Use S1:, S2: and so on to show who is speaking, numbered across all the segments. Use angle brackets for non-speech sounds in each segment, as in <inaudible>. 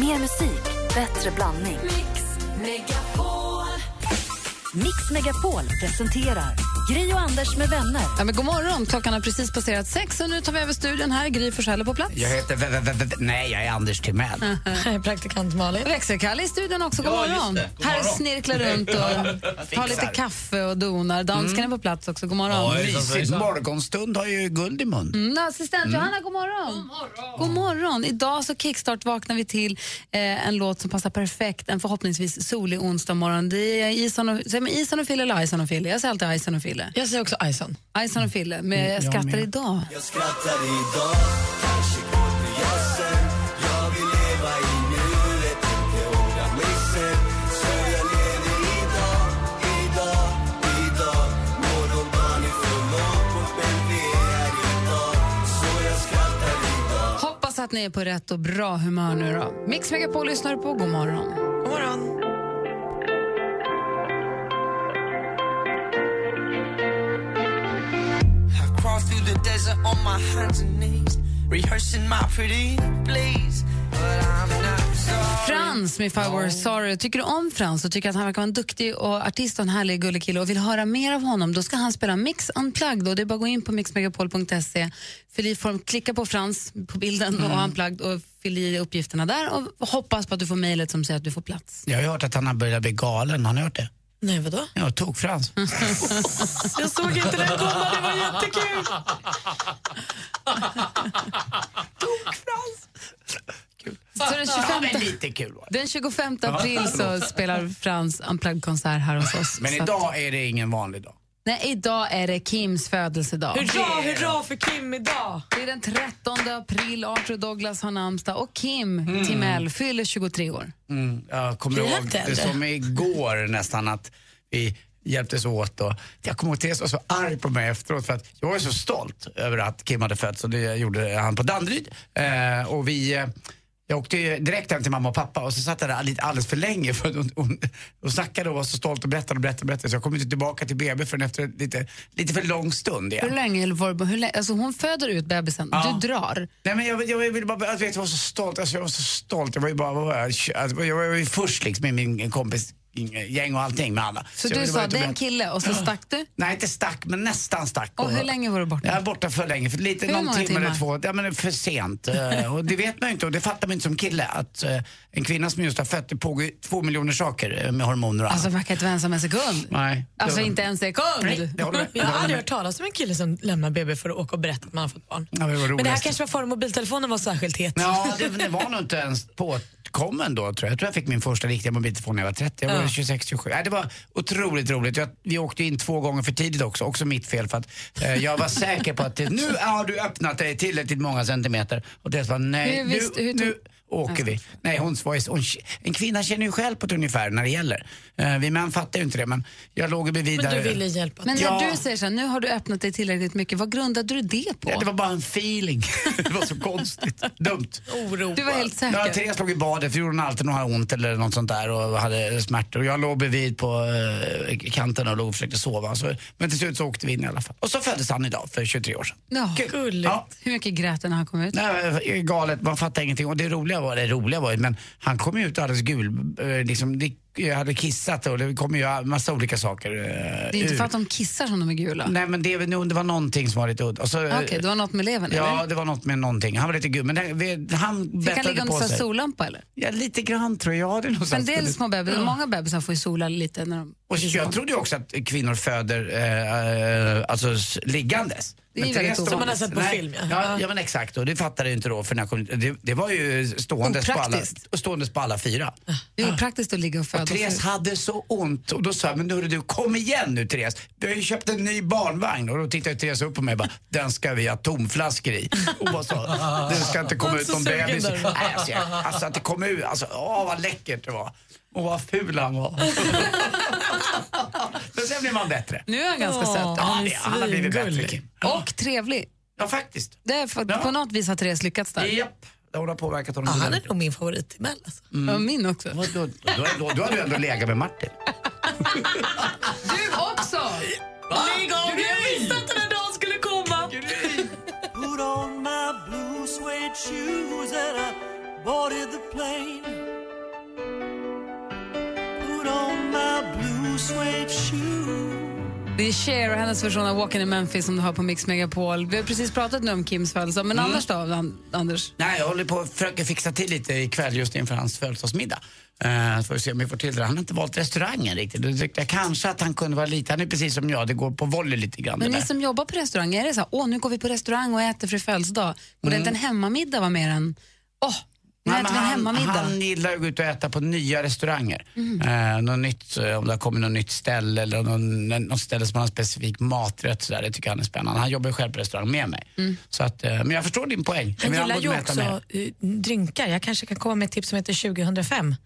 S1: Mer musik, bättre blandning.
S2: Mix Megapol.
S1: Mix Megapol presenterar Gri och Anders med vänner.
S3: Ja, men god morgon, klockan har precis passerat sex och nu tar vi över studion här. Gry Forssell är på plats.
S4: Jag heter... V- v- v- nej, jag är Anders Timell.
S5: Praktikant Malin.
S3: Växelkalle i studion också, god
S6: Ja, just
S3: morgon.
S6: det. God
S3: här
S6: morgon.
S3: snirklar
S6: <laughs>
S3: runt och tar
S4: Fixar.
S3: lite kaffe och donar. Dansken är på plats också, god morgon.
S6: Mm. Ja, hejsan,
S4: Mysigt.
S6: hejsan.
S4: Morgonstund har ju guld i mun.
S3: Mm, assistent Johanna, god morgon. god morgon! God morgon! Idag så kickstart vaknar vi till eh, en låt som passar perfekt en förhoppningsvis solig onsdag morgon. Det är Ison och, säger man Ison och Fille eller Ison och Fille? Jag säger alltid Ison och Fille.
S5: Jag säger också Ison. Mm,
S3: Ison och Fille med Jag skrattar
S4: med.
S3: idag.
S7: Jag skrattar idag, kanske gråter jag sen Jag vill leva i nuet, inte ångra mig sen Så jag lever idag, idag, idag Morgondagen är för lång bort, men vi är här idag Så jag skrattar idag
S3: Hoppas att ni är på rätt och bra humör nu då. Mix Megapol lyssnar du på, god morgon.
S5: God morgon.
S8: I crawl through the desert on my hands and knees, rehearsing my pretty please. But I'm not sorry.
S3: Frans med If I Were Sorry. Tycker du om Frans och tycker att han verkar vara en duktig och artist och en härlig gullig kille och vill höra mer av honom, då ska han spela Mix Unplugged. Och det är bara att gå in på mixmegapol.se, fyll i form, klicka på Frans på bilden
S5: Mm.
S3: och Unplugged och fyll i uppgifterna där och hoppas på att du får mejlet som säger att du får plats.
S4: Jag har ju hört att han har börjat bli galen. Har ni hört det?
S5: Nej, vadå?
S4: Ja, tokfrans.
S5: Jag såg inte den komma, det var jättekul.
S3: Så den 25,
S4: Lite kul var det.
S3: den 25 april så spelar Frans Unplugged-konsert här hos oss.
S4: Men
S3: Så att-
S4: idag är det ingen vanlig dag.
S3: Nej, idag är det Kims födelsedag.
S5: Hurra, hurra för Kim idag.
S3: Det är den 13 april, Arthur Douglas har namnsdag och Kim
S5: Mm.
S3: Timell fyller 23 år.
S4: Mm, jag kommer
S5: Blir jag
S4: ihåg
S5: inte
S4: det
S5: äldre?
S4: som igår nästan att vi hjälptes åt och jag kommer ihåg Therese var så arg på mig efteråt för att jag var så stolt över att Kim hade fötts och det gjorde han på Danderyd. Eh, och vi, eh, jag åkte ju direkt hem till mamma och pappa och så satt jag där lite alldeles för länge för att hon, hon, hon snackade och var så stolt och berättade och berättade, och berättade så jag kom inte tillbaka till BB förrän efter lite, lite för lång stund igen.
S3: Hur länge, eller var, hur länge alltså hon föder ut bebisen,
S4: Ja.
S3: du drar.
S4: Nej, men jag, jag, jag ville bara, jag, vet, jag var så stolt, alltså, jag var så stolt. Jag var ju bara, vad var jag, Alltså, jag var ju först liksom i min kompis gäng och allting med alla.
S3: Så,
S4: jag
S3: du
S4: ville bara ut
S3: sa,
S4: och
S3: det är en
S4: berätta."
S3: kille och så stack du.
S4: Nej, inte stack, men nästan stack.
S3: Och hur länge var du borta?
S4: Jag var borta för länge, för lite,
S3: Hur
S4: någon
S3: många
S4: timme eller
S3: timmar?
S4: två. Ja, men för sent. Eh, och det vet man ju inte och det fattar man inte som kille. Att eh, en kvinna som just har fött, det pågår ju två miljoner saker eh, med hormoner och
S3: Alltså
S4: annat.
S3: man kan inte vara ensam en sekund.
S4: Nej.
S3: Alltså
S4: Det-
S3: inte en
S4: Nej,
S3: sekund.
S4: jag håller med. Jag
S5: Jag har
S4: håller
S5: aldrig
S4: med.
S5: hört talas om en kille som lämnar BB för att åka och berätta att man har fått barn.
S4: Ja, det var
S5: Men det här
S4: roligast.
S5: kanske var före mobiltelefonen var särskilt het.
S4: <laughs> Ja, det,
S5: <laughs>
S4: det var nog inte ens påkommen då tror jag. Jag tror jag fick min första riktiga mobiltelefon när jag var 30. Jag var
S5: Ja.
S4: 26, 27. Nej, det var otroligt roligt. Jag, vi åkte in två gånger för tidigt också, också mitt fel för att eh, jag var säker på att det, nu har du öppnat dig tillräckligt många centimeter. Och det var nej,
S3: Hur
S4: nu,
S3: visste- hur tog-
S4: nu åker vi. Nej, hon var ju, hon, en kvinna känner ju själv på ett ungefär när det gäller. Eh, vi män fattar ju inte det, men jag låg ju bredvid
S5: Men du
S4: där.
S5: ville hjälpa
S3: Men
S5: till.
S3: när
S4: Ja.
S3: du säger så här, nu har du öppnat dig tillräckligt mycket, vad grundade du det på?
S4: Ja, det var bara en feeling. <laughs> det var så konstigt. Dumt.
S5: Oro.
S3: Du var helt
S4: Ja,
S3: säker.
S4: Therese låg i badet, för gjorde hon alltid när hon hade ont eller något sånt där och hade smärtor. Och jag låg bredvid på eh, kanten och låg och försökte sova. Så, men till slut så åkte vi in i alla fall. Och så föddes han idag för 23 år sedan.
S3: Ja.
S5: Gulligt.
S4: Ja.
S3: Hur mycket grät du när han kom ut?
S4: Nej, eh, galet, man fattar ingenting. Och det roliga var, det roliga var ju, men han kom ju ut alldeles gul, eh, liksom, det, jag hade kissat och det kom ju massa olika saker eh,
S3: Det är inte
S4: ur.
S3: för att de kissar som de är gula.
S4: Nej men det, det var någonting som var lite udda. Och så, eh,
S3: Okej, det var något med levern
S4: Ja,
S3: eller?
S4: det var något med någonting. Han var lite gul, men det, vi- han
S3: Fick han ligga
S4: bättrade
S3: under
S4: på
S3: så här
S4: sig.
S3: sollampa eller?
S4: Ja, lite grann tror jag. Det är
S3: Men
S4: någonstans.
S3: en del små bebisar, många bebisar får ju sola lite när de...
S4: Och jag trodde ju också att kvinnor föder eh, eh, alltså, s- liggandes.
S3: Det är ju
S4: Therese
S3: väldigt
S4: stod-
S3: ovanligt.
S5: Som man har sett alltså på
S4: Nej,
S5: film, ja.
S4: ja. Ja men exakt och det fattade jag inte då för när jag kom, det, det var ju ståendes på, alla,
S3: Opraktiskt.
S4: ståendes på alla fyra.
S3: Det är opraktiskt att ligga och föda.
S4: Och Therese hade så ont och då sa jag, men hörru du kom igen nu Therese, vi har ju köpt en ny barnvagn och då tittade Therese upp på mig och bara, den ska vi ha tomflaskor i. Och bara så, <laughs> den ska inte komma
S5: Var
S4: ut
S5: så
S4: någon
S5: sugen
S4: bebis.
S5: där.
S4: Nej, Alltså, jag, alltså att det kom ut, alltså åh vad läckert det var. Och vad ful han
S3: <laughs>
S4: var. men sen blir man bättre.
S3: Nu är han ganska
S5: Ja.
S3: söt.
S4: Ja,
S5: han är
S4: det, han har blivit bättre
S5: svingullig.
S4: Kim.
S3: Och trevlig.
S4: Ja, faktiskt.
S3: Det är för,
S4: Ja.
S3: På något vis har Therese lyckats där.
S4: Japp, hon har påverkat
S5: Ja,
S4: honom. Mm.
S5: han är
S4: ordentligt.
S5: nog min favorit till Mell. Alltså.
S3: Ja, min också.
S4: Då, då, då, då, då har du ändå legat med Martin.
S3: Du också!
S5: Lägg av! Jag visste att den här dagen skulle komma.
S7: Put on my blue suede shoes and I boarded the plane. Put on my blue suede shoes.
S3: Det är Cher och hennes version av Walking in Memphis som du har på Mix Megapol. Vi har precis pratat nu om Kims födelsedag,
S4: Mm.
S3: men annars då, An- Anders?
S4: Nej, jag håller på och försöker fixa till lite ikväll just inför hans födelsedagsmiddag. Uh, får vi se om vi får till det. Han har inte valt restaurangen riktigt. Då tyckte jag kanske att han kunde vara lite, han är precis som jag, det går på volley lite grann.
S3: Men
S4: det
S3: ni
S4: där.
S3: som jobbar på restaurang, är det så här, åh nu går vi på restaurang och äter för födelsedag? Borde inte en hemmamiddag vara mer än, åh, nu
S4: Mm. Nej, men
S3: äter vi en hemmamiddag? Mm.
S4: han gillar ju att gå ut och äta på nya restauranger. Eh, något nytt, eh, om det har kommit något nytt ställe eller någon, något ställe som har en specifik maträtt. Sådär, det tycker han är spännande. Han jobbar ju själv på restaurang med mig. Så att, eh, men jag förstår din poäng.
S5: Jag
S4: Men han
S5: Mm. gillar
S4: borde
S5: ju
S4: mäta mer.
S5: också eh, drinkar. Jag kanske kan komma med ett tips som heter 2005.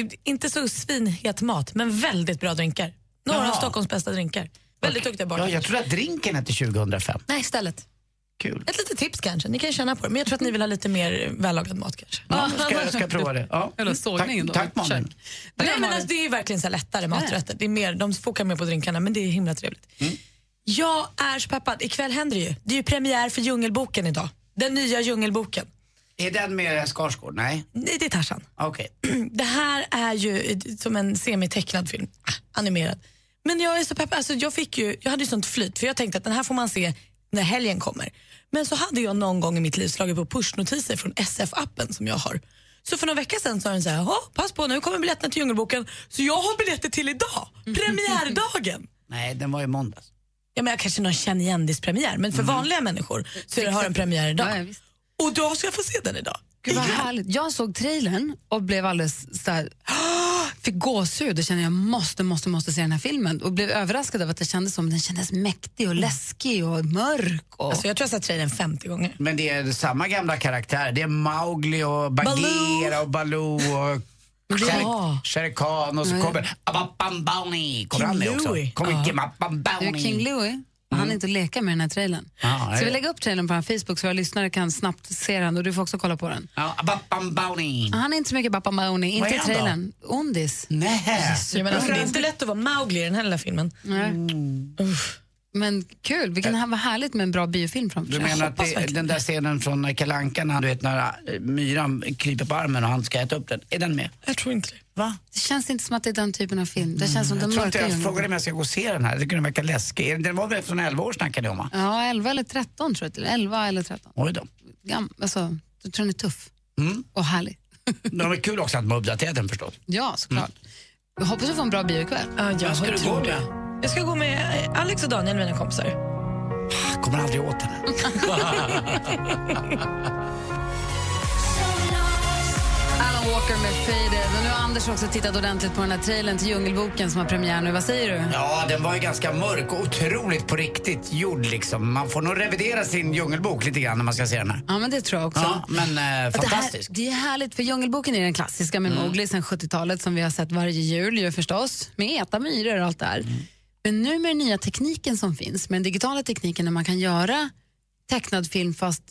S5: Eh, Inte så svinhet mat, men väldigt bra drinkar. Några
S4: Jaha.
S5: av Stockholms bästa drinkar. Väldigt duktiga
S4: Ja, jag
S5: bartenders.
S4: tror att drinken hette 2005.
S5: Nej, istället.
S4: Kul.
S5: Ett litet tips kanske. Ni kan känna på det. Men jag tror att ni vill ha lite mer eh, vällagad mat kanske.
S4: Ja, jag ska, jag ska prova det. Ja.
S3: Eller sågningen då.
S4: Tack, tack Malin.
S3: Försök.
S5: Nej, men alltså, det är ju verkligen så här lättare maträtter. Det är mer, de fokar mer på drinkarna, men det är himla trevligt.
S4: Mm.
S5: Jag är så peppad. Ikväll händer det ju. Det är ju premiär för Djungelboken idag. Den nya Djungelboken.
S4: Är den med Skarsgård? Nej?
S5: Nej, det är Tarzan.
S4: Okej.
S5: <clears throat> Det här är ju som en semitecknad film, Ah, animerad. Men jag är så peppad. Alltså, jag, fick ju, jag hade ju sånt flyt, för jag tänkte att den här får man se när helgen kommer. Men så hade jag någon gång i mitt liv slagit på pushnotiser från SF-appen som jag har. Så för några veckor sedan sa den så här, "Jaha, pass på nu kommer biljetterna till Djungelboken. Så jag har biljetter till idag,
S3: <laughs>
S5: premiärdagen.
S4: Nej, den var ju måndags.
S5: Ja, men jag kanske någon känner igen this premiär, men för vanliga människor så är det- har en premiär
S3: Mm. Ja, ja,
S5: idag.
S3: visst.
S5: Och då ska jag få se den idag.
S3: Gud vad härligt. Jag såg trailern och blev alldeles så här, fick gåshud och kände jag måste, måste, måste se den här filmen. Och blev överraskad av att det kändes som den kändes mäktig och läskig och mörk. Och...
S5: Alltså, jag tror jag har sett trailern 50 gånger.
S4: Men det är samma gamla karaktär. Det är Mowgli och Bagheera och Baloo och
S5: Ja.
S4: Shere- Shere Khan och så kommer Abapambani. Kommer
S5: King
S4: han med också?
S5: Louie.
S4: Kommer Kim
S3: Det är King
S4: Abapambani.
S3: Louie. och
S4: Mm.
S3: Han är inte att leka med den här trailern.
S4: Ja, ja,
S3: så vi
S4: ja.
S3: lägger upp trailern på vår Facebook så våra lyssnare kan snabbt se den och du får också kolla på den.
S4: Ja, Abapambani.
S3: Han är inte så mycket Bappa Maoni,
S4: Vad
S3: inte i
S4: är han då?
S3: trailern. Ondis.
S4: Nej.
S5: Ja, men alltså, det är inte lätt att vara Mowgli i den här lilla filmen. Mm.
S3: Nej. Men kul, vilken här var härligt med en bra biofilm framför
S4: Du
S3: sig.
S4: menar att
S5: hoppas
S4: det,
S5: verkligen
S4: den där scenen från Kalle Anka när han- du vet när eh, myran kryper på armen och han ska äta upp den, är den med?
S5: Jag tror inte det.
S4: Va? Mm,
S3: Det känns inte som att det är den typen av film. Det
S5: Alltså,
S3: känns som den
S4: Jag tror inte
S3: mörka
S4: jag
S3: djungeln.
S4: frågade om jag ska gå och se den här, jag tycker den verkar läskig. Är det- Den var väl från 11 år snackade jag om va?
S3: Ja, 11 eller 13 tror jag. till. 11 eller 13.
S4: Oj då.
S3: Gam, alltså, jag tror den är tuff
S4: Mm.
S3: och härlig.
S4: Det var kul också att de uppdaterade den förstås.
S3: Ja, såklart. Mm. Jag hoppas du får en bra bio ikväll.
S5: Ja, jag,
S4: Vad ska du gå
S5: tror det.
S4: med?
S5: Jag ska gå med eh, Alex och Daniel, mina kompisar.
S4: Jag Ah, kommer aldrig åt den.
S3: Alan Walker med Faded. Och nu har Anders också tittat ordentligt på den här trailern till Djungelboken som har premiär nu. Vad säger du?
S4: Ja, den var ju ganska mörk och otroligt på riktigt gjord liksom. Man får nog revidera sin djungelbok lite grann när man ska se den här.
S3: Ja, men det tror jag också.
S4: Ja, men eh,
S3: Att det, här,
S4: fantastisk.
S3: det är härligt, för Djungelboken är den klassiska med Mowgli sen 70-talet som vi har sett varje jul ju förstås, med äta myror och allt det här. Men nu med den nya tekniken som finns, med den digitala tekniken när man kan göra tecknad film fast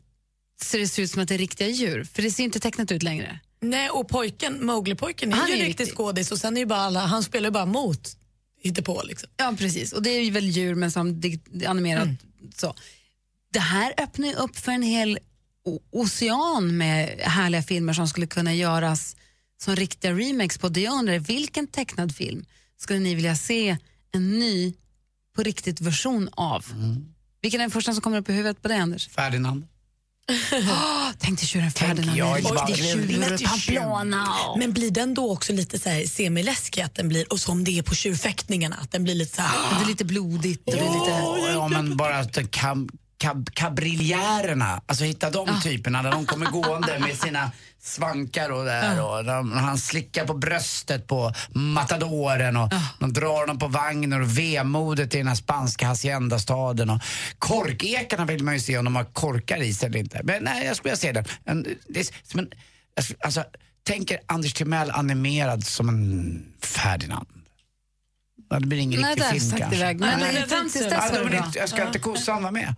S3: så det ser ut som att det är riktiga djur, för det ser ju inte tecknat ut längre.
S5: <laughs> Nej, och pojken, Mowgli-pojken,
S3: Han
S5: är ju
S3: är
S5: en
S3: riktig.
S5: riktig skådis och sen är ju bara alla, han spelar ju bara mot på liksom.
S3: Ja, precis. Och det är ju väl djur men som dig- animerat
S4: Mm.
S3: så. Det här öppnar ju upp för en hel o- ocean med härliga filmer som skulle kunna göras som riktiga remakes på. Det jag undrar är, vilken tecknad film skulle ni vilja se en ny på riktigt version av?
S4: Mm.
S3: Vilken är den första som kommer upp i huvudet på dig Anders?
S4: Ferdinand.
S3: Oh, tänk dig tjuren Ferdinand.
S4: jag,
S3: Oj,
S4: inte bara-
S3: det är tjuren
S4: Lite
S3: Pamplona.
S5: Men blir den då också lite så här semiläskig att den blir, och som det är på tjurfäktningarna, att den blir lite så här...
S3: Det är lite blodigt och det är lite...
S4: Och om man bara tar kam, kab, kabriljärerna, alltså hitta de typerna när de kommer gående med sina svankar och där och de, han slickar på bröstet på matadoren och de drar honom på vagnen och vemodet i den här spanska haciendastaden och korkekarna vill man ju se om de har korkar i sig eller inte. Men nej, jag skulle vilja se den. En, det är som en, alltså, tänker Anders Timell animerad som en Ferdinand. Ja, Det blir <laughs> ingen
S3: <gasps> Nej,
S4: riktig
S3: där
S4: film
S3: stack det
S4: kanske.
S3: iväg. Men
S5: Nej.
S3: men fram tills
S4: Ja, de
S3: dess var det
S4: vill
S3: bra.
S4: inte, jag ska inte kossan vara med.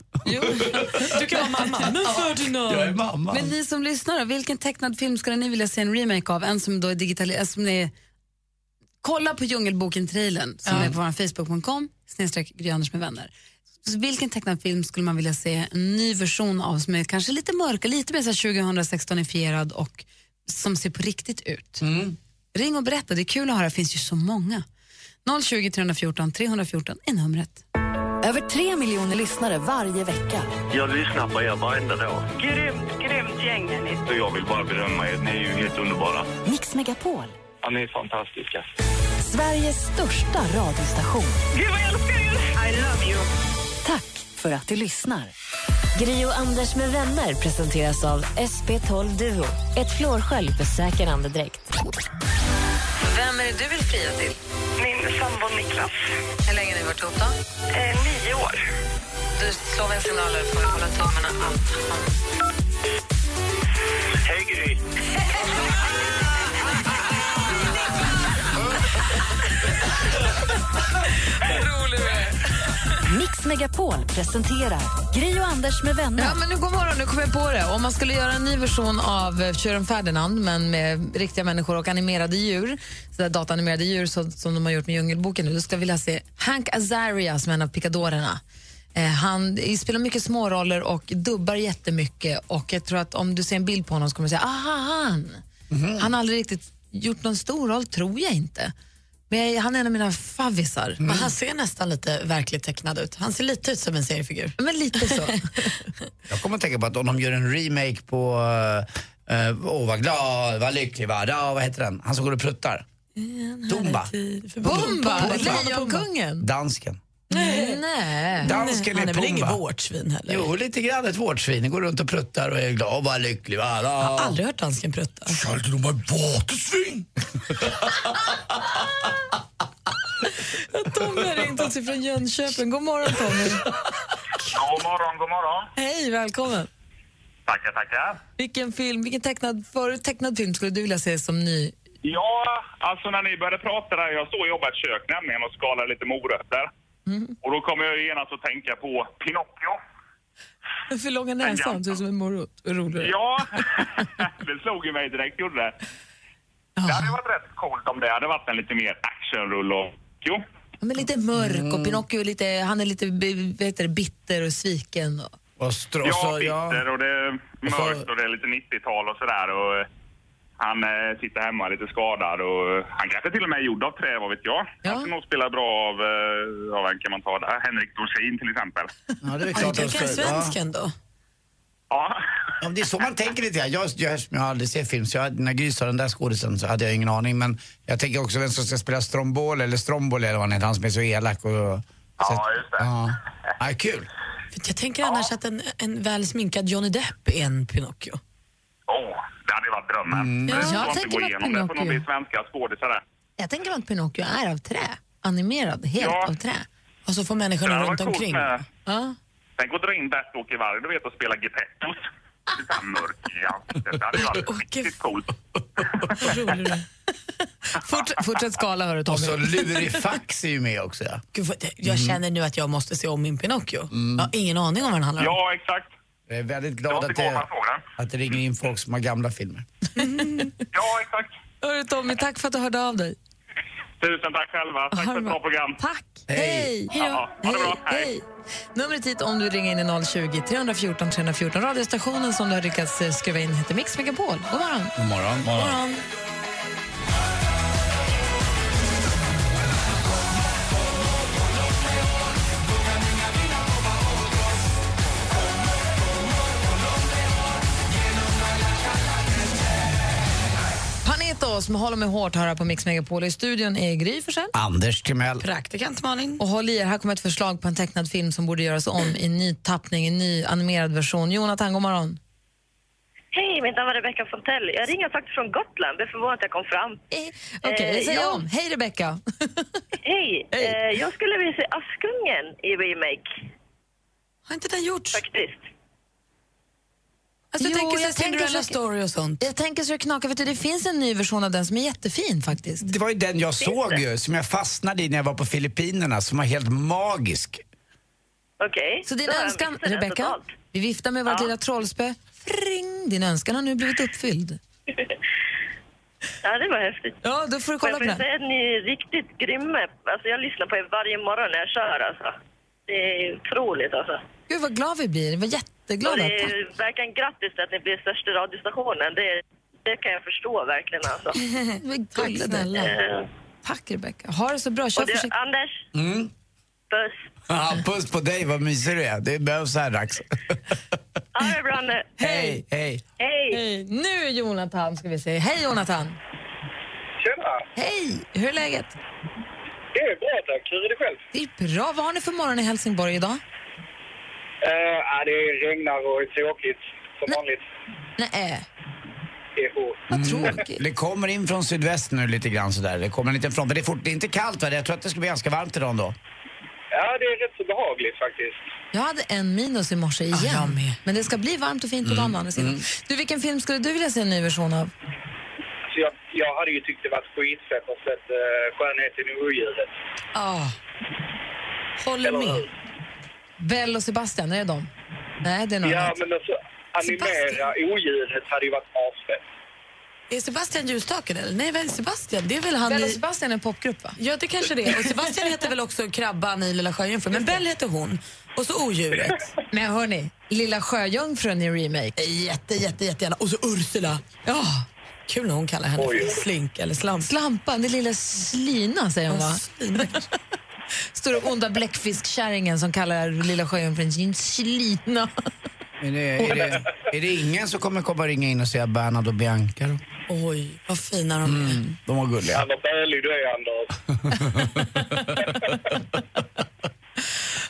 S5: Du kan vara mamma. Men Ferdinand!
S4: är mamma.
S3: Men ni som lyssnar, då, vilken tecknad film skulle ni vilja se en remake av? En som då är digital, en som är... Kolla på Djungelboken-trailern som är på vår Facebook.com, snedstreck Gry Anders med vänner. Så vilken tecknad film skulle man vilja se en ny version av som är kanske lite mörkare, lite mer så här 2016-ifierad och
S9: som ser på riktigt ut. Ring och berätta, det är kul att höra, det finns ju så många. 020 314 314 är numret.
S10: Över tre miljoner lyssnare varje vecka.
S11: Jag lyssnar på er varenda dag.
S12: Grymt, grymt gäng är ni.
S11: Och jag vill bara berömma er. Ni är ju helt underbara.
S10: Mix Megapol,
S11: Ja, ni är fantastiska.
S10: Sveriges största radiostation.
S12: Gud vad jag älskar er! I love you.
S10: Tack för att du lyssnar. Gri och Anders med vänner presenteras av SP12 Duo. Ett flårskölj för säker andedräkt.
S9: Vem är det du vill fria till?
S12: Min sambo Niklas.
S9: Hur länge har ni varit ihop då?
S12: Eh, nio år.
S9: Du slår väl signaler för att hålla tummarna allt.
S11: Hej, Gry.
S10: Mix Megapol presenterar Gri och Anders med vänner.
S3: Ja, men nu, god morgon, nu kom jag på det. Om man skulle göra en ny version av eh, Tjuren Ferdinand men med riktiga människor och animerade djur, så där dataanimerade djur så, som de har gjort med Djungelboken nu, då skulle jag vilja se Hank Azaria som en av pikadorerna. Eh, han spelar mycket småroller och dubbar jättemycket och jag tror att om du ser en bild på honom så kommer du säga aha, han. Han har aldrig riktigt gjort någon stor roll, tror jag inte. Men jag, han är en av mina favvisar.
S5: Men han ser nästan lite verkligt tecknad ut. Han ser lite ut som en seriefigur.
S3: Men lite så.
S4: Jag kommer att tänka på att om de gör en remake på eh, Åh vad glad, vad lycklig, vad, ja, vad heter den? Han som går och pruttar. Dumba.
S3: Bomba,
S4: Pumba.
S3: Lejonkungen.
S4: Dansken.
S3: Nej.
S4: Dansken
S5: Han
S4: är
S5: är väl inget
S4: Pumba.
S5: vårt svin heller?
S4: Jo, lite grann ett vårtsvin. Går runt och pruttar och är glad, "Åh, vad lycklig, va?
S5: Jag har
S4: Ja.
S5: aldrig hört dansken prutta.
S4: Kallade du mig våtesvin?
S3: Tommy har ringt oss från Jönköping. God morgon
S11: <laughs>
S3: Tommy.
S11: God morgon, god morgon.
S3: Hej, välkommen.
S11: Tackar, tackar.
S3: Vilken film, vilken tecknad, för, tecknad film skulle du vilja se som ny?
S11: Ja, alltså när ni började prata där, jag står och jobbar i ett kök nämligen och skalar lite morötter. Och då kommer jag ju genast att tänka på Pinocchio.
S3: Den för långa näsan, ser ut som en morot. Vad Roligare.
S11: Ja, <laughs> det slog ju mig direkt, gjorde det. Det hade varit rätt coolt om det hade varit en lite mer actionrulle och... Jo.
S3: Ja, Men lite mörk och Pinocchio är lite, han är lite bi- vad heter det, bitter och sviken. Och,
S4: Och str- och
S11: Ja,
S4: så,
S11: bitter och det är
S4: så-
S11: mörkt och det är lite 90-tal och sådär. Och eh, han eh, sitter hemma lite skadad och eh, han kanske till och med är gjord av trä, vad vet jag. Han skulle nog spela bra av, eh, av vem kan man ta där? Henrik Dorsin till
S5: <laughs>
S11: exempel.
S4: ja, det är
S5: Ja,
S4: klart
S5: du
S4: de
S5: kan
S4: ska... Ja.
S5: svensken då?
S11: Ja.
S4: Ja, men det är så man tänker lite grann. Jag, jag, jag har aldrig sett film, så jag, när Gry sa den där skådisen så hade jag ingen aning. Men jag tänker också vem som ska spela Stromboli eller Stromboli eller vad han heter, han som är så elak. Och, ja,
S11: just det.
S4: Ja. Ja, kul.
S5: För jag tänker annars att en, en väl sminkad Johnny Depp är en Pinocchio.
S11: Oh, det hade ju varit drömmen.
S4: Mm.
S11: Men
S3: Ja,
S11: det
S3: jag
S11: får inte
S3: tänker
S11: gå
S3: mig
S11: igenom. Det får nog
S3: Pinocchio.
S11: bli svenska skådisar där.
S3: jag tänker mig att Pinocchio är av trä. Animerad, helt
S11: Ja.
S3: av trä.
S5: Och så får
S11: Det
S5: människorna
S11: hade
S5: runt
S11: varit coolt
S5: omkring.
S11: med...
S3: Ja.
S11: Tänk att dra in Bert-Åke Varg, du vet, och spela Gepettos. Lite såhär mörk i ansiktet. Det hade ju varit riktigt coolt.
S3: Forts- fortsätt skala hörru
S4: Och
S3: Tommy.
S4: så Lurifax är ju med också. Ja.
S5: Gud, vad- jag
S4: Mm.
S5: känner nu att jag måste se om min Pinocchio. Jag har ingen aning om vad den handlar om.
S11: Ja, exakt.
S4: Jag är väldigt
S11: Det
S4: glad
S11: var
S4: att
S11: inte igår
S4: det,
S11: man såg den.
S4: att det ringer in folk som har gamla filmer.
S11: Ja, exakt.
S3: Hörru Tommy, tack för att du hörde av dig.
S11: Tusen tack själva. Tack för ett bra program.
S3: Tack.
S4: Hej.
S3: Hej.
S11: Ja, ha det bra. Hej.
S3: Numret hit om du ringer in är 020 314 314. Radiostationen som du har lyckats eh, skruva in heter Mix Megapol. God morgon.
S4: God morgon. morgon.
S3: Panetos med Håll mig hårt hör här på Mix Megapol. I studion är Gry Forssell.
S4: Anders Timell.
S5: Praktikant Malin.
S3: Och håll i er, här kommer ett förslag på en tecknad film som borde göras om i ny tappning, i ny animerad version. Jonathan, god morgon.
S12: Hej, mitt namn är Rebecca Fontell. Jag ringer faktiskt från Gotland. Det är förvånande att jag kom fram.
S3: Eh, Okej, jag
S12: Eh,
S3: säger
S12: ja.
S3: om. Hej Rebecka.
S12: Hej!
S3: Hej.
S12: Eh, jag skulle vilja se Askungen i remake,
S5: Har inte den gjorts?
S12: faktiskt.
S5: Alltså,
S3: Alltså, jag
S5: jo,
S3: tänker
S5: tänker
S3: så-
S5: jag tänker
S3: Cinderella
S5: så... Story och sånt.
S3: jag tänker så jag knakar, för det finns en ny version av den som är jättefin faktiskt.
S4: Det var ju den jag såg ju, som jag fastnade i när jag var på Filippinerna, som var helt magisk.
S12: Okej.
S3: Så din
S12: Då har jag
S3: önskan,
S12: missat den
S3: Rebecka,
S12: totalt.
S3: vi viftar med vårt
S12: Ja.
S3: lilla trollspö. Fring, din önskan har nu blivit uppfylld.
S12: Ja, det var häftigt.
S3: Ja, då får du
S12: Men
S3: kolla
S12: jag
S3: på
S12: får ju
S3: den.
S12: säga att ni är riktigt grymma. Alltså, jag lyssnar på er varje morgon när jag kör. Alltså. Det är otroligt. Alltså.
S3: Gud vad glad vi blir, vi var
S12: Och
S3: jätteglada.
S12: det
S3: Tack.
S12: är verkligen grattis till att ni blir största radiostationen. Det är Det kan jag förstå verkligen
S3: <laughs>
S12: alltså.
S3: Tack snälla.
S12: Eh,
S3: Tack Rebecka. Ha det så bra. Kör
S12: och du,
S3: försiktigt.
S12: Anders,
S4: Mm.
S12: puss.
S4: Ja, puss på dig, vad mysig du är. Det behövs här dags.
S12: Ha det bra
S3: <laughs>
S12: nu.
S4: Hej, hej.
S12: Hej!
S3: Hej. Nu Jonathan ska vi säga. Hej Jonathan.
S13: Tjena!
S3: Hej, hur är läget?
S13: Det är bra tack. Hur är det själv?
S3: Det är bra. Vad har ni för morgon i Helsingborg idag?
S13: Uh, det regnar och är tråkigt som vanligt.
S3: Nej. eh,
S13: Det är hårt.
S3: Vad
S4: Mm.
S13: Mm.
S4: Det kommer in från sydväst nu lite grann sådär. Det kommer en liten front. Men det är, fort, det är inte kallt va? Jag tror att det ska bli ganska varmt idag ändå.
S13: Ja, det är rätt så behagligt faktiskt.
S3: Jag hade en minus i morse igen. Men det ska bli varmt och fint
S12: Mm.
S3: på dagen å andra sidan. Du, vilken film skulle du vilja se en ny version av?
S13: Så jag, jag hade ju tyckt det var skitfett att sett uh, Skönheten i odjuret.
S3: Ah. Håller med. Bell och Sebastian, är det de? Nej, det är någon
S13: Ja,
S3: annan.
S13: men alltså animera odjuret hade ju varit asfett.
S5: Är Sebastian ljusstaken eller? Nej, väl Sebastian? Det är väl han
S3: Bell och
S5: i...
S3: Sebastian är en popgrupp, va?
S5: Ja, det kanske det är. Och Sebastian heter väl också Krabban i Lilla Sjöjungfrun, men Bell heter hon. Och så Odjuret.
S3: Men hörni, Lilla Sjöjungfrun i remake.
S5: Jätte, jätte, jättegärna. Och så Ursula.
S3: Ja,
S5: Kul när hon kallar henne för slink eller slamp.
S3: Slampan, det lilla slyna säger hon va? <laughs> Stora onda bläckfiskkärringen som kallar Lilla Sjöjungfrun sin slina.
S4: Är det, är, det, är det ingen som kommer komma ringa in och säga Bernhard och Bianca då?
S5: Oj, vad fina de är.
S4: Mm, de var gulliga.
S13: Han var bölig du är, Anders.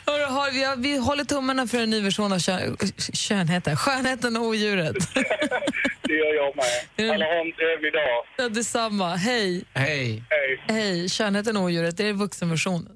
S3: Hörru, har vi, vi håller tummarna för en ny version av kön, könheten, skönheten och odjuret. <laughs>
S13: Det gör jag med.
S5: Mm.
S13: Alla har en trevlig dag.
S3: Ja, Detsamma, hej.
S4: Hej.
S13: Hej.
S3: Hej, könheten och odjuret, det
S5: <laughs>
S3: är vuxenversionen.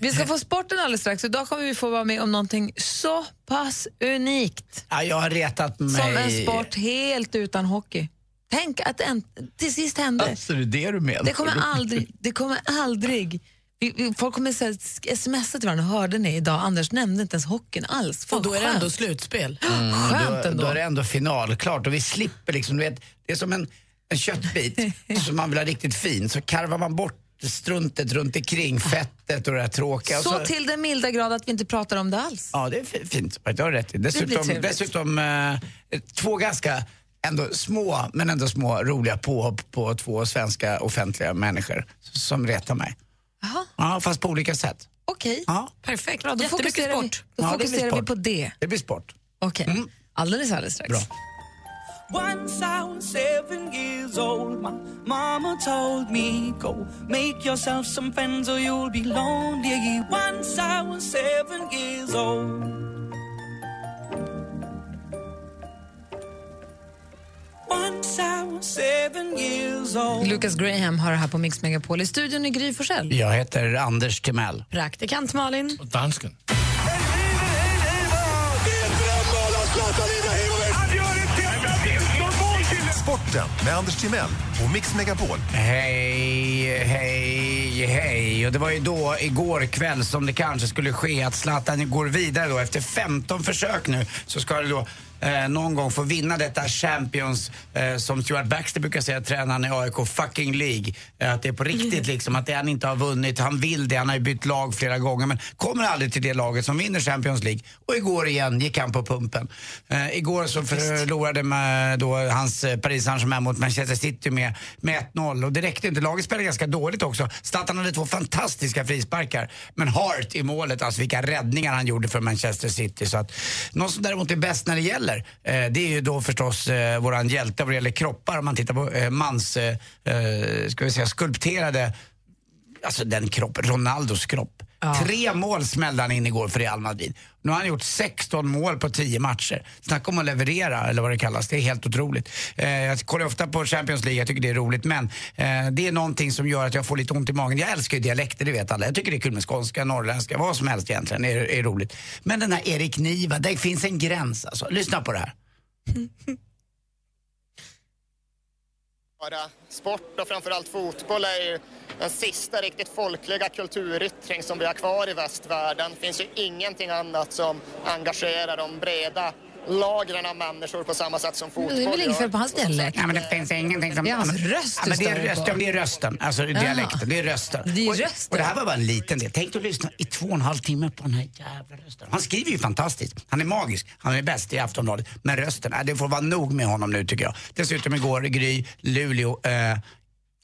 S3: Vi ska få sporten alldeles strax. Idag kommer vi få vara med om någonting så pass unikt
S4: Ja, jag har retat mig.
S3: som en sport helt utan hockey. Tänk att det en, till sist hände.
S4: Alltså, det är det du menar?
S3: Det kommer aldrig, det kommer aldrig. Vi, vi, folk kommer säga, sk- smsa till varandra, hörde ni idag, Anders nämnde inte ens hockeyn alls. Fan,
S5: Och då är det
S3: skönt.
S5: ändå
S3: <gasps>
S5: slutspel.
S3: Skönt
S4: Mm, då,
S3: ändå.
S4: då är det ändå finalklart och vi slipper liksom, du vet, det är som en, en köttbit
S3: <laughs>
S4: som man vill ha riktigt fin, så karvar man bort struntet runt omkring, fettet och det här tråkiga. och
S3: Så till den milda grad att vi inte pratar om det alls.
S4: Ja, det är fi- fint. Det har du rätt i. Dessutom,
S3: trevligt.
S4: dessutom eh, två ganska ändå små, men ändå små roliga påhopp på två svenska offentliga människor som retar mig.
S3: Jaha,
S4: Ja, fast på olika sätt.
S3: okej.
S4: Ja,
S5: Perfekt.
S3: Bra, då
S5: Jättemycket
S3: fokuserar,
S5: sport.
S3: Vi, då
S4: Ja, det blir
S3: fokuserar vi
S4: sport.
S3: på det.
S4: det blir sport.
S3: Okej, alldeles, alldeles strax.
S4: Bra.
S7: Once I was seven years old, my mama told me, Go make yourself some friends or you'll be lonely. Once I was seven years old. Once I was seven years old.
S3: Lucas Graham har det här på Mix Megapol. I studion i Gry Forssell.
S4: Jag heter Anders Timell.
S5: Praktikant Malin.
S1: Dansken.
S14: Sporten med Anders Timell och Mix Megapol.
S4: Hej, hej, hej. Och det var ju då, igår kväll, som det kanske skulle ske att Zlatan går vidare då. Efter 15 försök nu så ska det då eh, någon gång få vinna detta Champions, eh, som Stuart Baxter brukar säga, tränaren i AIK, fucking League. Eh, att det är på riktigt liksom, att det han inte har vunnit, han vill det, han har ju bytt lag flera gånger men kommer aldrig till det laget som vinner Champions League. Och igår igen gick han på pumpen. Eh, igår så förlorade man då hans eh, Paris Saint-Germain mot Manchester City med, med 1-0 och det räckte inte. Laget spelade ganska dåligt också. Zlatan hade två fantastiska frisparkar men Hart i målet, alltså vilka räddningar han gjorde för Manchester City. Så att, någon som däremot är bäst när det gäller, eh, det är ju då förstås eh, våran hjälte vad det gäller kroppar om man tittar på eh, mans, eh, eh, ska vi säga skulpterade Alltså den kroppen, Ronaldos kropp. Tre mål smällde han in igår för Real Madrid. Nu har han gjort 16 mål på 10 matcher. Snacka om att leverera, eller vad det kallas. Det är helt otroligt. Eh, jag kollar ofta på Champions League, jag tycker det är roligt. Men eh, det är någonting som gör att jag får lite ont i magen. Jag älskar ju dialekter, det vet alla. Jag tycker det är kul med skånska, norrländska, vad som helst egentligen. är, är roligt. Men den här Erik Niva, det finns en gräns alltså. Lyssna på det här.
S15: Bara sport och framförallt fotboll är ju den sista riktigt folkliga kulturyttring som vi har kvar i västvärlden. Det finns ju ingenting annat som engagerar de breda lagren av människor på samma sätt som fotboll
S3: Mm, Det är väl inget fel på hans
S15: Och som
S3: dialekt?
S15: sagt,
S3: Nej, men
S4: det finns ingenting som...
S3: Det är hans röst
S4: Ja,
S3: du
S4: men det, är
S3: stör dig
S4: rösten,
S3: på.
S4: det är rösten, alltså
S3: Jaha.
S4: dialekten. Det är rösten.
S3: Det är
S4: Och-
S3: rösten.
S4: Och det här var bara en liten del. Tänk att lyssna i två och en halv timme på den här jävla rösten. Han skriver ju fantastiskt. Han är magisk. Han är bäst i Aftonbladet. Men rösten, äh, det får vara nog med honom nu tycker jag. Dessutom igår, Gry, Luleå. Eh,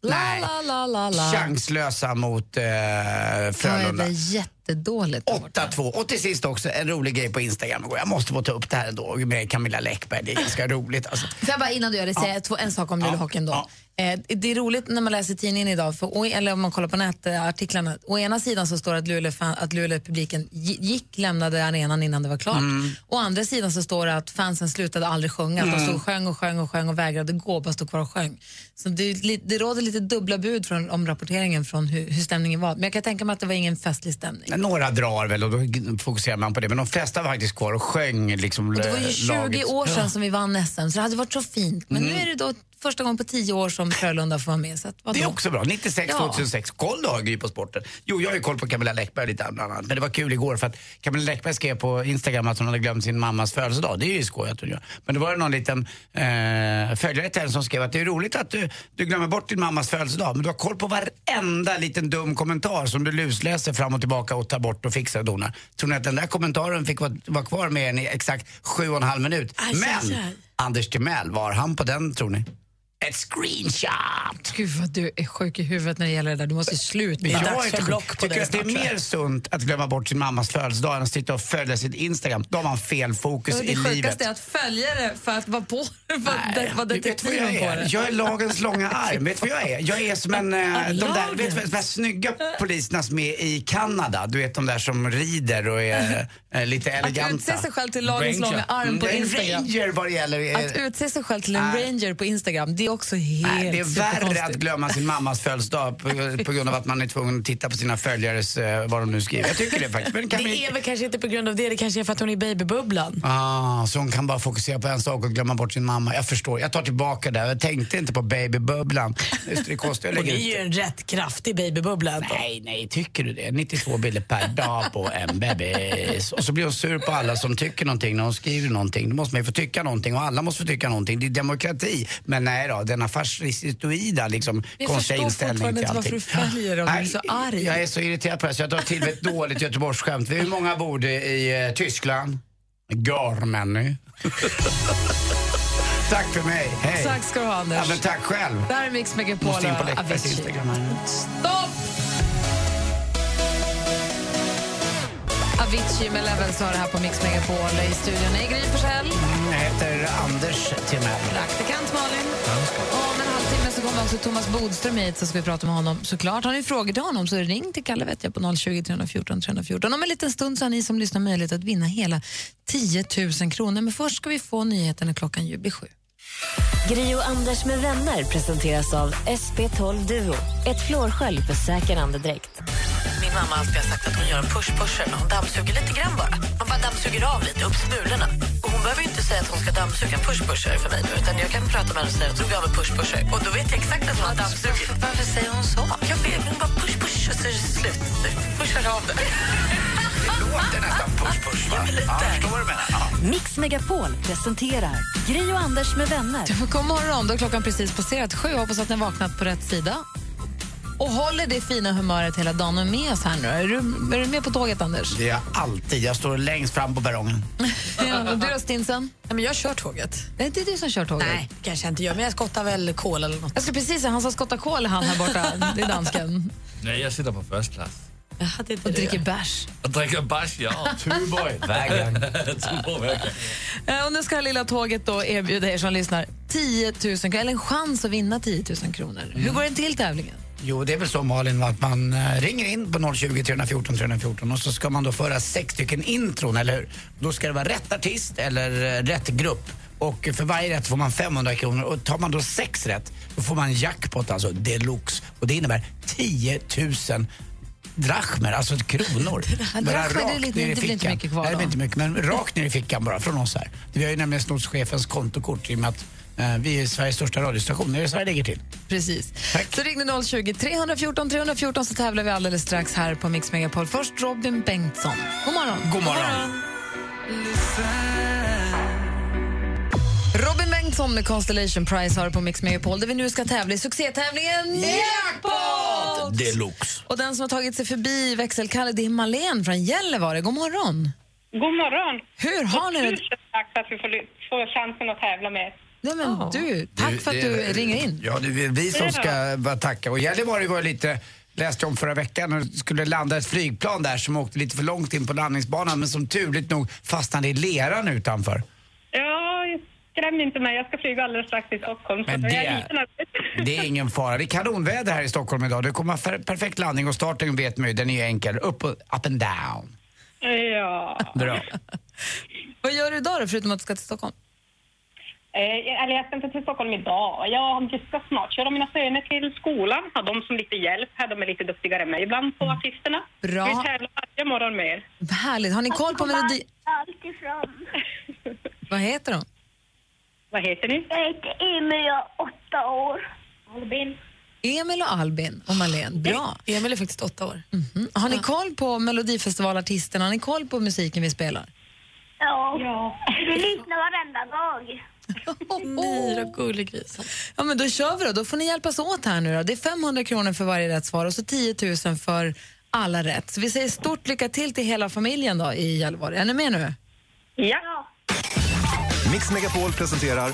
S3: La,
S4: nej.
S3: la, la, la, la.
S4: Chanslösa mot eh,
S3: Ja, det
S4: Frölunda.
S3: är jättedåligt.
S4: 8-2. Och till sist också en rolig grej på Instagram igår. Jag måste få ta upp det här ändå med Camilla Läckberg. Det är ganska <laughs> roligt alltså.
S3: Får jag bara innan du gör det säga två- en sak om Lulehockeyn då? Eh, det är roligt när man läser tidningen idag, för, å- eller om man kollar på nätartiklarna. Å ena sidan så står det att Luleå, fan, att Luleå publiken gick, lämnade arenan innan det var klart.
S9: Mm.
S3: Å andra sidan så står det att fansen slutade aldrig sjunga. Att de
S9: Mm.
S3: stod och sjöng och sjöng och sjöng och vägrade gå, bara stod kvar och sjöng. Så det, är li- det råder lite dubbla bud från, om rapporteringen från hur, hur stämningen var. Men jag kan tänka mig att det var ingen festlig stämning.
S4: Några drar väl och då g- fokuserar man på det. Men de flesta var faktiskt kvar och sjöng liksom
S3: Och det var ju
S4: eh,
S3: 20
S4: lagets-
S3: år
S4: Ja.
S3: sedan som vi vann SM, så det hade varit så fint. Men
S4: Mm.
S3: nu är det då första gången på 10 år som Frölunda får vara med. Så att,
S4: Det är
S3: vadå?
S4: också bra. 96,
S3: Ja.
S4: 2006. Koll du har Gry på sporten. Jo, jag har ju koll på Camilla Läckberg lite bland annat. Men det var kul igår för att Camilla Läckberg skrev på Instagram att hon hade glömt sin mammas födelsedag. Det är ju skoj att hon gör. Men då var det någon liten eh, följare till henne som skrev att det är roligt att du, du glömmer bort din mammas födelsedag. Men du har koll på varenda liten dum kommentar som du lusläser fram och tillbaka och tar bort och fixar och donar. Tror ni att den där kommentaren fick vara, vara kvar med en i exakt sju och en halv minut?
S7: Aj,
S4: Men
S7: aj, aj.
S4: Anders Timell, var han på den tror ni? Ett screenshot!
S3: Gud vad du är sjuk i huvudet när det gäller det där. Du måste ju sluta.
S4: Men
S3: Det är
S4: jag
S3: dags
S4: är
S3: för
S4: inte
S3: block
S4: block
S3: på
S4: Tycker
S3: dig
S4: att det är
S3: snart, tror jag.
S4: mer sunt att glömma bort sin mammas födelsedag än att sitta och följa sitt Instagram. Då har man fel fokus
S3: Och
S4: i
S3: Alltså, Det
S4: livet.
S3: sjukaste är att följa det för att vara på för att
S4: Du
S3: det. Vara
S4: vet vad jag
S3: detektiven på
S4: är?
S3: det.
S4: Jag är lagens långa arm. Vet du vad jag är? Jag är som en, eh, de där, vet du, vad- de där snygga poliserna som är i Kanada. Du vet de där som rider och är eh, lite eleganta.
S3: utse sig själv till lagens
S4: Ranger.
S3: långa arm på
S4: Mm, en
S3: Instagram.
S4: Ranger vad det gäller... eh,
S3: Att utse sig själv till en
S4: Nej.
S3: ranger på Instagram, det är också helt
S4: Nej, det är värre
S3: superkonstigt.
S4: att glömma sin mammas födelsedag på, på grund av att man är tvungen att titta på sina följares, eh, vad de nu skriver. Jag tycker det faktiskt. Men kan vi-
S5: Det är väl kanske inte på grund av det, det kanske är för att hon är i babybubblan.
S4: Ah, så hon kan bara fokusera på en sak och glömma bort sin mamma. Jag förstår, jag tar tillbaka det. Jag tänkte inte på babybubblan. Just det, det kostar att
S5: Hon
S4: lägga
S5: är
S4: ut.
S5: ju en rätt kraftig babybubbla ändå.
S4: Nej, nej, tycker du det? 92 bilder per dag på en bebis. Eh, Och så blir hon sur på alla som tycker någonting när hon skriver någonting. Då måste man ju få tycka någonting och alla måste få tycka någonting. Det är demokrati. Men nej då, denna fascistoida liksom,
S3: Jag
S4: konstiga
S3: förstår
S4: inställning
S3: fortfarande
S4: till
S3: inte varför
S4: allting.
S3: du följer dem, du är så arg.
S4: Jag är så irriterad på det här så jag drar till med ett dåligt Göteborgsskämt. Hur många bor det i eh, Tyskland? Garmenny. <laughs> Tack för mig, hej.
S3: Tack ska du ha, Anders.
S4: Ja, men tack själv.
S3: Det här är Mix Megapol
S4: Måste in på
S3: och
S4: Läckbergs
S3: Avicii.
S4: Instagram här.
S3: Stopp! Avicii med Levels har det här på Mix Megapol. I studion är Gry Forssell.
S4: Jag heter Anders Timell.
S3: Praktikant Malin. Om en halvtimme så kommer också Thomas Bodström hit så ska vi prata med honom. Såklart, har ni frågor till honom så ring till Kalle vet jag på 020 314 314. Om en liten stund så har ni som lyssnar möjlighet att vinna hela 10 000 kronor. Men först ska vi få nyheterna klockan ju blir sju.
S10: Gri och Anders med vänner presenteras av SP12 Duo. Ett flårskölj för säker andedräkt.
S1: Min mamma alltid har sagt att hon gör en push-pusher när hon dammsuger lite grann bara. Man bara dammsuger av lite, upp smulorna. Och hon behöver ju inte säga att hon ska dammsuga en push-pusher för mig nu. Utan jag kan prata med henne och säga att hon av en push-pusher. Och då vet jag exakt att hon har dammsugit. Varför säger hon så? Jag vet, hon bara push-push och så är det slut. Pushar av det.
S4: låter nästan push-push, va? Ja, jag förstår vad du menar. Ja.
S10: Mix Megapol presenterar Gri och Anders med vänner.
S3: God morgon, då har klockan precis passerat sju. Hoppas att ni har vaknat på rätt sida. Och håller det fina humöret hela dagen och är med oss här nu. Är du, är du med på tåget, Anders?
S4: Det är jag alltid. Jag står längst fram på perrongen.
S3: Ja, och du då, Stinsen?
S5: Nej, men jag kör tåget.
S3: Nej, det är du som kör tåget.
S5: Nej, kanske inte jag, men jag skottar väl kol eller något.
S3: Jag ska precis säga, han som skottar kol han här borta. Det är dansken.
S16: Nej, jag sitter på first class.
S3: Och dricker bärs.
S16: Och dricker bärs,
S4: <laughs>
S16: ja. Tuborg.
S17: <laughs>
S4: Vägen.
S16: Tuborg vägen.
S3: Eh, Och nu ska lilla tåget då erbjuda er som lyssnar 10 000 kronor, eller en chans att vinna 10 000 kronor. Hur går den till tävlingen?
S4: Jo, det är väl så Malin att man eh, ringer in på 020 314 314 och så ska man då föra sex stycken intron, eller hur? Då ska det vara rätt artist eller eh, rätt grupp. Och för varje rätt får man 500 kronor och tar man då sex rätt då får man jackpot, alltså deluxe. Och det innebär 10 000 drachmer, alltså kronor.
S3: <laughs>
S4: Bara
S3: Drachmer, det är
S4: rakt
S3: lite-
S4: ner i
S3: det blir inte
S4: fickan.
S3: mycket kvar
S4: Nej, det
S3: då.
S4: blir inte mycket, men rakt ner i fickan bara från oss här. Vi har ju nämligen snott chefens kontokort i och med att eh, vi är Sveriges största radiostation. Det är det så här det ligger till.
S3: Precis. Så ringde 020 314 314 så tävlar vi alldeles strax här på Mix Megapol. Först Robin Bengtsson. God morgon.
S4: God morgon.
S7: Listen,
S3: Robin Bengtsson med Constellation Prize har det på Mix Megapol där vi nu ska tävla i succétävlingen Jackpot!
S18: Deluxe.
S3: Och den som har tagit sig förbi växelkalle det är Malén från Gällivare. God morgon!
S19: God morgon!
S3: Hur har ni det?
S19: Tusen tack för att vi får, ly- får chansen att tävla med.
S3: Nej, men du, tack för att du
S4: det-
S3: ringer in.
S4: Ja, det är vi som ska bara tacka. Och Gällivare var ju lite, läste jag om förra veckan, och skulle landa ett flygplan där som åkte lite för långt in på landningsbanan men som turligt nog fastnade i leran utanför.
S19: Ja, skräm inte mig. Jag ska flyga alldeles strax till Stockholm.
S4: Men
S19: så jag
S4: det-
S19: är lite nervös.
S4: Det är ingen fara. Det är kanonväder här i Stockholm idag. Det kommer vara perfekt landning och starten vet man ju, den är ju enkel. Upp och up and down.
S19: Ja.
S4: Bra.
S3: Vad gör du idag då, förutom att du ska till Stockholm?
S19: Eh, eller jag ska inte till Stockholm idag. Jag ska snart köra mina söner till skolan. Ha dem som lite hjälp här. De är lite duktigare än mig ibland på artisterna.
S3: Mm. Bra.
S19: Vi tävlar varje morgon med er.
S3: Härligt. Har ni koll
S19: Alltså,
S3: på melodi...
S20: Allt ifrån.
S3: Vad heter de?
S19: Vad heter ni?
S20: Jag heter Emil, jag är åtta år. Albin.
S3: Emil och Albin och Malén. Bra.
S5: Emil är faktiskt åtta år.
S3: Mm. Har ni koll på Melodifestivalartisterna? Har ni koll på musiken vi spelar?
S20: Ja. Vi lyssnar varenda dag.
S3: Myra,
S5: gullig grisen.
S3: Ja, men då kör vi då. Då får ni hjälpas åt här nu då. Det är 500 kronor för varje rätt svar och så 10 000 för alla rätt. Så vi säger stort lycka till till hela familjen då i Gällivare. Är ni med nu?
S19: Ja.
S14: Mix Megapol presenterar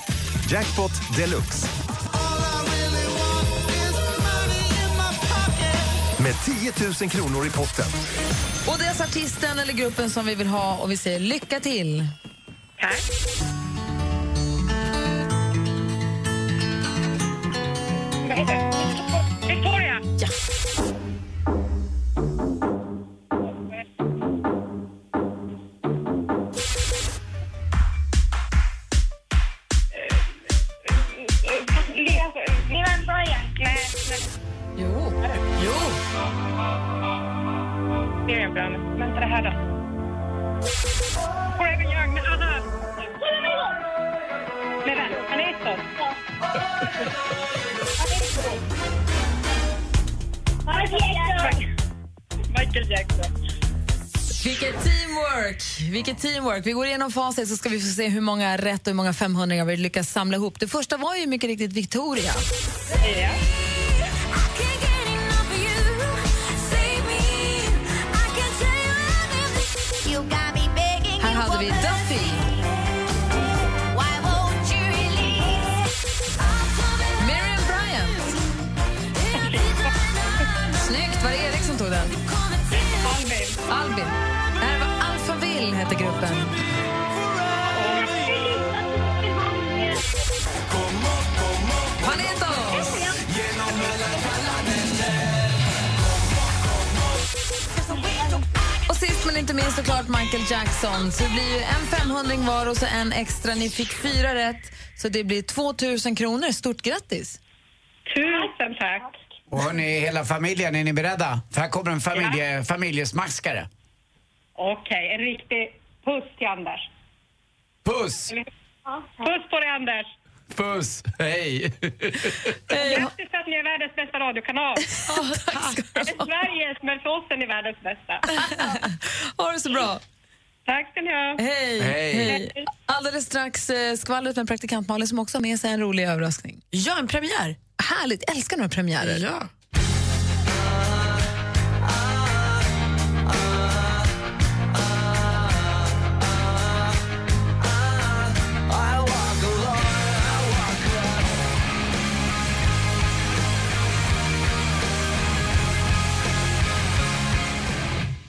S14: Jackpot Deluxe. Med 10 000 kronor i potten.
S3: Och det är alltså artisten eller gruppen som vi vill ha och vi säger lycka till.
S19: Tack. Vad heter det? Victoria!
S3: Ja.
S20: Det var en bra egentligen.
S3: Jo. Jo.
S19: Det är bra. Vänta, det här då. Forever Young med Anna. Med vem? Han är ett år. Michael Jackson.
S3: Vilket teamwork! Vilket teamwork! Vi går igenom facit så ska vi få se hur många rätt och hur många 500 vi lyckas samla ihop. Det första var ju mycket riktigt Victoria.
S19: Ja.
S3: Här hade vi Duffy. Miriam Bryant. Snyggt! Var det Erik som tog den?
S19: Albin.
S3: Albin. Det här var Alphaville, hette gruppen. Panetos! Och sist men inte minst såklart Michael Jackson. Så det blir ju en 500 var och så en extra. Ni fick fyra rätt, så det blir 2000 kronor. Stort grattis!
S19: Tusen tack.
S4: Och hörni, hela familjen, är ni beredda? För här kommer en familje, familjesmaskare.
S19: Okej, en riktig puss till Anders.
S4: Puss!
S19: Puss på dig, Anders.
S4: Puss! Hej!
S3: Eh.
S19: Grattis för att ni är världens bästa
S3: <laughs>
S19: radiokanal. Inte Sveriges, men för oss är ni världens bästa.
S3: <laughs> Ha det så bra!
S19: Tack ska ni ha.
S3: Hej! Hej. Alldeles strax eh, skvallret med praktikant Malin som också har med sig en rolig överraskning.
S5: Ja, en premiär.
S3: Härligt, älskar några premiärer.
S5: Ja.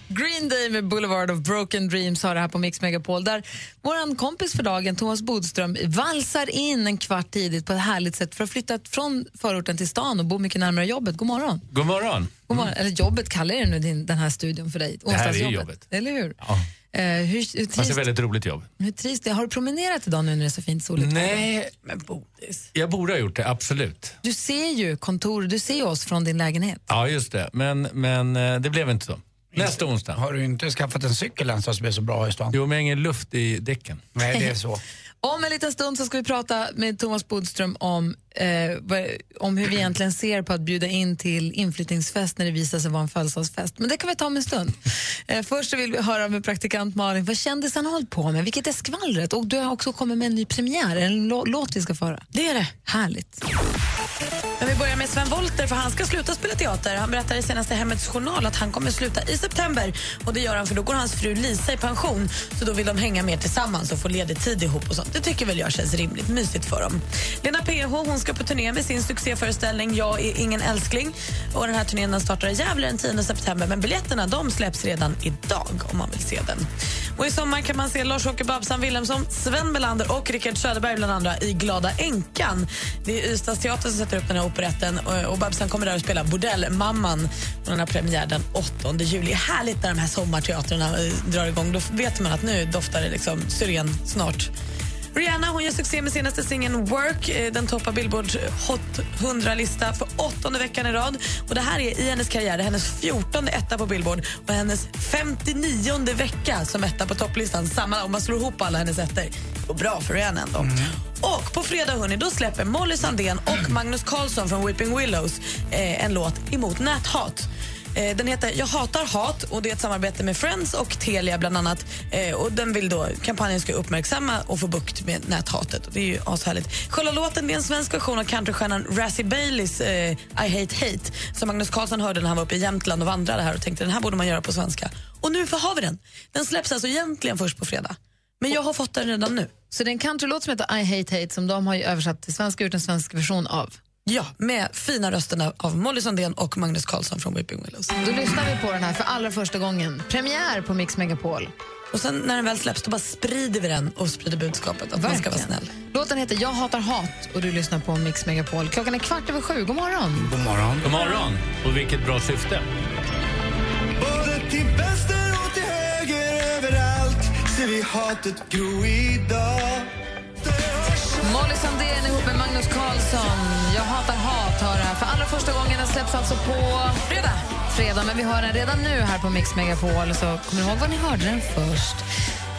S3: Green Day med Boulevard of Broken Dreams har det här på Mix Megapol där vår kompis för dagen, Thomas Bodström, valsar in en kvart tidigt på ett härligt sätt för att flytta från förorten till stan och bo mycket närmare jobbet. God morgon!
S16: God morgon.
S3: God morgon. Eller jobbet kallar jag det nu, din, den här studion för dig.
S16: Mm. Det här är
S3: Onsdagsjobbet.
S16: jobbet.
S3: Eller hur?
S16: Ja.
S3: Eh, hur, hur,
S16: Fast det är
S3: trivs,
S16: väldigt roligt jobb.
S3: hur trivs det? Har du promenerat idag nu när det är så fint soligt?
S16: Nej.
S5: Men Bodis.
S16: Jag borde ha gjort det, absolut.
S3: Du ser ju kontor, du ser ju oss från din lägenhet.
S16: Ja, just det. Men, men eh, det blev inte så. Nästa onsdag.
S4: Har du inte skaffat en cykel än som är så bra i stan?
S16: Jo, men jag har ingen luft i däcken.
S4: Nej, det är så.
S3: Om en liten stund så ska vi prata med Thomas Bodström om, eh, vad- om hur vi egentligen ser på att bjuda in till inflyttningsfest när det visar sig vara en födelsedagsfest. Men det kan vi ta om en stund. Eh, först så vill vi höra med praktikant Malin vad kändisarna har hållit på med. Vilket är skvallret? Och du har också kommit med en ny premiär, en lå- låt vi ska få höra.
S5: Det är det.
S3: Härligt.
S5: Men vi börjar med Sven Wollter, för han ska sluta spela teater. Han berättar i senaste Hemmets Journal att han kommer sluta i september. Och Det gör han för då går hans fru Lisa i pension. Så Då vill de hänga mer tillsammans och få ledig tid ihop. och sånt. Det tycker väl jag känns rimligt mysigt för dem. Lena PH hon ska på turné med sin succéföreställning Jag är ingen älskling. Och den här turnén den startar i Gävle den 10 september. Men biljetterna de släpps redan idag om man vill se den. Och I sommar kan man se Lars-Åke Babsan Wilhelmsson, Sven Melander och Rickard Söderberg bland andra i Glada änkan. Det är Ystads teater som sätter upp den här operetten eh, och- och Babsan kommer där och spela Bordellmamman. Och Den har premiär den 8 juli. Härligt när de här sommarteatrarna eh, drar igång. Då vet man att nu doftar det liksom syren snart. Rihanna hon gör succé med senaste singeln Work. Eh, Den toppar Billboards Hot 100-lista för åttonde veckan i rad. Och Det här är i hennes karriär det är hennes 14 etta på Billboard och hennes 59 vecka som etta på topplistan. Samma om man slår ihop alla hennes ettor. Går bra för Rihanna ändå. Och på fredag hörni, då släpper Molly Sandén och Magnus Carlsson från Weeping Willows eh, en låt emot näthat. Eh, Den heter Jag hatar hat och det är ett samarbete med Friends och Telia bland annat. Eh, Och den vill då, kampanjen ska uppmärksamma och få bukt med näthatet. Och det är ju ashärligt. Själva låten det är en svensk version av countrystjärnan Razzie Baileys eh, I hate hate som Magnus Karlsson hörde när han var uppe i Jämtland och vandrade här och tänkte den här borde man göra på svenska. Och nu har vi den. Den släpps alltså egentligen först på fredag. Men jag har fått den redan nu.
S3: Så det är en countrylåt som heter I hate hate som de har ju översatt till svenska och gjort en svensk version av.
S5: Ja, med fina rösterna av Molly Sandén och Magnus Karlsson från Weeping Willows.
S3: Då lyssnar vi på den här för allra första gången. Premiär på Mix Megapol.
S5: Och sen när den väl släpps då bara sprider vi den och sprider budskapet att man ska vara
S3: Verkligen.
S5: snäll.
S3: Låten heter Jag hatar hat och du lyssnar på Mix Megapol. Klockan är kvart över sju. God morgon!
S4: God morgon.
S16: <laughs> God morgon. Och vilket bra syfte.
S7: Både till vänster och till höger överallt ser vi hatet gro idag
S3: Molly Sandén ihop med Magnus Karlsson. Jag hatar hat hör det här för allra första gången. Den släpps alltså på fredag. fredag. Men vi hör den redan nu här på Mix Megapol. Så kommer ni ihåg var ni hörde den först?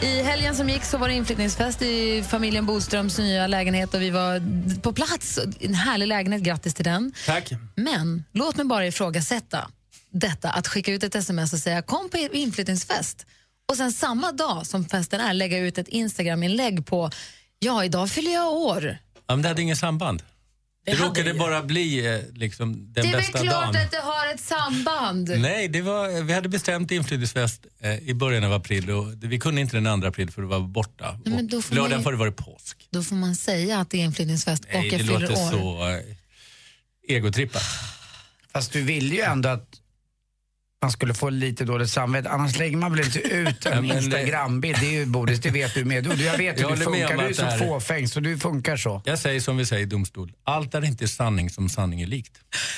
S3: I helgen som gick så var det inflyttningsfest i familjen Boströms nya lägenhet och vi var på plats. En härlig lägenhet, grattis till den.
S16: Tack.
S3: Men låt mig bara ifrågasätta detta att skicka ut ett sms och säga kom på inflyttningsfest och sen samma dag som festen är lägga ut ett Instagram-inlägg på ja, idag fyller jag år.
S16: Ja, men det hade inget samband. Det, råkade bara bli eh, liksom, den
S3: det är väl
S16: bästa
S3: klart
S16: dagen.
S3: att det har ett samband.
S16: Nej, det var, eh, vi hade bestämt inflyttningsfest eh, i början av april och det- vi kunde inte den 2 april för att vara borta.
S3: Nej, men då, får
S16: Lördagen
S3: man,
S16: före var det påsk.
S3: då får man säga att det är inflyttningsfest och
S16: Nej,
S3: jag
S16: det
S3: fyller
S16: låter
S3: år.
S16: så eh, egotrippat.
S4: Fast du vill ju ändå att man skulle få lite dåligt samvete. Annars lägger man väl inte ut
S16: <laughs> Ja,
S4: en
S16: men det-
S4: Instagrambild. Det är ju Bodis, det vet du med. Du, jag vet
S16: <laughs>
S4: hur
S16: Jag
S4: du
S16: håller med
S4: funkar.
S16: om
S4: Du är
S16: att
S4: så
S16: det här-
S4: fåfäng så du funkar så.
S16: Jag säger som vi säger i domstol, allt är inte sanning som sanning är likt.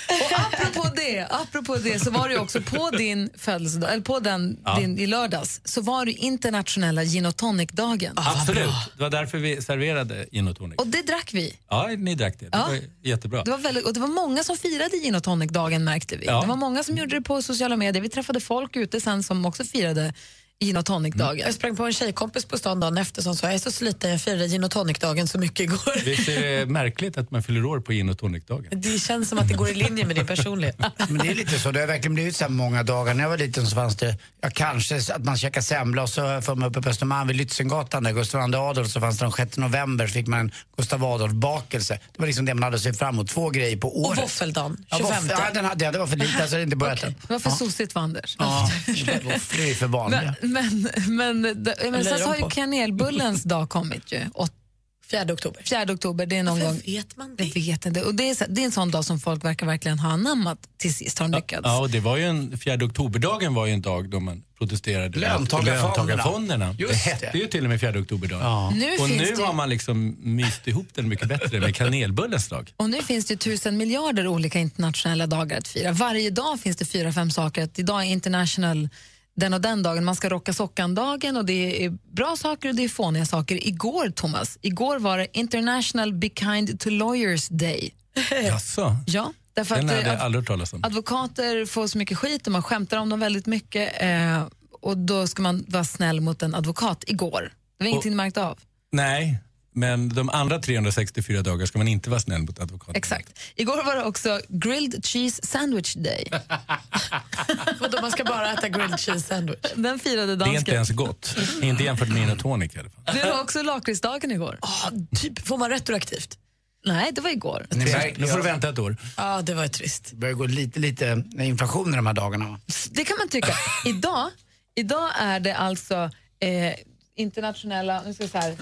S3: Och apropå det, apropå det så var det ju också på
S16: <laughs>
S3: din födelsedag, eller på den
S16: Ja.
S3: din, i lördags, så var det ju internationella gin och tonic-dagen.
S16: Absolut, det var därför vi serverade gin och tonic.
S3: Och det drack vi.
S16: Ja, ni drack det. Det
S3: Ja.
S16: var jättebra.
S3: Det var, väldigt, och det var många som firade gin och tonic-dagen märkte vi.
S16: Ja.
S3: Det var många som gjorde det på sociala medier. Vi träffade folk ute sen som också firade gin och tonic-dagen.
S5: Jag sprang på en tjejkompis på stan dagen efter som sa jag är så sliten, jag firade gin och tonic-dagen så mycket igår.
S16: Visst är det märkligt att man fyller år på gin och tonic-dagen?
S5: <laughs> Det känns som att det går i linje med din personlighet.
S4: Men det är lite så. Det har verkligen blivit så här många dagar. När jag var liten så fanns det, ja kanske att man käkade semla och så har jag för mig uppe på Östermalm vid Lützengatan där, Gustav II Adolf, så fanns det den 6 november så fick man en Gustav Adolf-bakelse. Det var liksom det man hade sett fram emot. Två grejer på året.
S5: Och våffeldagen,
S4: Ja,
S5: 25.
S4: våffel- ja, den hade jag. Det var för lite, alltså det är inte börjat än.
S3: Det var för sossigt för Anders.
S4: Ja,
S3: <laughs>
S4: våfflor är för vanliga.
S3: Men, men, men, d- men sen så har ju
S5: Löjrom på.
S3: kanelbullens dag kommit ju. Åt,
S5: 4 oktober.
S3: 4 oktober, det är någon gång.
S5: vet man
S3: det? Vet inte. Och det, är, så- det är en sån dag som folk verkar verkligen ha anammat till sist. Har de lyckats.
S16: Ja, och det var ju en, 4 oktoberdagen var ju en dag då man protesterade
S4: Löntagarfonderna.
S16: löntagarfonderna.
S4: Just
S16: det hette
S4: det.
S16: ju till och med 4 oktoberdagen.
S3: Nu
S16: och
S3: finns
S16: nu
S3: det-
S16: har man liksom myst ihop den mycket bättre med kanelbullens dag.
S3: Och nu finns det ju tusen miljarder olika internationella dagar att fira. Varje dag finns det fyra, fem saker. Att idag är international den och den dagen. Man ska rocka sockan-dagen och det är bra saker och det är fåniga saker. Igår, Thomas, igår var det international be kind to lawyers day.
S16: Jaså?
S3: Ja, därför
S16: Den alltså.
S3: att,
S16: hade jag
S3: eh,
S16: aldrig hört talas om.
S3: Advokater får så mycket skit och man skämtar om dem väldigt mycket. Eh, och då ska man vara snäll mot en advokat igår. Det var ingenting du märkte av.
S16: Nej, Men de andra 364 dagar ska man inte vara snäll mot advokaten.
S3: Exakt. Igår var det också grilled cheese sandwich day.
S5: <laughs> Vadå, man ska bara äta grilled cheese sandwich?
S3: Den firade
S16: Det är inte
S3: dansken.
S16: ens gott. inte jämfört med gin och tonic i alla fall.
S3: Det var också lakritsdagen igår.
S5: typ, får man retroaktivt?
S3: Nej, det var igår.
S4: Ni märker- Nu får du vänta ett år.
S5: Ja, det var trist. Det
S4: börjar gå lite, lite inflation i de här dagarna. va?
S3: Det kan man tycka. Idag, idag är det alltså eh, internationella... Nu ska jag så här.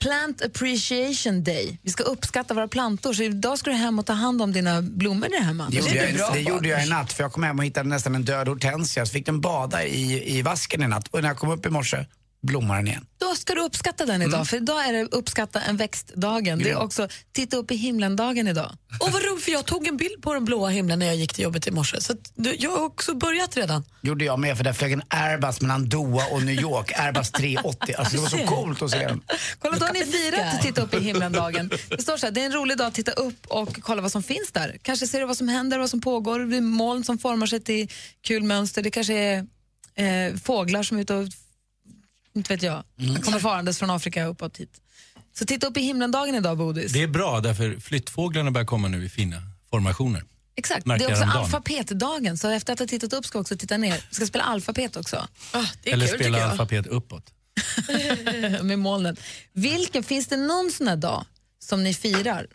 S3: Plant appreciation day. Vi ska uppskatta våra plantor. Så idag ska du hem och ta hand om dina blommor där hemma.
S4: Det gjorde,
S3: är
S4: jag, det
S3: val.
S4: gjorde jag i natt för jag kom hem och hittade nästan en död hortensia så fick den bada i, i vasken i natt och när jag kom upp i morse blommade den igen.
S3: Då ska du uppskatta den idag, för idag är det uppskatta en växtdagen. Det är
S4: Grymt.
S3: också titta upp i himlen-dagen idag.
S5: Och vad roligt, för jag tog en bild på den blåa himlen när jag gick till jobbet i morse. Så att, du, jag har också börjat redan.
S4: Gjorde jag med för där flög en Airbus mellan Doha och New York, Airbus 380. Alltså det var så coolt att se den.
S3: Kolla, då har ni firat titta upp i <laughs> himlen-dagen. Det står så här, det är en rolig dag att titta upp och kolla vad som finns där. Kanske ser du vad som händer, vad som pågår. Det är moln som formar sig till kul mönster. Det kanske är eh, fåglar som är ute och, inte vet jag, Mm. kommer farandes från Afrika uppåt hit. Så titta upp i himlen-dagen idag, Bodis.
S16: Det är bra, därför flyttfåglarna börjar komma nu i fina formationer.
S3: Exakt, det
S16: Märkte
S3: är
S16: jag
S3: också
S16: häromdagen.
S3: alfabetdagen. Så efter att ha tittat upp ska jag också titta ner. Jag ska spela alfabet också.
S16: Eller spela alfabet uppåt.
S3: <laughs> Med molnen. Vilken, finns det någon sån här dag som ni firar?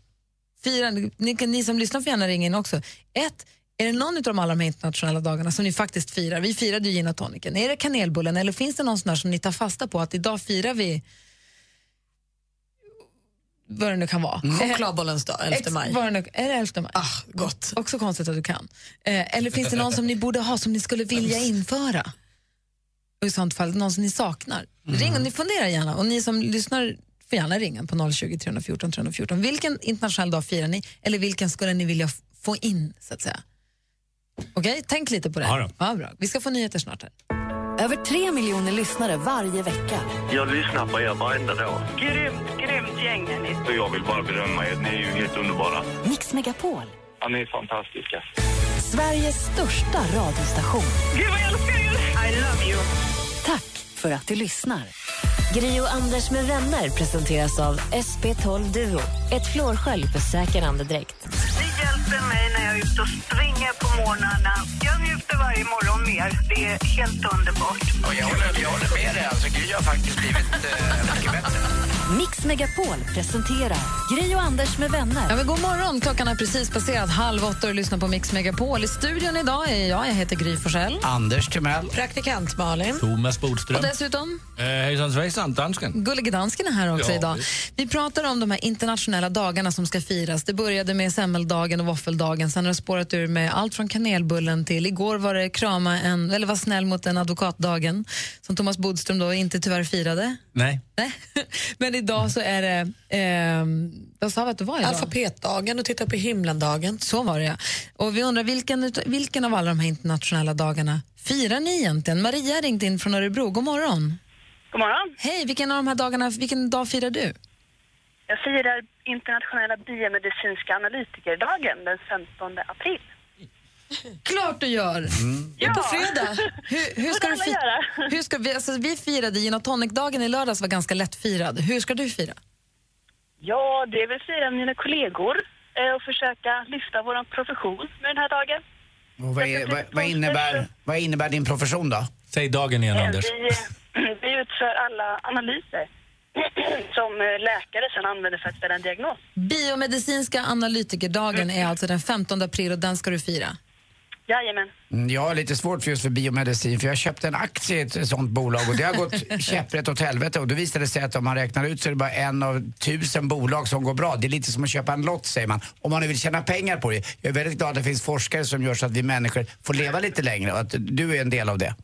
S3: firar ni, kan- ni som lyssnar får gärna ringa in också. Ett, är det någon av de alla de här internationella dagarna som ni faktiskt firar? Vi firade ju gin och toniken. Är det kanelbullen eller finns det någon sån här som ni tar fasta på att idag firar vi vad det nu kan vara.
S5: Mm. Chokladbollens dag, 11
S3: Mm. Ex-
S5: maj.
S3: Vad det nu, är det 11 maj? Ah,
S5: gott.
S3: Också konstigt att du kan. Eh, eller finns det någon som ni borde ha som ni skulle vilja införa? Och i sånt fall någon som ni saknar.
S5: Mm.
S3: Ring och ni funderar gärna. Och ni som lyssnar får gärna ringa på 020 314 314. Vilken internationell dag firar ni? Eller vilken skulle ni vilja f- få in, så att säga? Okej, tänk lite på det.
S21: Ja då.
S3: Ja, bra. Vi ska få nyheter snart här.
S10: Över tre miljoner lyssnare varje vecka.
S18: Jag lyssnar på er varenda dag.
S21: Grymt, grymt gäng är ni.
S18: Och jag vill bara berömma er. Ni är ju helt underbara.
S10: Mix Megapol,
S18: Ja, ni är fantastiska.
S10: Sveriges största radiostation.
S21: Gud vad jag älskar er! I love you.
S10: Tack för att du lyssnar. Gri och Anders med vänner presenteras av SP12 Duo. Ett flårskölj för säker andedräkt.
S21: Ni hjälper mig när jag är ute och springer på morgnarna. Jag njuter varje morgon mer. Det är helt underbart.
S4: Och jag, håller, jag håller med dig, alltså, Gry har faktiskt blivit eh, mycket bättre.
S10: Mix Megapol presenterar Gri och Anders med vänner.
S3: Ja, men god morgon, klockan har precis passerat halv åtta och du lyssnar på Mix Megapol. I studion idag är jag, jag heter Gry Forssell.
S4: Anders Timell.
S3: Praktikant Malin.
S17: Thomas Bodström.
S3: Och dessutom
S17: Eh, hejsan svejsan, dansken.
S3: Gullige dansken är här också
S17: Ja,
S3: idag. Vi pratar om de här internationella dagarna som ska firas. Det började med semmeldagen och våffeldagen. Sen har det spårat ur med allt från kanelbullen till igår var det krama en, eller var snäll mot en advokatdagen som Thomas Bodström då inte tyvärr firade.
S16: Nej.
S3: Men idag så är det... ehm, vad sa vi att det var idag?
S5: Alfabetdagen och titta på himlen-dagen.
S3: Så var det, ja. Och vi undrar vilken, ut- vilken av alla de här internationella dagarna firar ni egentligen? Maria har ringt in från Örebro. God morgon.
S22: God morgon.
S3: Hej, vilken av de här dagarna, vilken dag firar du?
S22: Jag firar internationella biomedicinska analytikerdagen den 15 april.
S3: Klart du gör!
S22: Mm. Ja.
S3: På fredag. Hur, hur ska du
S22: Vad
S3: fi-
S22: alla
S3: hur ska vi, alltså, vi firade gin och tonic-dagen i lördags var ganska lättfirad. Hur ska du fira?
S22: Ja, det är väl fira med mina kollegor eh, och försöka lyfta vår profession med den här dagen.
S4: Och vad, är, vad, vad, innebär, vad innebär din profession då?
S16: Säg dagen igen,
S22: Eh, Vi, eh, <clears throat> vi utför alla analyser <clears throat> som eh, läkare sedan använder för att ställa en diagnos.
S3: Biomedicinska analytikerdagen
S22: Mm.
S3: är alltså den 15 april och den ska du fira.
S22: Jajamän.
S4: Mm, Jag har lite svårt för just för biomedicin för jag köpte en aktie i ett sånt bolag och det har
S16: <laughs>
S4: gått käpprätt åt helvete och då visade det sig att om man räknar ut så är det bara en av tusen bolag som går bra. Det är lite som att köpa en lott säger man. Om man nu vill tjäna pengar på det. Jag är väldigt glad att det finns forskare som gör så att vi människor får leva lite längre och att du är en del av det.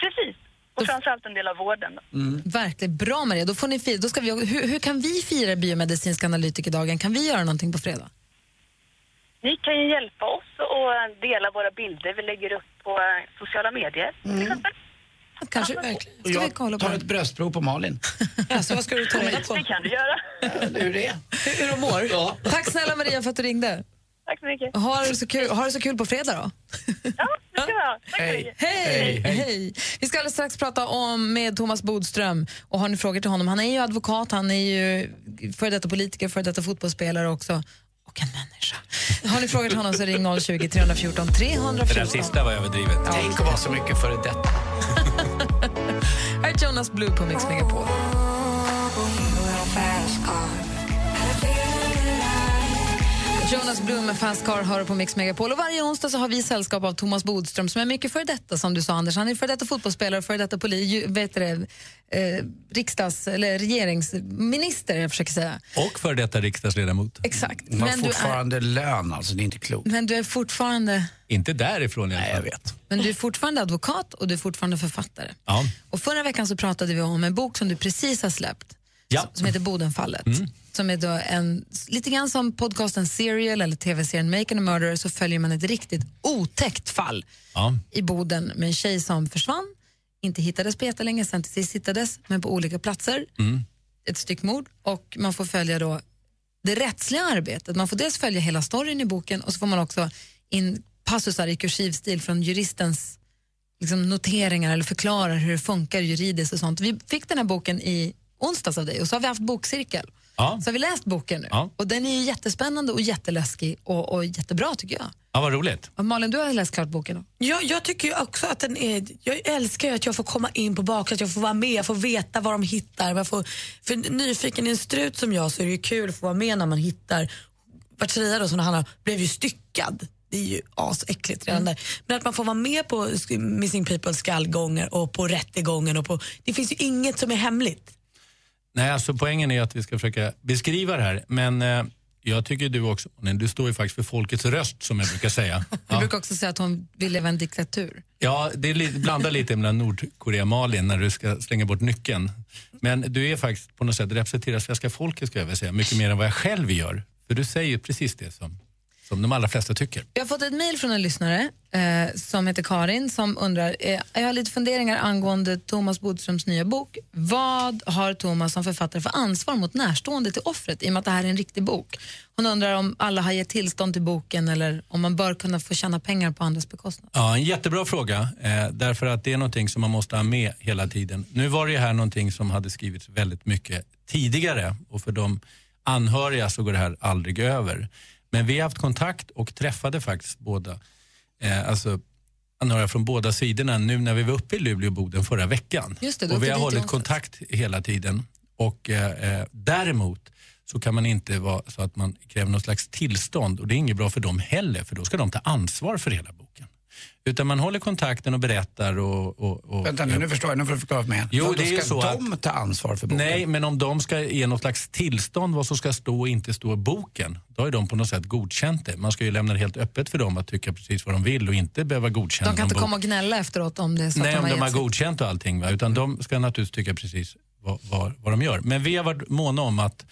S22: Precis. Och framförallt en del av vården. Då.
S3: Verkligen bra Maria. Då får ni fira. Då ska vi, hur, hur kan vi fira biomedicinska analytikerdagen? Kan vi göra någonting på fredag?
S22: Ni kan ju hjälpa oss och eh, dela våra bilder vi lägger upp på eh, sociala medier.
S3: Kanske
S4: Och jag tar ett bröstprov på Malin.
S5: <laughs> Alltså, vad ska du ta reda på?
S22: Det kan du göra.
S4: Hur det är.
S5: Hur de mår?
S4: Ja.
S3: Tack snälla Maria för att du ringde.
S22: Tack så mycket.
S3: Ha det så kul, ha det så kul på fredag då.
S22: det ska jag. Tack för
S3: Hej.
S22: det.
S3: Hej. Hej. Vi ska alldeles strax prata om med Thomas Bodström. Och har ni frågor till honom? Han är ju advokat, han är ju före detta politiker, före detta fotbollsspelare också. Och en människa. Har ni frågor till honom så ring 020 314
S16: Det där
S3: 314.
S16: sista var överdrivet.
S4: Tänk att vara så mycket före detta.
S3: Här är Jonas Blue på Mix Megapol. Jonas Blum med Fast Car hör på Mix Megapol. Och varje onsdag så har vi sällskap av Thomas Bodström som är mycket före detta, som du sa Anders. Han är före detta fotbollsspelare, före detta poli, ju- vet du det, eh, riksdags eller regeringsminister, jag försöker säga.
S16: Och för detta riksdagsledamot.
S3: Exakt.
S4: Man har
S3: Men du, är,
S4: fortfarande lön alltså, det är inte klokt.
S3: men du är fortfarande
S16: Inte därifrån i alla fall. jag vet.
S3: men du är fortfarande advokat och du är fortfarande författare.
S16: Ja.
S3: Och förra veckan så pratade vi om en bok som du precis har släppt,
S16: Ja.
S3: som heter Bodenfallet. Som är då en, lite grann som podcasten Serial eller tv-serien Make and a Murderer så följer man ett riktigt otäckt fall
S16: Ja.
S3: i Boden med en tjej som försvann, inte hittades på jättelänge, sen till sist hittades, men på olika platser.
S16: Mm.
S3: Ett styckmord och man får följa då det rättsliga arbetet. Man får dels följa hela storyn i boken och så får man också in passusar i kursiv stil från juristens liksom, noteringar eller förklarar hur det funkar juridiskt och sånt. Vi fick den här boken i onsdags av dig och så har vi haft bokcirkel.
S16: Ja.
S3: Så har vi läst boken nu
S16: Ja.
S3: och den är ju jättespännande och jätteläskig och, och jättebra tycker jag.
S16: ja, vad roligt.
S3: Och Malin, du har läst klart boken då?
S5: Jag, jag tycker ju också att den är, jag älskar ju att jag får komma in på baksidan, att jag får vara med, jag får veta vad de hittar. Jag får, för nyfiken i en strut som jag så är det ju kul att få vara med när man hittar. Vartria då som det handlar om, blev ju styckad. Det är ju asäckligt redan
S3: Mm.
S5: där. Men att man får vara med på sk- Missing Peoples skallgångar och på rättegången och på, det finns ju inget som är
S3: <laughs>
S5: hemligt.
S16: Nej, alltså poängen är att vi ska försöka beskriva det här. Men eh, jag tycker du också, nej, du står ju faktiskt för folkets röst som jag brukar
S3: <laughs>
S16: säga.
S3: Du brukar också säga att hon vill leva i en diktatur.
S16: Ja, det är li- blandar lite mellan Nordkorea och Malin när du ska slänga bort nyckeln. Men du är faktiskt på något sätt representerar svenska folket ska jag väl säga, mycket mer än vad jag själv gör. För du säger ju precis det som, som de allra flesta tycker.
S3: Jag har fått ett mejl från en lyssnare eh, som heter Karin som undrar, eh, jag har lite funderingar angående Thomas Bodströms nya bok. Vad har Thomas som författare för ansvar mot närstående till offret i och med att det här är en riktig bok? Hon undrar om alla har gett tillstånd till boken eller om man bör kunna få tjäna pengar på andras bekostnad.
S16: Ja, en jättebra fråga. Eh, därför att det är någonting som man måste ha med hela tiden. Nu var det ju här någonting som hade skrivits väldigt mycket tidigare och för de anhöriga så går det här aldrig över. Men vi har haft kontakt och träffade faktiskt båda, eh, alltså anhöriga från båda sidorna nu när vi var uppe i Luleå och Boden förra veckan.
S3: Just det, du
S16: och vi
S3: åkte
S16: har
S3: dit i
S16: hållit
S3: onsdags.
S16: kontakt hela tiden. Och eh, eh, däremot så kan man inte vara så att man kräver någon slags tillstånd och det är inget bra för dem heller för då ska de ta ansvar för hela boken. Utan man håller kontakten och berättar och... och, och
S4: Vänta nu, nu förstår jag. Nu får du förklara för mig.
S16: Jo,
S4: Vadå,
S16: det är
S4: ska
S16: ju så
S4: de ta ansvar för boken?
S16: Nej, men om de ska ge något slags tillstånd vad som ska stå och inte stå i boken, då har ju de på något sätt godkänt det. Man ska ju lämna det helt öppet för dem att tycka precis vad de vill och inte behöva godkänna
S3: De kan inte
S16: någon bok.
S3: komma och gnälla efteråt om det är så
S16: Mm. Nej,
S3: att
S16: om
S3: de har
S16: de har
S3: gett sig.
S16: godkänt och allting. Va? Utan de ska naturligtvis tycka precis vad, vad, vad de gör. Men vi har varit måna om att,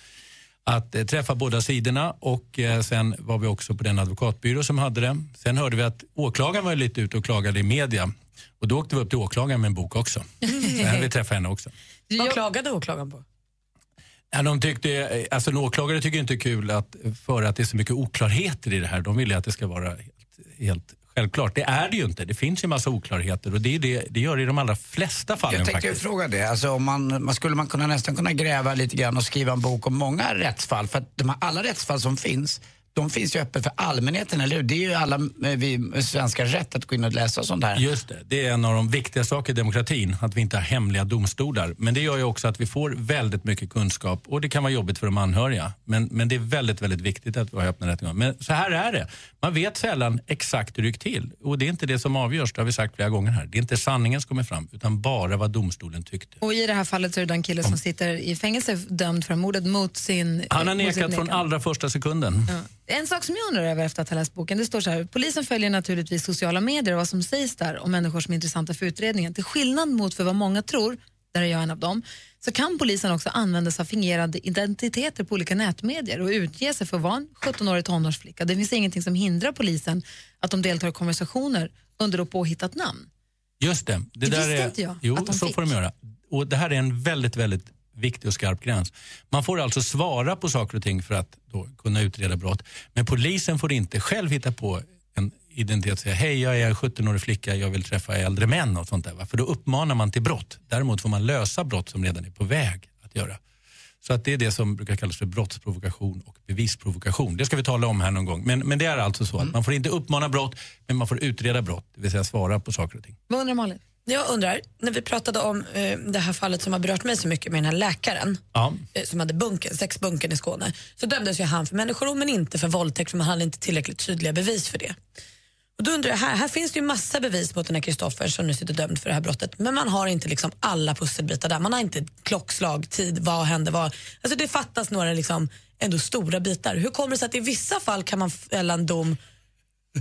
S16: att eh, träffa båda sidorna och eh, sen var vi också på den advokatbyrå som hade det. Sen hörde vi att åklagaren var ju lite ute och klagade i media. Och då åkte vi upp till åklagaren med en bok också. Sen vi träffade henne också.
S5: Vad klagade åklagaren på?
S16: Ja, de tyckte, alltså en åklagare tycker inte det är kul att, för att det är så mycket oklarheter i det här. De vill ju att det ska vara helt, helt självklart. Det är det ju inte. Det finns ju en massa oklarheter och det, är det, det gör det i de allra flesta fallen
S4: Jag tänkte
S16: faktiskt.
S4: fråga det. Alltså, om man, man skulle man kunna, nästan kunna gräva lite grann och skriva en bok om många rättsfall? För att de här, alla rättsfall som finns, de finns ju öppet för allmänheten, eller hur? Det är ju alla eh, vi svenskar rätt att gå in och läsa sånt här.
S16: Just det, det är en av de viktiga sakerna i demokratin, att vi inte har hemliga domstolar. Men det gör ju också att vi får väldigt mycket kunskap och det kan vara jobbigt för de anhöriga. Men, men det är väldigt, väldigt viktigt att vi har öppna rättegångar. Men så här är det, man vet sällan exakt hur det gick till. Och det är inte det som avgörs, det har vi sagt flera gånger här. Det är inte sanningen som kommer fram, utan bara vad domstolen tyckte.
S3: Och i det här fallet så är det den kille som sitter i fängelse dömd för mordet mot sin...
S16: Han har
S3: mot sitt
S16: nekat från
S3: nekande.
S16: allra första sekunden.
S3: En sak som jag undrar över efter att ha läst boken, det står så här, polisen följer naturligtvis sociala medier och vad som sägs där om människor som är intressanta för utredningen. Till skillnad mot för vad många tror, där är jag en av dem, så kan polisen också använda sig av fingerade identiteter på olika nätmedier och utge sig för att vara en 17-årig tonårsflicka. Det finns ingenting som hindrar polisen att de deltar i konversationer under då påhittat namn.
S16: Just det. Det, där
S3: visste
S16: är,
S3: inte jag,
S16: Jo,
S3: att de
S16: så
S3: fick.
S16: får de göra. Och det här är en väldigt, väldigt viktig och skarp gräns. Man får alltså svara på saker och ting för att då kunna utreda brott. Men polisen får inte själv hitta på en identitet och säga hej jag är en 17-årig flicka, jag vill träffa äldre män och sånt där. Va? För då uppmanar man till brott. Däremot får man lösa brott som redan är på väg att göra. Så att det är det som brukar kallas för brottsprovokation och bevisprovokation. Det ska vi tala om här någon gång. Men, men det är alltså så
S3: Mm.
S16: att man får inte uppmana brott, men man får utreda brott, det vill säga svara på saker och ting.
S3: Vad undrar Malin?
S5: Jag undrar, när vi pratade om eh, det här fallet som har berört mig så mycket med den här läkaren
S16: Ja.
S5: eh, som hade bunken, sexbunken i Skåne, så dömdes ju han för människorov men inte för våldtäkt för man hade inte tillräckligt tydliga bevis för det. Och då undrar jag, här, här finns det ju massa bevis mot den här Kristoffer som nu sitter dömd för det här brottet men man har inte liksom alla pusselbitar där. Man har inte klockslag, tid, vad hände, vad... Alltså det fattas några liksom ändå stora bitar. Hur kommer det sig att i vissa fall kan man fälla en dom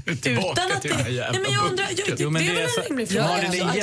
S5: utan att det... Nej, men jag undrar, jag, det,
S16: Jo, men
S5: det är väl en
S16: så-
S5: rimlig
S16: Ja,
S5: fråga?
S16: det är en
S5: alltså,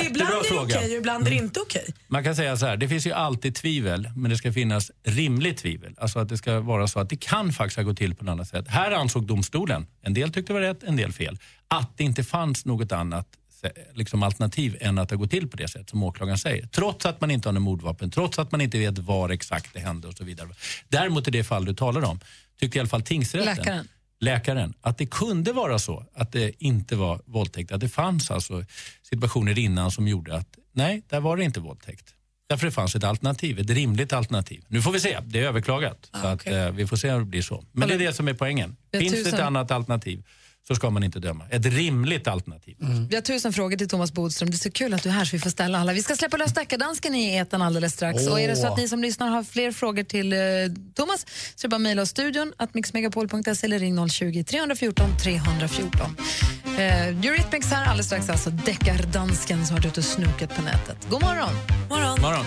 S5: att
S16: jättebra fråga. Mm.
S5: ibland är det okej och ibland är det inte okej.
S16: Man kan säga så här, det finns ju alltid tvivel, men det ska finnas rimligt tvivel. Alltså att det ska vara så att det kan faktiskt ha gått till på något annat sätt. Här ansåg domstolen, en del tyckte det var rätt, en del fel, att det inte fanns något annat se- liksom alternativ än att det har gått till på det sätt som åklagaren säger. Trots att man inte har något mordvapen, trots att man inte vet var exakt det hände och så vidare. Däremot i det fall du talar om, tyckte i alla fall tingsrätten
S3: Läkaren.
S16: läkaren att det kunde vara så att det inte var våldtäkt. Att det fanns alltså situationer innan som gjorde att nej, där var det inte våldtäkt. Därför det fanns ett alternativ, ett rimligt alternativ. Nu får vi se, det är överklagat. så att, eh, vi får se om det blir så. Men det är det som är poängen.
S3: Jag
S16: finns det
S3: tusen-
S16: ett annat alternativ så ska man inte döma. Ett rimligt alternativ.
S3: Vi har tusen frågor till Thomas Bodström. Det är så kul att du är här så vi får ställa alla. Vi ska släppa lös deckardansken i etern alldeles strax.
S16: Åh.
S3: Och är det så att ni som lyssnar har fler frågor till eh, Thomas så är det bara att mejla oss studion att mixmegapol.se eller ring 020 314 314. Eh, Eurythmics här alldeles strax alltså. Deckardansken som har varit ute och snokat på nätet. God morgon!
S5: morgon.
S16: morgon.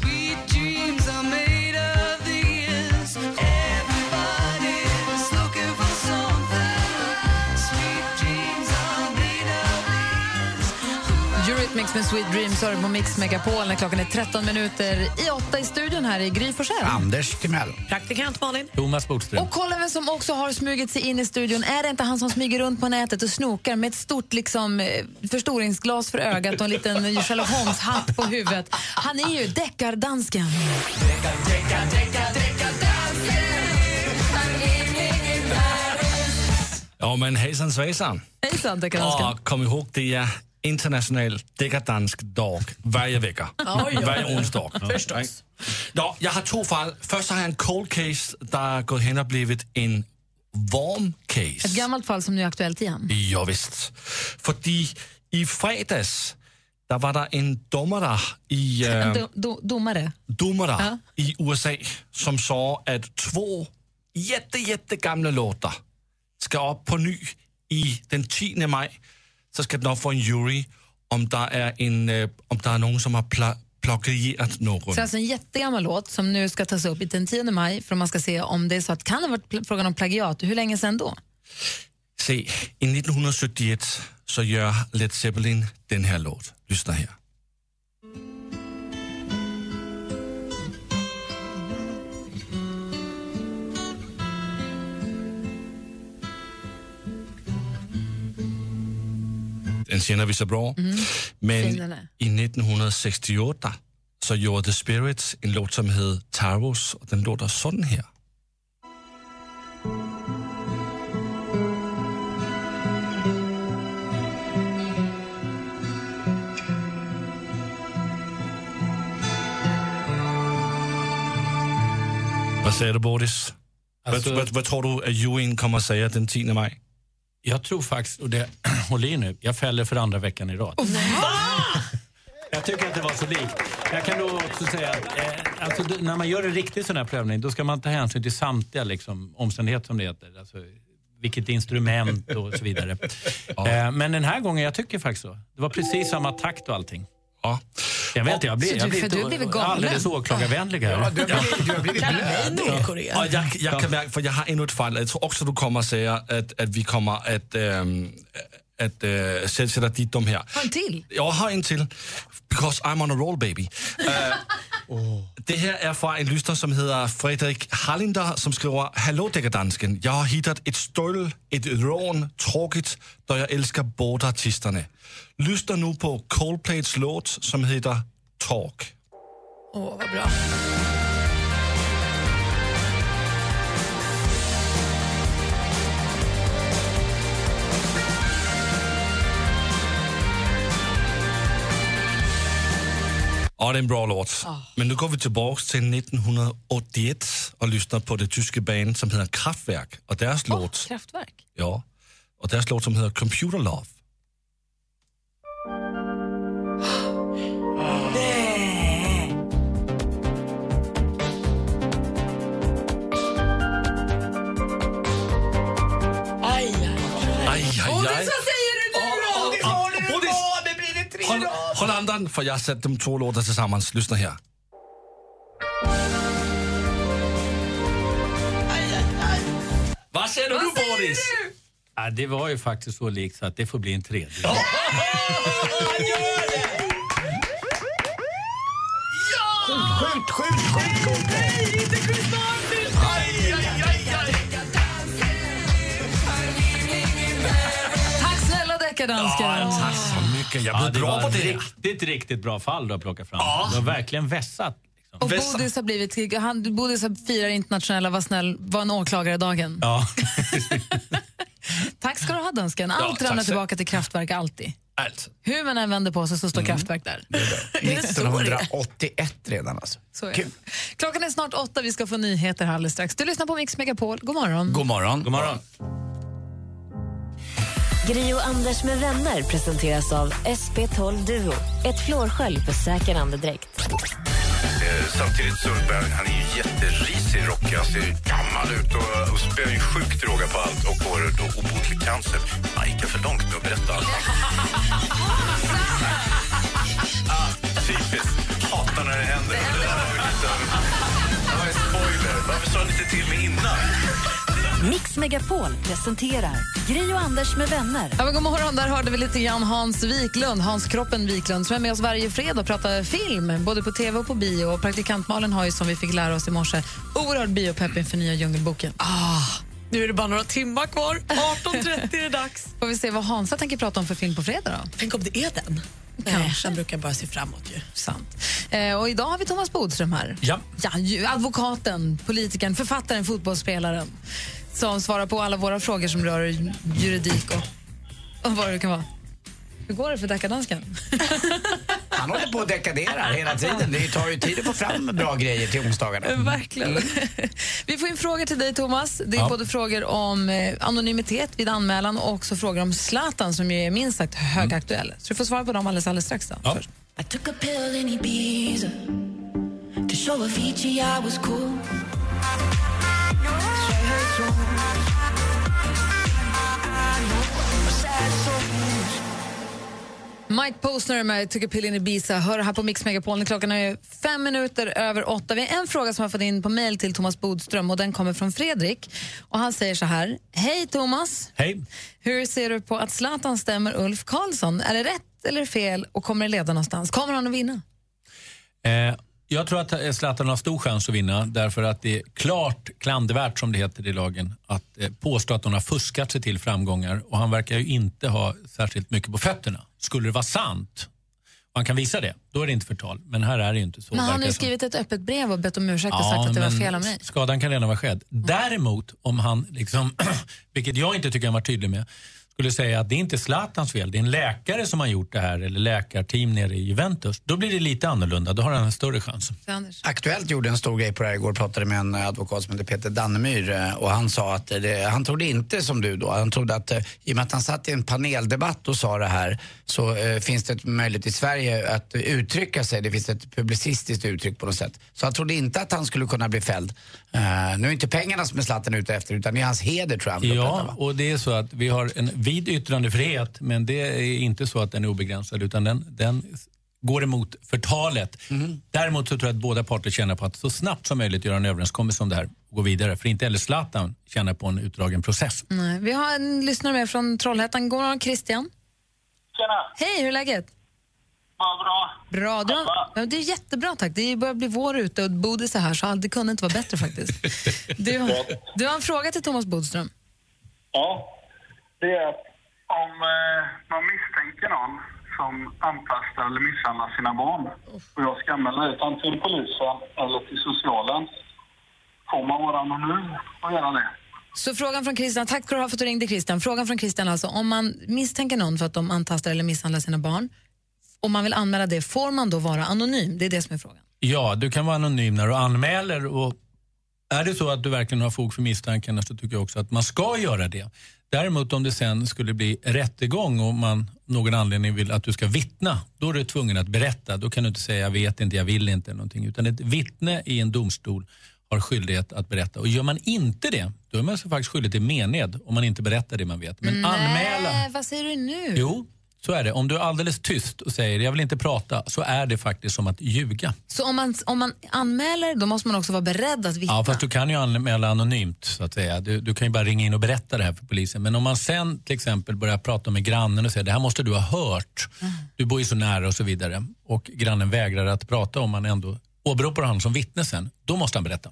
S7: Sweet dreams are made of these. Everybody's looking for something. Sweet dreams are made of these.
S3: Eurythmics med Sweet Dreams har du på Mix Megapol när klockan är 13 minuter i åtta i studion här i Gry Forssell.
S4: Anders Timell.
S5: Praktikant Malin.
S16: Thomas Bodström.
S3: Och kolla vem som också har smugit sig in i studion. Är det inte han som smyger runt på nätet och snokar med ett stort liksom, eh, förstoringsglas för ögat och en liten Sherlock Holmes-hatt på huvudet? Han är ju deckardansken.
S17: Ja, men hejsan svejsan.
S3: Hejsan, deckardansken.
S17: Och kom ihåg, det är internationell deckardansk dag varje vecka.
S3: Oj, oj.
S17: Varje onsdag. Förstås. Ja, jag har två fall. Först har jag en cold case där gått hen och blivit en warm case.
S3: Ett gammalt fall som nu är aktuellt igen.
S17: Ja, visst. Fordi i fredags, der var der en dommer i,
S3: En
S17: øh,
S3: do, do, domare.
S17: dommer
S3: Ja.
S17: i USA, som så at två jätte, jätte gamla låtar ska upp på ny i den 10. maj. Så ska den upp för en jury om der är en, øh, om der er nogen, som har pla- plagierat
S3: Så
S17: någon.
S3: det är alltså en jättegammal låt som nu ska tas upp i den 10 maj för att man ska se om det är så att kan det ha varit pl- frågan om plagiat. Hur länge sedan då?
S17: Se, i 1971 så gör Led Zeppelin den här låt. Lyssna här. Den känner vi så bra.
S3: Fin
S17: Men
S3: den är.
S17: i 1968 så gjorde The Spirits en låt som hed Taros och den låter sådan här. Vad säger du, Boris?
S16: Alltså-
S17: vad, vad, vad tror du att juryn kommer att säga den 10 maj?
S16: Jag tror faktiskt, och det <clears throat> håller i nu, jag fäller för andra veckan i rad. Jag tycker att det var så likt. Jag kan då också säga att eh, alltså, d- när man gör en riktig sån här prövning då ska man ta hänsyn till samtliga liksom, omständigheter som det heter. Alltså, vilket instrument och
S17: <laughs>
S16: så vidare. Eh, men den här gången, jag tycker faktiskt så. Det var precis samma takt och allting.
S17: Ja.
S16: Jag vet inte, jag
S3: Så
S16: blir,
S3: du-
S16: jag
S3: för du
S16: blir
S3: har blivit
S16: inte
S3: galen.
S16: alldeles åklagarvänlig här.
S17: Ja, du har blivit-
S5: Nordkorea.
S17: Och jag, jag kan märka, för jag har ännu ett fall. Jag tror också du kommer att säga att, att vi kommer att, ähm, att äh, sätta dit dem här.
S3: Har en till?
S17: Jag har en till. Because I'm on a roll baby. Øh, Det här är från en lyssnare som heter Fredrik Hallinder som skriver Hallå deckardansken, jag har hittat ett stöld, ett rån, tråkigt, då jag älskar båda artisterna. Lyssna nu på Coldplays låt som heter Talk.
S5: Åh, vad bra.
S17: Ja, det är en bra låt. Men nu går vi tillbaka till 1981 och lyssnar på det tyska band som heter Kraftwerk och deras låt,
S9: Kraftverk.
S17: ja, och deras låt som heter Computer Love.
S5: Aj,
S17: Aj, aj,
S7: Åh,
S17: aj.
S7: det är så säger du nu då!
S17: Åh, åh,
S7: Det
S17: åh,
S7: får du
S17: åh, det-
S7: vara, det blir det tre
S17: Håll,
S7: rad.
S17: håll andan, för jag har sett de två låtarna tillsammans. Lyssna här. Vad säger du, Boris?
S16: Ja, det var ju faktiskt så likt så att det får bli en tredje.
S7: Skjut, skjut, skjut, skjut, skjut! Nej, inte skjut snart! Aj, aj, aj, aj!
S3: Tack snälla deckardansken.
S17: tack så mycket. Jag
S16: blev
S17: bra på det.
S16: Riktigt, riktigt bra fall du har plockat fram. Du har verkligen vässat. Liksom.
S3: Och Bodis har blivit... Han, Bodis har firar internationella Var snäll, var en åklagare-dagen.
S16: Ja.
S3: Tack ska du ha, dansken.
S5: Ja,
S3: Allt
S5: tack
S3: ramlar
S5: så-
S3: tillbaka till Kraftwerk, alltid.
S17: Allt.
S3: Hur man än vänder på sig så
S5: Mm.
S3: står Kraftwerk där.
S5: <laughs>
S4: 1981 redan alltså.
S3: Så är det. Klockan är snart åtta, vi ska få nyheter här alldeles strax. Du lyssnar på Mix Megapol, god morgon.
S4: God morgon. God
S16: morgon.
S10: Gri och Anders med vänner presenteras av SP12 Duo. Ett flårskölj för säker andedräkt.
S23: Eh, Samtidigt så bär han är ju jätterisig rock. Han ser gammal ut och, och spär ju sjukt råga på allt och får då obotlig cancer. Han gick för långt med att berätta
S16: <laughs>
S23: allt. ah, typiskt. Hatar när det händer. Det där var ju lite av det var en spoiler. Varför sa ni inte till mig innan?
S10: Mix Megapol presenterar Gri och Anders med vänner.
S3: Ja, men god morgon, där hörde vi lite grann Hans Wiklund, Hans Kroppen Wiklund som är med oss varje fredag och pratar film, både på tv och på bio. Och praktikant Malin har ju, som vi fick lära oss i morse, oerhörd biopepp inför nya Djungelboken. Ah, nu är det bara några
S5: <laughs>
S3: timmar kvar. 18.30 är det dags. Får vi se vad Hansa tänker prata om för film på fredag då?
S5: Tänk om det är den? Kanske. Den brukar bara se framåt ju.
S3: Sant. Eh, och idag har vi Thomas Bodström här.
S5: Ja.
S3: Ja, ju- advokaten, politikern, författaren, fotbollsspelaren som svarar på alla våra frågor som rör juridik och, och vad det kan vara. Hur går det för deckardansken?
S4: Han håller på och dekaderar hela tiden. Det tar ju tid att få fram bra grejer till onsdagarna. Mm.
S3: Verkligen. Vi får in frågor till dig, Thomas. Det är
S4: Ja.
S3: både frågor om eh, anonymitet vid anmälan och också frågor om Zlatan som ju är minst sagt högaktuell. Så du får svara på dem alldeles, alldeles strax. Då.
S16: Ja.
S24: I took a pill in Ibiza to show Avicii I was cool.
S3: Mike Posner med Took a pill in Ibiza. Hör här på Mix Megapol. Klockan är fem minuter över åtta. Vi har en fråga som har fått in på mejl till Thomas Bodström och den kommer från Fredrik. Och Han säger så här. Hej Thomas!
S16: Hej.
S3: Hur ser du på att Zlatan stämmer Ulf Karlsson? Är det rätt eller fel och kommer det leda någonstans? Kommer han att vinna?
S16: Eh, jag tror att eh, Zlatan har stor chans att vinna därför att det är klart klandervärt, som det heter i lagen, att eh, påstå att hon har fuskat sig till framgångar och han verkar ju inte ha särskilt mycket på fötterna. Skulle det vara sant, och han kan visa det, då är det inte förtal. Men här är det ju inte så.
S3: Men han
S16: verkar
S3: har ju
S16: det som.
S3: skrivit ett öppet brev och bett om ursäkt och
S16: Ja,
S3: sagt att det var
S16: men
S3: fel av mig.
S16: Skadan kan redan vara skedd. Däremot om han, liksom, <clears throat> vilket jag inte tycker han var tydlig med, skulle säga att det är inte Zlatans fel, det är en läkare som har gjort det här eller läkarteam nere i Juventus. Då blir det lite annorlunda, då har han en större chans.
S4: Aktuellt gjorde en stor grej på det här igår, pratade med en eh, advokat som heter Peter Dannemyr eh, och han sa att eh, det, han trodde inte som du då, han trodde att eh, i och med att han satt i en paneldebatt och sa det här så eh, finns det ett möjlighet i Sverige att eh, uttrycka sig, det finns ett publicistiskt uttryck på något sätt. Så han trodde inte att han skulle kunna bli fälld. Eh, nu är inte pengarna som är Zlatan ute efter utan det är hans heder tror jag. han vill upprätta,
S16: Ja,
S4: va?
S16: och det är så att vi har en vid yttrandefrihet, men det är inte så att den är obegränsad, utan den, den går emot förtalet.
S17: Mhm.
S16: Däremot så tror jag att båda parter tjänar på att så snabbt som möjligt göra en överenskommelse om det här och gå vidare. För inte heller Zlatan tjänar på en utdragen process.
S3: Nej. Vi har en lyssnare med från Trollhättan. God morgon, Christian.
S25: Tjena!
S3: Hej, hur är läget?
S25: Vad bra.
S3: Bra. Du har, ja, det är jättebra, tack. Det börjar bli vår ute och Bodis är här, så det kunde inte vara bättre faktiskt.
S16: <laughs>
S3: Du, har- du har en fråga till Thomas Bodström.
S25: Ja. Det är att om eh, man misstänker någon som antastar eller misshandlar sina barn och jag ska anmäla det antingen till polisen eller till socialen, får man vara anonym och göra det?
S3: Så frågan från Christian, tack ska du ha för att du ringde Christian. Frågan från Christian alltså, om man misstänker någon för att de antastar eller misshandlar sina barn om man vill anmäla det, får man då vara anonym? Det är det som är frågan.
S16: Ja, du kan vara anonym när du anmäler. Och är det så att du verkligen har fog för misstankarna så tycker jag också att man ska göra det. Däremot om det sen skulle bli rättegång och man av någon anledning vill att du ska vittna, då är du tvungen att berätta. Då kan du inte säga jag vet inte, jag vill inte eller någonting. Utan ett vittne i en domstol har skyldighet att berätta. Och gör man inte det, då är man så faktiskt skyldig till mened om man inte berättar det man vet. Men Mm. anmäla
S3: Nej, vad säger du nu?
S16: Jo, så är det. Om du är alldeles tyst och säger jag vill inte prata så är det faktiskt som att ljuga.
S3: Så om man, om man anmäler, då måste man också vara beredd att vittna?
S16: Ja, fast du kan ju anmäla anonymt så att säga. Du, du kan ju bara ringa in och berätta det här för polisen. Men om man sen till exempel börjar prata med grannen och säger det här måste du ha hört.
S5: Mm.
S16: Du bor ju så nära och så vidare. Och grannen vägrar att prata om man ändå åberopar honom som vittne sen. Då måste han berätta.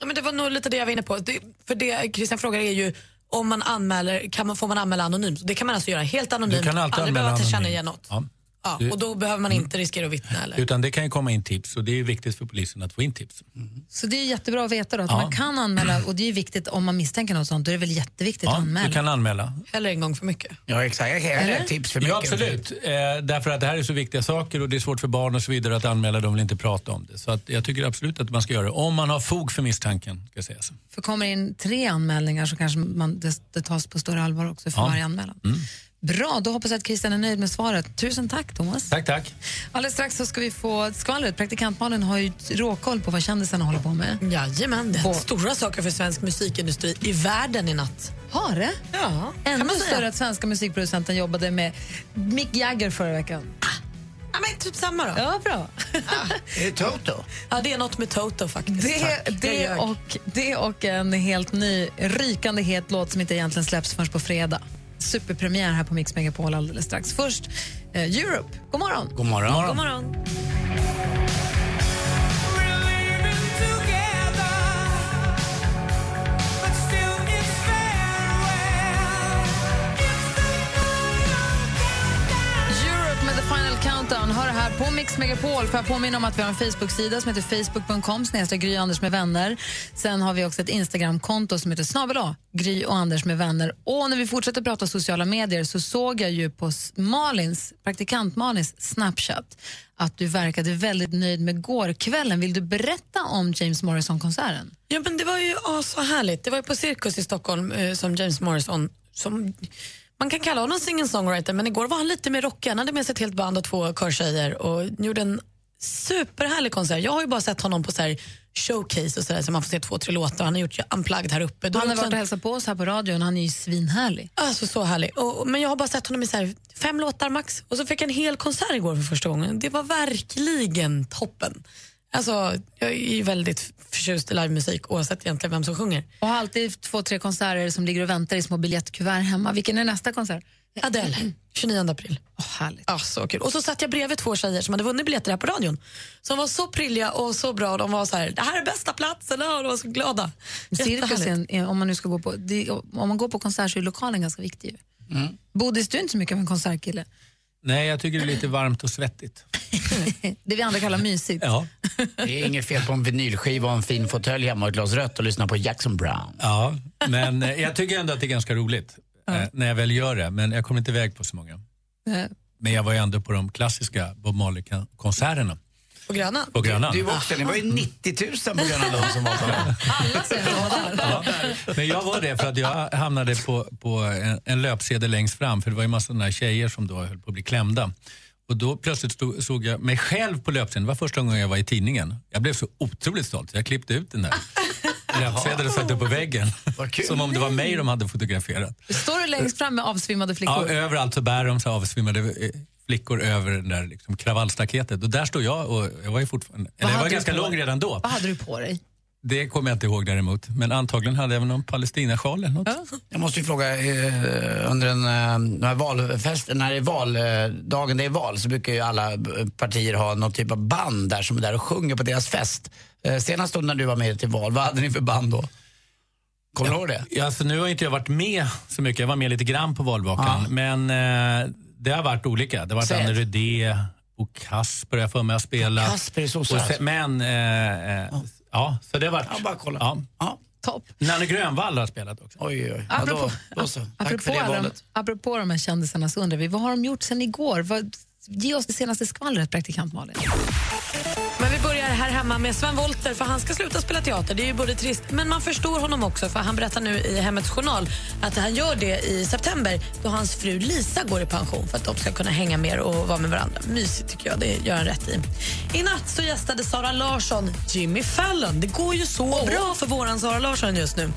S5: Ja, men det var nog lite det jag var inne på. Det, för det Christian frågar är ju om man anmäler, kan man, får man anmäla anonymt? Det kan man alltså göra helt anonymt.
S16: Du kan alltid
S5: aldrig
S16: anmäla
S5: behöva
S16: anonymt.
S5: tillkännage något.
S16: Ja.
S5: Ja,
S16: Du- Mm.
S5: och då behöver man inte riskera att vittna. Eller?
S16: Utan det kan ju komma in tips och det är ju viktigt för polisen att få in tips.
S3: Så det är jättebra att veta då, att
S16: Ja.
S3: man kan anmäla och det är ju viktigt om man misstänker något sånt. Då är det väl jätteviktigt att
S16: Ja,
S3: anmäla.
S16: du kan anmäla.
S5: Heller en gång för mycket.
S4: Ja, exakt. Jag kan jag
S3: Eller?
S4: har ett tips för mycket.
S16: Ja, absolut. Eh, därför att det här är så viktiga saker och det är svårt för barn och så vidare att anmäla. De vill inte prata om det. Så att jag tycker absolut att man ska göra det. Om man har fog för misstanken, ska sägas.
S3: För kommer det in tre anmälningar så kanske man, det, det tas på större allvar också för
S16: Ja. Mm.
S3: varje anmälan. Bra, då hoppas jag att Christian är nöjd med svaret. Tusen tack Thomas.
S16: Tack, tack.
S3: Alldeles strax så ska vi få skvallret. Praktikantmalen har ju råkoll på vad kändisarna håller på med.
S5: Jajamän, det har hänt stora saker för svensk musikindustri i världen i natt.
S3: Har det?
S5: Ja,
S3: Ännu större att svenska musikproducenten jobbade med Mick Jagger förra veckan.
S5: Ja, men typ samma då.
S3: Ja,
S5: <laughs>
S3: bra.
S4: Är det Toto?
S5: Ja, det är något med Toto faktiskt.
S3: Det,
S5: Tack.
S3: det,
S5: Jag ljög.
S3: och, det och en helt ny rykande het låt som inte egentligen släpps förrän på fredag. Superpremiär här på Mix Megapol alldeles strax. Först eh, Europe. God morgon!
S4: God morgon.
S3: God morgon. Europe med The Final Countdown. Hör det här på Mix Megapol. Får jag påminna om att vi har en Facebook-sida som heter facebook.com snedstreck Gry Anders med vänner. Sen har vi också ett Instagram-konto som heter snabel Gry och Anders med vänner. Och när vi fortsätter prata sociala medier så såg jag ju på s- Malins, praktikant Malins Snapchat att du verkade väldigt nöjd med gårkvällen. Vill du berätta om James Morrison-konserten?
S5: Ja, men det var ju ah, så härligt. Det var ju på Cirkus i Stockholm eh, som James Morrison, som man kan kalla honom singer-songwriter, men igår var han lite mer rockig. Han hade med sig ett helt band och två körtjejer och gjorde en superhärlig konsert. Jag har ju bara sett honom på så här showcase och sådär, så man får se två, tre låtar. Han har gjort ju unplugged här uppe. Då
S3: Han har
S5: också en-
S3: varit och hälsat på oss här på radion. Han är ju svinhärlig.
S5: Alltså så härlig. Och, men jag har bara sett honom i så här fem låtar max. Och så fick jag en hel konsert igår för första gången. Det var verkligen toppen. Alltså, jag är ju väldigt förtjust i livemusik oavsett egentligen vem som sjunger.
S3: Och har alltid två, tre konserter som ligger och väntar i små biljettkuvert hemma. Vilken är nästa konsert?
S5: <clears throat> Adele, 29 april.
S3: Åh, härligt.
S5: Ja, så kul. Och så satt jag bredvid två tjejer som hade vunnit biljetter här på radion. Som var så prilliga och så bra. De var så här, det här är bästa platsen. Och de var så glada.
S3: Cirkus, är
S5: Jättehärligt.
S3: en- är- om man nu ska gå på, det, om man går på konsert så är lokalen ganska viktig. Ju.
S4: Mm.
S3: Bodis, du är inte så mycket av
S5: <laughs>
S3: en konsertkille.
S16: Nej, jag tycker det är lite varmt och svettigt.
S3: Det vi andra kallar mysigt.
S16: Ja.
S4: Det är inget fel på en vinylskiva och en fin fåtölj hemma och ett glas rött och lyssna på Jackson Brown.
S16: Ja, men eh, jag tycker ändå att det är ganska roligt eh, när jag väl gör det. Men jag kommer inte iväg på så många.
S3: Eh,
S16: Men jag var ju ändå på de klassiska Bob Marley-konserterna
S5: På Grönan.
S16: på Grönan.
S4: Du, du åkte, det var ju 90 000 på Gröna Lund som var på den.
S3: Alla säger att de var där.
S16: Men jag var det för att jag hamnade på, på en, en löpsedel längst fram för det var ju massa sådana här tjejer som då höll på att bli klämda. Och då plötsligt stod, såg jag mig själv på löpsedeln. Det var första gången jag var i tidningen. Jag blev så otroligt stolt. Jag klippte ut
S3: <laughs>
S16: den där löpsedeln och satte upp på väggen. Som om det var mig de hade fotograferat.
S3: Står du längst fram med avsvimmade
S16: Ja,
S5: eh,
S3: flickor?
S16: överallt så bär de så avsvimmade eh, flickor över den där liksom kravallstaketet. Och där stod jag och jag var ju fortfarande... Eller jag
S3: hade
S16: var
S3: du
S16: ganska
S3: på
S16: lång
S3: dig?
S16: redan då.
S3: Vad hade du på dig?
S16: Det kommer jag inte ihåg däremot. Men antagligen hade jag väl någon palestinasjal eller något.
S4: <laughs> Jag måste ju fråga, eh, under en, eh, den här valfesten, när det är valdagen, det är val, så brukar ju alla eh, partier ha någon typ av band där som är där och sjunger på deras fest. Eh, senast då när du var med till val, vad hade ni för band då? Kommer du ihåg det?
S16: Ja, alltså, nu har inte jag varit med så mycket. Jag var med lite grann på valvakan. Men eh, det har varit olika. Det har varit
S4: Säg
S16: Anne
S4: ett.
S16: Rydé och Kasper har jag för mig har spelat.
S4: Kasper är så
S16: Och
S4: söt.
S16: sen- Men, eh, eh, ja, så det har varit... Ja,
S4: bara kolla.
S16: Ja.
S3: Topp.
S16: Nanne Grönvall har spelat också.
S4: Oj, oj.
S3: Apropå-
S4: då så. Tack
S3: Apropå,
S4: för det
S3: alla de,
S4: valet.
S3: apropå de här kändisarna så undrar vi, vad har de gjort sen igår? Vad, Ge oss det senaste skvallret, praktikant Malin.
S5: Men vi börjar här hemma med Sven Wollter för han ska sluta spela teater. Det är ju både trist, men man förstår honom också för han berättar nu i Hemmets Journal att han gör det i september då hans fru Lisa går i pension för att de ska kunna hänga mer och vara med varandra. Mysigt tycker jag, det gör han rätt i. I natt så gästade Sara Larsson Jimmy Fallon. Det går ju så bra för våran Sara Larsson just nu.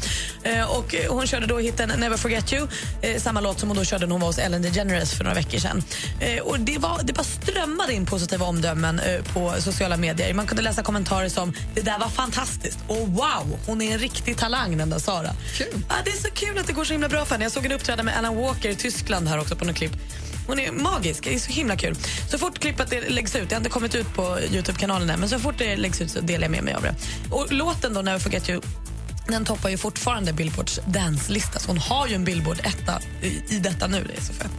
S5: Eh, och eh, hon körde då hiten Never Forget You, eh, samma låt som hon då körde när hon var hos Ellen DeGeneres för några veckor sedan. Eh, och det, var, det bara strömmade in positiva omdömen eh, på sociala medier. Man kunde läsa kommentarer som “Det där var fantastiskt” och “Wow, hon är en riktig talang den där Sara”. Ja, det är så kul att det går så himla bra för henne. Jag såg en uppträda med Alan Walker i Tyskland här också på något klipp. Hon är magisk, det är så himla kul. Så fort klippet det läggs ut, det har inte kommit ut på Youtube-kanalen än, men så fort det läggs ut så delar jag med mig av det. Och låten då, Never Forget You, den toppar ju fortfarande Billboards danslista, så hon har ju en Billboard-etta i, i detta nu. Det är så fett.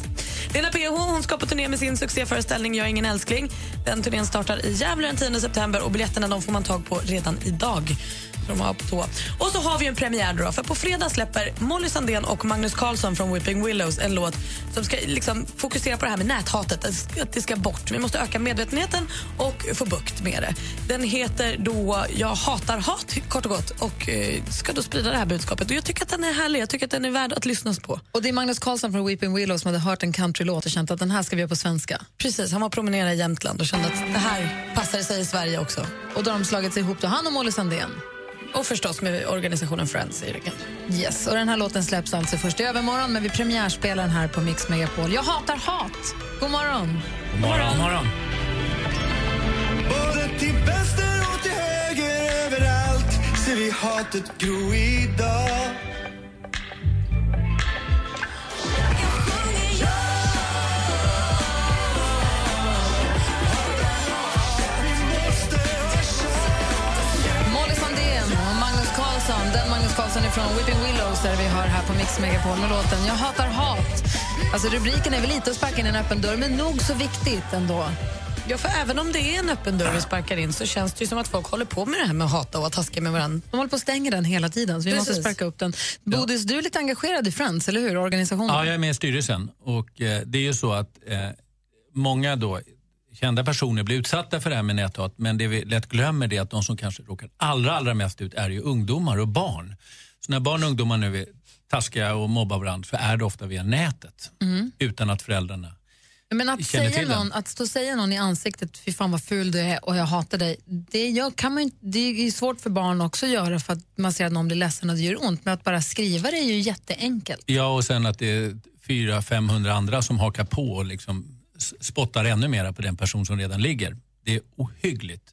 S5: Lena PH hon ska på turné med sin succéföreställning Jag är ingen älskling. Den turnén startar i Gävle den 10 september och biljetterna de får man tag på redan idag. Så De har på tå. Och så har vi ju en premiär då, för på fredag släpper Molly Sandén och Magnus Carlsson från Weeping Willows en låt som ska liksom fokusera på det här med näthatet, att- att det ska bort. Vi måste öka medvetenheten och få bukt med det. Den heter då Jag hatar hat, kort och gott, och eh, ska då sprida det här budskapet. Och jag tycker att den är härlig, jag tycker att den är värd att lyssnas på.
S3: Och Det är Magnus Karlsson från Weeping Willow som hade hört en countrylåt och känt att den här ska vi göra på svenska.
S5: Precis, han var promenerade i Jämtland och kände att det här passade sig i Sverige också.
S3: Och då har de slagit sig ihop, då, han och Molly Sandén.
S5: Och förstås med organisationen Friends i ryggen.
S3: Yes, och den här låten släpps alltså först i övermorgon men vi premiärspelar den här på Mix Megapol. Jag hatar hat! God morgon!
S16: God morgon. God morgon.
S7: Både till vänster och till höger överallt ser vi hatet gro idag
S3: Molly Sandén och Magnus Karlsson. Den Magnus Karlsson är från Whipping Willows där vi hör här på Mix Megapol med låten Jag hatar hat. Alltså rubriken är väl lite att sparka in en öppen dörr men nog så viktigt ändå.
S5: Ja, för även om det är en öppen dörr vi sparkar in så känns det ju som att folk håller på med det här med att hata och att taska med varandra.
S3: De håller på att stänga den hela tiden så vi måste
S5: Precis.
S3: sparka upp den. Bodis, du är lite engagerad i Friends, eller hur? Organisationen.
S16: Ja, jag är med i styrelsen. Och eh, det är ju så att eh, många då kända personer blir utsatta för det här med näthat men det vi lätt glömmer det är att de som kanske råkar allra, allra mest ut är ju ungdomar och barn. Så när barn och ungdomar nu är taskiga och mobbar varandra så är det ofta via nätet
S3: Mm.
S16: utan att föräldrarna...
S3: Men att
S16: Känner
S3: säga
S16: till den.
S3: någon, att stå och säga någon i ansiktet, fy fan vad ful du är och jag hatar dig, det, jag kan man, ju inte- det är ju svårt för barn också att göra för att man ser att någon blir ledsen och det gör ont, men att bara skriva det är ju jätteenkelt.
S16: Ja, och sen att det är 400-500 andra som hakar på och liksom s- spottar ännu mera på den person som redan ligger. Det är ohyggligt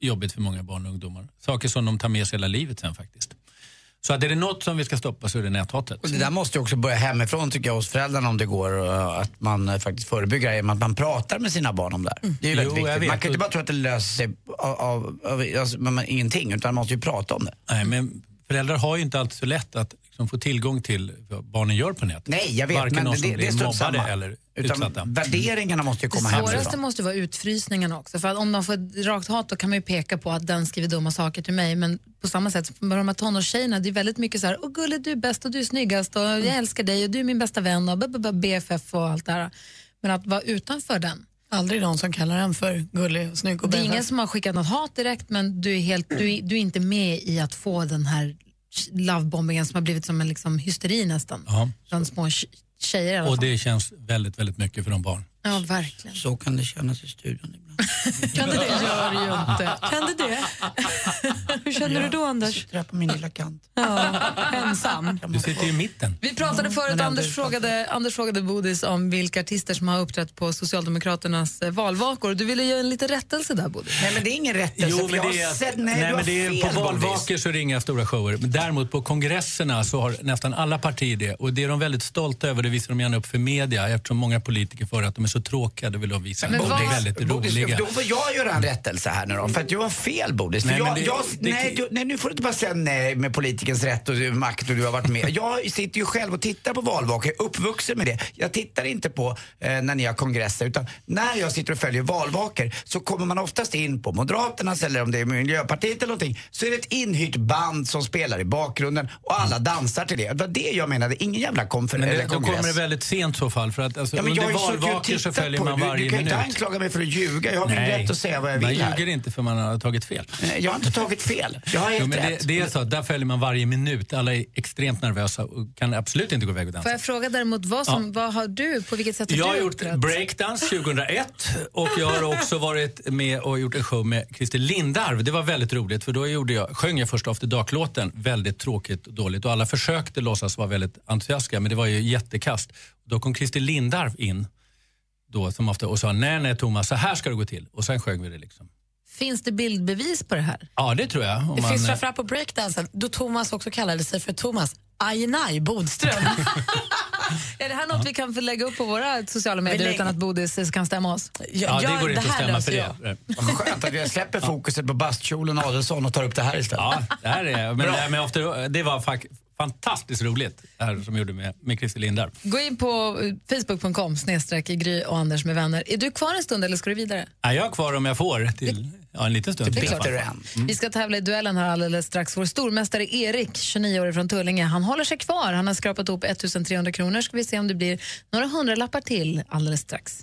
S16: jobbigt för många barn och ungdomar. Saker som de tar med sig hela livet sen faktiskt. Så att är det något som vi ska stoppa så är det näthatet.
S4: Och det där måste ju också börja hemifrån tycker jag hos föräldrarna om det går. och Att man eh, faktiskt förebygger det genom att man pratar med sina barn om det här. Det är ju
S16: Mm. Jo,
S4: väldigt
S16: jag
S4: viktigt.
S16: vet.
S4: Man kan ju inte bara tro att det löser sig av, av, av alltså, men, men, ingenting utan man måste ju prata om det.
S16: Nej, men föräldrar har ju inte alltid så lätt att liksom få tillgång till vad barnen gör på nätet.
S4: Nej, jag vet,
S16: Varken
S4: men
S16: de
S4: det-
S16: som
S4: det-
S16: blir
S4: det är strunt
S16: mobbade
S4: samma.
S16: eller
S4: Utan
S16: utsatta.
S4: värderingarna måste ju komma
S3: det svåraste
S4: hemifrån.
S3: måste vara utfrysningen också, för att om de får ett rakt hat då kan man ju peka på att den skriver dumma saker till mig, men på samma sätt, med de här tonårstjejerna, det är väldigt mycket så här, åh gullig du är bäst och du är snyggast och
S16: Mm.
S3: jag älskar dig och du är min bästa vän och b- b- b- BFF och allt det här. Men att vara utanför den,
S5: Aldrig någon som kallar en för gullig och snygg och
S3: Det är
S5: bättre.
S3: ingen som har skickat något hat direkt men du är, helt, du, är- du är inte med i att få den här lovebombingen som har blivit som en liksom hysteri nästan.
S16: Ja.
S3: Bland små tj- tjejer i alla
S16: Och
S3: fall.
S16: det känns väldigt, väldigt mycket för de barn.
S3: Ja, verkligen.
S4: Så kan det kännas i studion.
S5: Kan det det?
S3: Gör det ju inte.
S5: Kan det det? Hur känner du då, Anders? Jag
S4: sitter här på min lilla kant.
S5: Ja, ensam.
S4: Mm.
S16: Du sitter ju i mitten.
S3: Vi pratade förut, Anders frågade, Anders frågade Bodis om vilka artister som har uppträtt på Socialdemokraternas eh, valvakor. Du ville göra en liten rättelse där Bodis.
S4: Nej men det är ingen rättelse
S16: Jo, men
S4: Alltså, för
S16: det
S4: jag
S16: är,
S4: har sett, nej,
S16: nej,
S4: du har
S16: men det är,
S4: fel
S16: på
S4: Bodis.
S16: valvakor så är det inga stora shower. Men däremot på kongresserna så har nästan alla partier det. Och det är de väldigt stolta över, det visar de gärna upp för media eftersom många politiker för att de är så tråkiga, det vill de visa.
S4: Men
S16: Men de
S4: vad-
S16: är väldigt
S4: Bodis,
S16: roliga.
S4: Då får jag göra en rättelse här nu då, för att du har fel Bodis. För
S16: Nej,
S4: jag,
S16: men det-
S4: jag,
S16: det-
S4: nej, du, nej, nu får du inte bara säga nej med politikens rätt och du- makt och du har
S16: <laughs>
S4: varit med. Jag sitter ju själv och tittar på valvakor, jag är uppvuxen med det. Jag tittar inte på eh, när ni har kongresser, utan när jag sitter och följer valvakor så kommer man oftast in på Moderaternas eller om det är Miljöpartiet eller någonting, så är det ett inhyrt band som spelar i bakgrunden och alla dansar till det. Det var det jag menade, ingen jävla konfer-
S16: Men
S4: eller
S16: det, då
S4: kongress.
S16: kommer det väldigt sent i så fall. För att, alltså,
S4: Ja, men jag
S16: under
S4: har ju suttit och
S16: valvakor så
S4: tittat
S16: följer
S4: på
S16: man
S4: det. Du-
S16: varje
S4: Du kan ju inte
S16: minut.
S4: anklaga mig för att ljuga. Jag har min rätt att säga vad jag vill
S16: man
S4: här.
S16: ljuger inte för man har tagit fel.
S4: Nej, Jag har inte tagit fel. Jag har helt
S16: Jo, men det,
S4: rätt.
S16: det är så, att där följer man varje minut. Alla är extremt nervösa och kan absolut inte gå iväg och dansa.
S3: Får jag fråga däremot, vad, som, vad har du, på vilket sätt har
S16: Jag har
S3: du
S16: gjort
S3: uppträtt?
S16: breakdance 2001 och jag har också varit med och gjort en show med Christer Lindarw. Det var väldigt roligt för då gjorde jag, sjöng jag första After Dark-låten väldigt tråkigt och dåligt och alla försökte låtsas vara väldigt entusiastiska men det var ju jättekast. Då kom Christer Lindarw in då, som ofta, och sa nej, nej Thomas, så här ska det gå till. Och sen sjöng vi det liksom.
S3: Finns det bildbevis på det här?
S16: Ja, det tror jag. Om
S5: Det
S16: man,
S5: finns
S16: eh,
S5: framförallt på breakdansen, då Thomas också kallade sig för Thomas
S4: <laughs>
S5: Ajnaj Bodström.
S3: Är det här något vi kan få lägga upp på våra sociala
S5: Vi
S3: medier
S5: lägger-
S3: utan att Bodis eh, kan stämma oss?
S4: Ja, det går inte att stämma
S3: löser
S4: för
S3: jag.
S4: det. Vad skönt att jag släpper fokuset på bastkjolen och Adelsson och tar upp det här istället.
S16: Ja, det, här är, men det, här med after, det var fak- fantastiskt roligt, det här som jag gjorde med, med Christer Lindarw.
S3: Gå in på eh, facebook.com snedstreck Gry och Anders med vänner. Är du kvar en stund eller ska du vidare?
S16: Ja, jag är kvar om jag får till ja, en liten stund.
S3: Det är
S16: till Mm. i alla
S3: klart.
S16: fall.
S3: Vi ska tävla i duellen här alldeles strax. Vår stormästare Erik, 29 år från Tullinge, han håller sig kvar. Han har skrapat ihop 1300 kronor. Ska vi se om det blir några hundralappar till alldeles strax.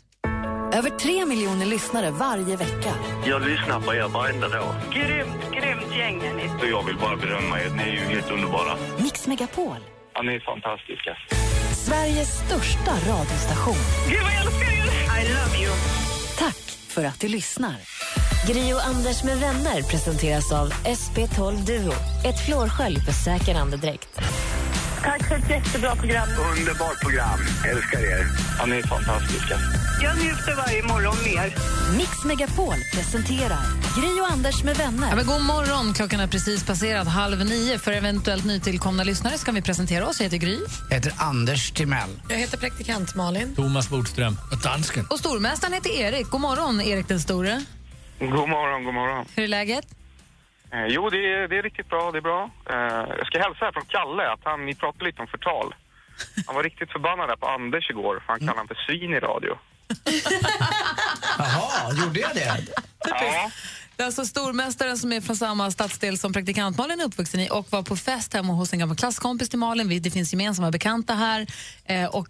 S10: Över tre miljoner lyssnare varje vecka.
S18: Jag lyssnar på er varenda dag.
S21: Grymt, grymt gäng är ni.
S18: Så jag vill bara berömma er. Ni är ju helt underbara.
S10: Mix Megapol,
S18: Ja, ni är fantastiska.
S10: Sveriges största radiostation.
S21: Gud, vad jag älskar er! I love you.
S10: Tack för att du lyssnar. Gri och Anders med vänner presenteras av SP12 Duo. Ett flårskölj för säker andedräkt.
S21: Tack för ett jättebra program.
S18: Underbart program. Älskar er. Ja, ni är fantastiska.
S21: Jag njuter varje morgon mer.
S10: Mix Megapol presenterar Gri och Anders med vänner.
S3: Ja, men god morgon, klockan är precis passerat halv nio. För eventuellt nytillkomna lyssnare ska vi presentera oss. Jag heter Gry.
S4: Jag heter Anders Timell.
S3: Jag heter praktikant Malin.
S16: Thomas Bodström. Dansken.
S3: Och stormästaren heter Erik. God morgon, Erik den store.
S18: God morgon, god morgon.
S3: Hur är läget?
S18: Eh, jo, det är, det är riktigt bra. Det är bra. Eh, jag ska hälsa här från Kalle att han, ni pratade lite om förtal. Han var riktigt förbannad där på Anders igår för han kallade honom för svin i radio.
S4: Jaha, gjorde jag det?
S18: Ja,
S3: Det är alltså stormästaren som är från samma stadsdel som praktikant Malin är uppvuxen i och var på fest hemma hos en gammal klasskompis till Malin. Vi- Det finns gemensamma bekanta här. Eh, och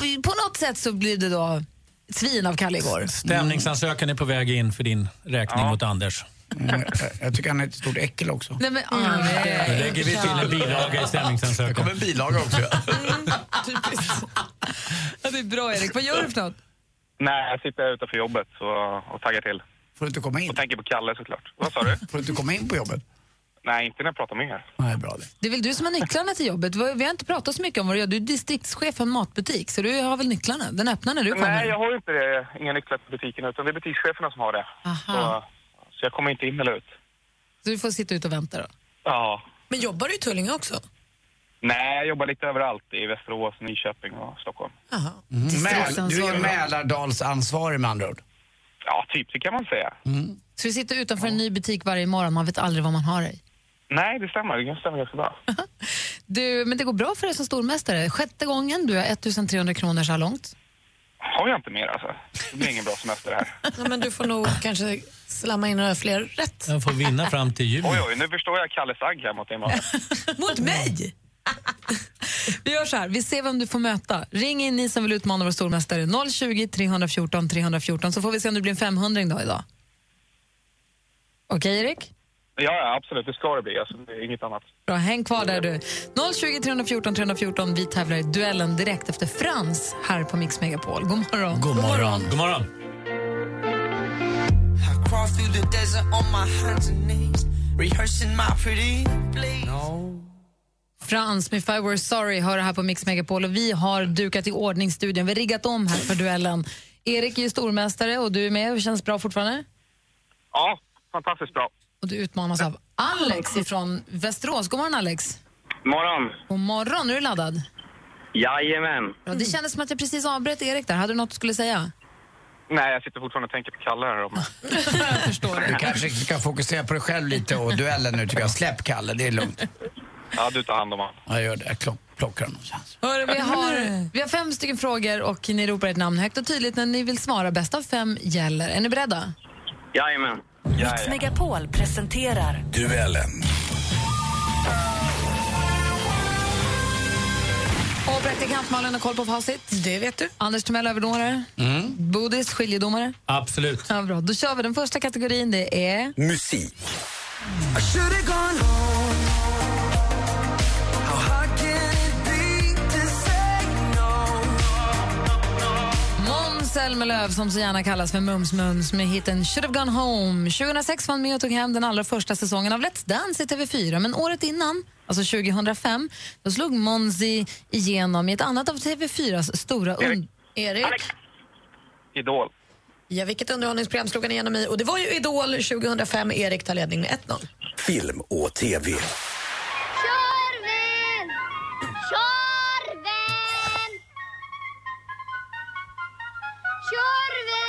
S3: p- på något sätt så blev det då svin av Kalle igår.
S5: Mm.
S16: Stämningsansökan är på väg in för din räkning mot Anders.
S4: Mm, Jag tycker han är ett stort äckel också.
S3: Nej, men,
S5: Mm.
S3: ah,
S16: Då
S3: nej.
S16: lägger vi till en bilaga i
S3: <laughs>
S16: stämningsansökan. Det kommer
S4: en bilaga också.
S3: Mm, Ja, det är bra, Erik. Vad gör du för något?
S18: nej, jag sitter här utanför jobbet så, och taggar till.
S4: Får du inte komma in?
S18: Och tänker på Kalle såklart. Vad sa du?
S4: Får du inte komma in på jobbet?
S18: Nej, inte när jag pratar med er.
S4: Nej, bra det.
S3: Det är väl du som har nycklarna till jobbet? Vi vi har inte pratat så mycket om vad du gör. Du är distriktschef för en matbutik, så du har väl nycklarna? Den öppnar när du kommer?
S18: Nej, jag har ju inte det. Inga nycklar till butiken utan det är butikscheferna som har det. Så, så jag kommer inte in eller ut.
S3: Så du får sitta ute och vänta då.
S18: Ja.
S5: Men jobbar du i Tullinge också?
S18: Nej, jag jobbar lite överallt i Västerås, Nyköping och Stockholm.
S4: Mm. Mäl, du är Mälardalsansvarig med andra ord.
S18: Ja, typ det kan man säga.
S16: Mm.
S3: Så du sitter utanför en ny butik varje morgon, man vet aldrig vad man har dig.
S18: Nej, det stämmer. Det stämmer ganska bra.
S3: Du, men det går bra för dig som stormästare. Sjätte gången, du har 1300 kronor så här långt.
S18: Har jag inte mer alltså? Det blir ingen bra semester
S16: <laughs>
S18: det här.
S5: Nej, men du får nog kanske slamma in några fler rätt.
S16: Den får vinna fram till jul.
S18: Oj, oj, nu förstår jag Kalles agg här mot dig,
S16: <laughs>
S18: Malin.
S5: Mot mig?
S3: Mm. <laughs> Vi gör så här, vi ser vem du får möta. Ring in ni som vill utmana vår stormästare. 020 314 314 så får vi se om det blir en 500 då idag. Okej Erik?
S18: Ja, ja, absolut. Det ska det bli. Alltså, det är inget annat.
S3: Bra, häng kvar där du. 020 314 314, vi tävlar i duellen direkt efter Frans här på Mix Megapol. God morgon.
S16: God morgon. God morgon.
S7: Crawl through the desert on my hands and knees, rehearsing my pretty please.
S3: Frans med If I Were Sorry hör det här på Mix Megapol och vi har dukat i ordning studion. Vi har riggat om här för duellen. Erik är ju stormästare och du är med. Det känns bra fortfarande.
S18: Ja, fantastiskt bra.
S3: Och du utmanas av Alex från Västerås. God morgon Alex.
S11: Morgon.
S3: God morgon, är du laddad?
S11: Jajamän.
S3: Bra. Det kändes som att jag precis avbröt Erik där. Hade du något du skulle säga?
S18: Nej, jag sitter fortfarande och tänker på Kalle här.
S3: <laughs>
S18: Om...
S4: Du kanske kan fokusera på dig själv lite och duellen nu tycker jag. Släpp Kalle, det är lugnt.
S18: Ja, du tar hand om honom.
S4: Jag gör det, jag klock, plockar honom sen.
S3: Hörru, vi, har, vi har fem stycken frågor och ni ropar ett namn högt och tydligt när ni vill svara. Bäst av fem gäller. Är ni beredda?
S11: Jajamän.
S10: Mix Megapol presenterar
S11: Duellen.
S3: Och Praktikant Malin har koll på facit. Det vet du. Anders Timell överdomare.
S7: Mm.
S3: Bodis skiljedomare.
S16: Absolut.
S3: Ja, bra. Då kör vi. Den första kategorin det är...
S7: Musik. I should've gone home. How hard can it be to say no?
S3: Måns Zelmerlöw, som så gärna kallas för Mums Mums med hiten Should have gone home. 2006 var han med och tog hem den allra första säsongen av Let's Dance i TV4 men året innan, alltså 2005, då slog Monzi igenom i ett annat av TV4s stora... Und-
S5: Erik.
S18: Idol.
S5: Ja, vilket underhållningsprogram slog han igenom i? Och det var ju Idol 2005. Erik tar ledning med 1-0.
S7: Film och TV.
S20: Tjorven! Tjorven!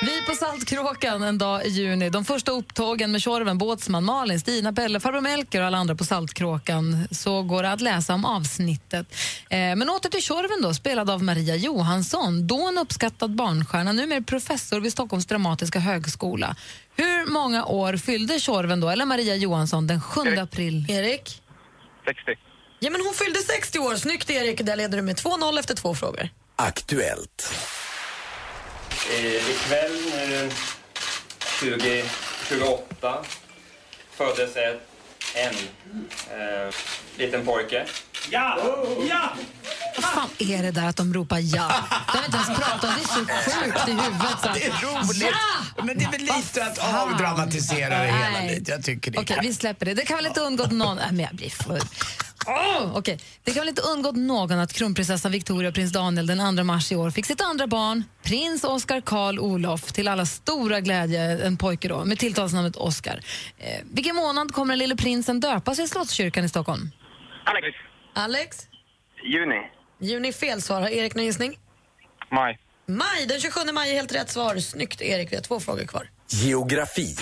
S3: Vi på Saltkråkan en dag i juni. De första upptågen med Tjorven, Båtsman, Malin, Stina, Pelle, farbror Melker och alla andra på Saltkråkan. Så går det att läsa om avsnittet. Eh, men åter till Tjorven då, spelad av Maria Johansson. Då en uppskattad barnstjärna, numera professor vid Stockholms dramatiska högskola. Hur många år fyllde Tjorven då, eller Maria Johansson, den 7 april?
S5: Erik?
S18: 60.
S5: Ja, men hon fyllde 60 år. Snyggt, Erik. Där leder du med 2-0 efter två frågor.
S7: Aktuellt.
S8: Eh, ikväll eh, 20, 28 föddes ett, en eh, liten pojke. Ja! Ja!
S3: Vad fan är det där att de ropar ja? De har inte ens pratat Alltså, om det. är så sjukt i huvudet. Så. här.
S4: Det är roligt.
S3: Ja!
S4: Men det är väl lite att avdramatisera det hela
S3: Nej.
S4: lite. Jag tycker det.
S3: Okej, vi släpper det. Det kan väl inte undgått någon... Nej, men jag blir full. Oh, okej. Det kan väl inte undgått någon att kronprinsessan Victoria och prins Daniel den 2 mars i år fick sitt andra barn, prins Oscar Karl Olof, till alla stora glädje, en pojke då, med tilltalsnamnet Oscar. Eh, vilken månad kommer den lille prinsen döpas i Slottskyrkan i Stockholm?
S18: Alex.
S5: Alex?
S18: Juni.
S5: Juni fel svar. Har Erik någon gissning?
S18: Maj.
S5: Maj. Den 27 maj är helt rätt svar. Snyggt, Erik. Vi har två frågor kvar.
S7: Geografi.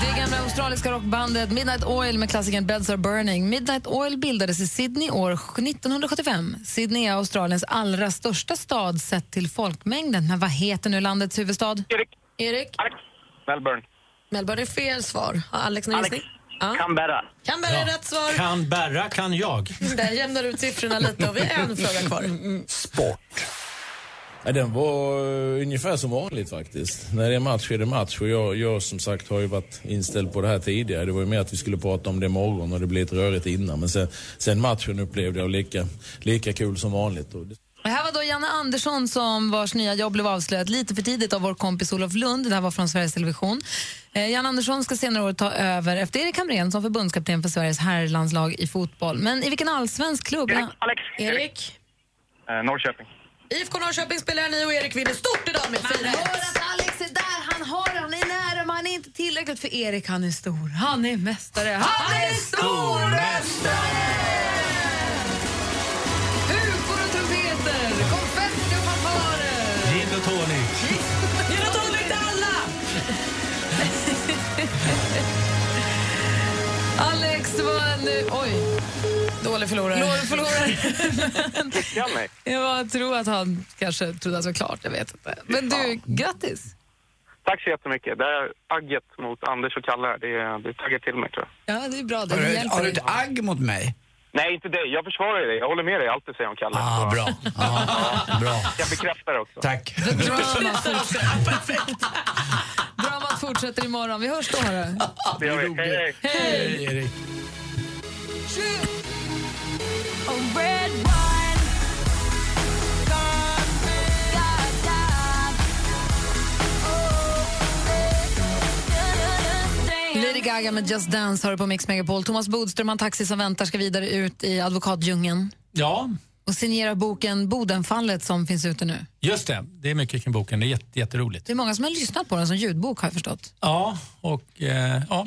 S3: Det gamla australiska rockbandet Midnight Oil med klassikern Beds Are Burning. Midnight Oil bildades i Sydney år 1975. Sydney är Australiens allra största stad sett till folkmängden. Men vad heter nu landets huvudstad?
S18: Erik.
S5: Erik?
S18: Melbourne.
S5: Melbourne är fel svar. Har Alex någon
S18: Alex.
S5: gissning? Ja.
S18: Canberra.
S5: Canberra är
S16: Ja.
S5: rätt svar. Mm,
S16: Kan bära kan jag.
S5: Där jämnar ut siffrorna lite och vi har en fråga kvar.
S12: Ja, den var eh, ungefär som vanligt faktiskt. När det är match är det match och jag, jag som sagt har ju varit inställd på det här tidigare. Det var ju mer att vi skulle prata om det imorgon och det blev lite rörigt innan. Men sen, sen matchen upplevde jag lika, lika kul som vanligt. Och det...
S3: Det här var då Janne Andersson som vars nya jobb blev avslöjat lite för tidigt av vår kompis Olof Lund. Det här var från Sveriges Television. Eh, Janne Andersson ska senare i år ta över efter Erik Hamrén som förbundskapten för Sveriges herrlandslag i fotboll. Men i vilken allsvensk klubb? Erik,
S18: Alex.
S5: Erik?
S18: Eh, Norrköping.
S5: IFK Norrköping spelar ni och Erik vinner stort idag med 4
S3: hör att Alex är där, han har det, han är nära men han är inte tillräckligt för Erik. Han är stor, han är mästare, han är stormästare! Hukor och trumpeter, konfetti och fanfarer!
S16: Gin och tonic.
S5: Gin och tonic till alla!
S3: <laughs> Alex var nu... Oj.
S5: Dålig förlorare.
S3: Dålig förlorare.
S18: Jag mig.
S3: Jag tror att han kanske trodde att det var klart. Jag vet inte. Men du, grattis!
S18: Tack så jättemycket. Det här agget mot Anders och Kalle, det, det taggar till mig tror jag.
S3: Ja, det är bra.
S4: Har
S3: Det
S4: du, har
S3: hjälper
S4: du
S3: dig.
S4: ett agg mot mig?
S18: Nej, inte dig. Jag försvarar dig. Jag håller med dig allt du säger om Kalle.
S4: Ah,
S18: Så-
S4: bra. Ah, bra.
S18: <laughs> Jag bekräftar det också.
S4: Tack.
S3: Dramat fortsätter. Dramat fortsätter imorgon. Vi hörs då. hörru.
S18: Det gör vi. Hej, hej.
S4: Hej, Erik.
S3: Lady Gaga med Just Dance har du på Mix Megapol. Thomas Bodström har en taxi som väntar ska vidare ut i advokatdjungeln
S16: Ja,
S3: och signera boken Bodenfallet som finns ute nu.
S16: just det. Det är mycket kring boken. Det är jätte, jätteroligt.
S3: Det är många som har lyssnat på den som ljudbok har jag förstått.
S16: Ja, och eh, ja.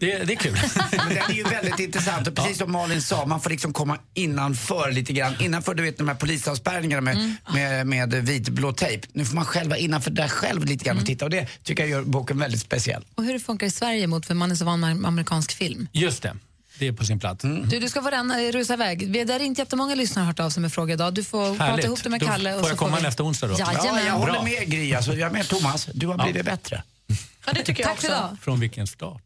S16: Det, det är kul.
S4: Men den är ju väldigt intressant och precis som Malin sa, man får liksom komma innanför lite grann. Innanför du vet de här polisavspärrningarna med,
S3: Mm.
S4: med, med vitblå tejp. Nu får man själv vara innanför där själv lite grann
S3: Mm.
S4: och titta och det tycker jag gör boken väldigt speciell.
S3: Och hur det funkar i Sverige mot, för man är så van med amerikansk film.
S16: Just det. det är på sin plats.
S4: Mm.
S3: Du, du ska få renna, rusa iväg. Vi- Det är inte jättemånga lyssnare har hört av sig med frågor idag. Du får prata ihop det med
S16: Då
S3: Kalle. och
S16: får
S3: så
S16: jag komma
S3: vi-
S16: nästa onsdag då?
S3: Jajamän.
S4: Ja, jag håller
S16: Bra.
S4: med Gry. Alltså, jag är med Thomas. Du har blivit bättre.
S5: Ja, det tycker jag också.
S16: Från vilken start?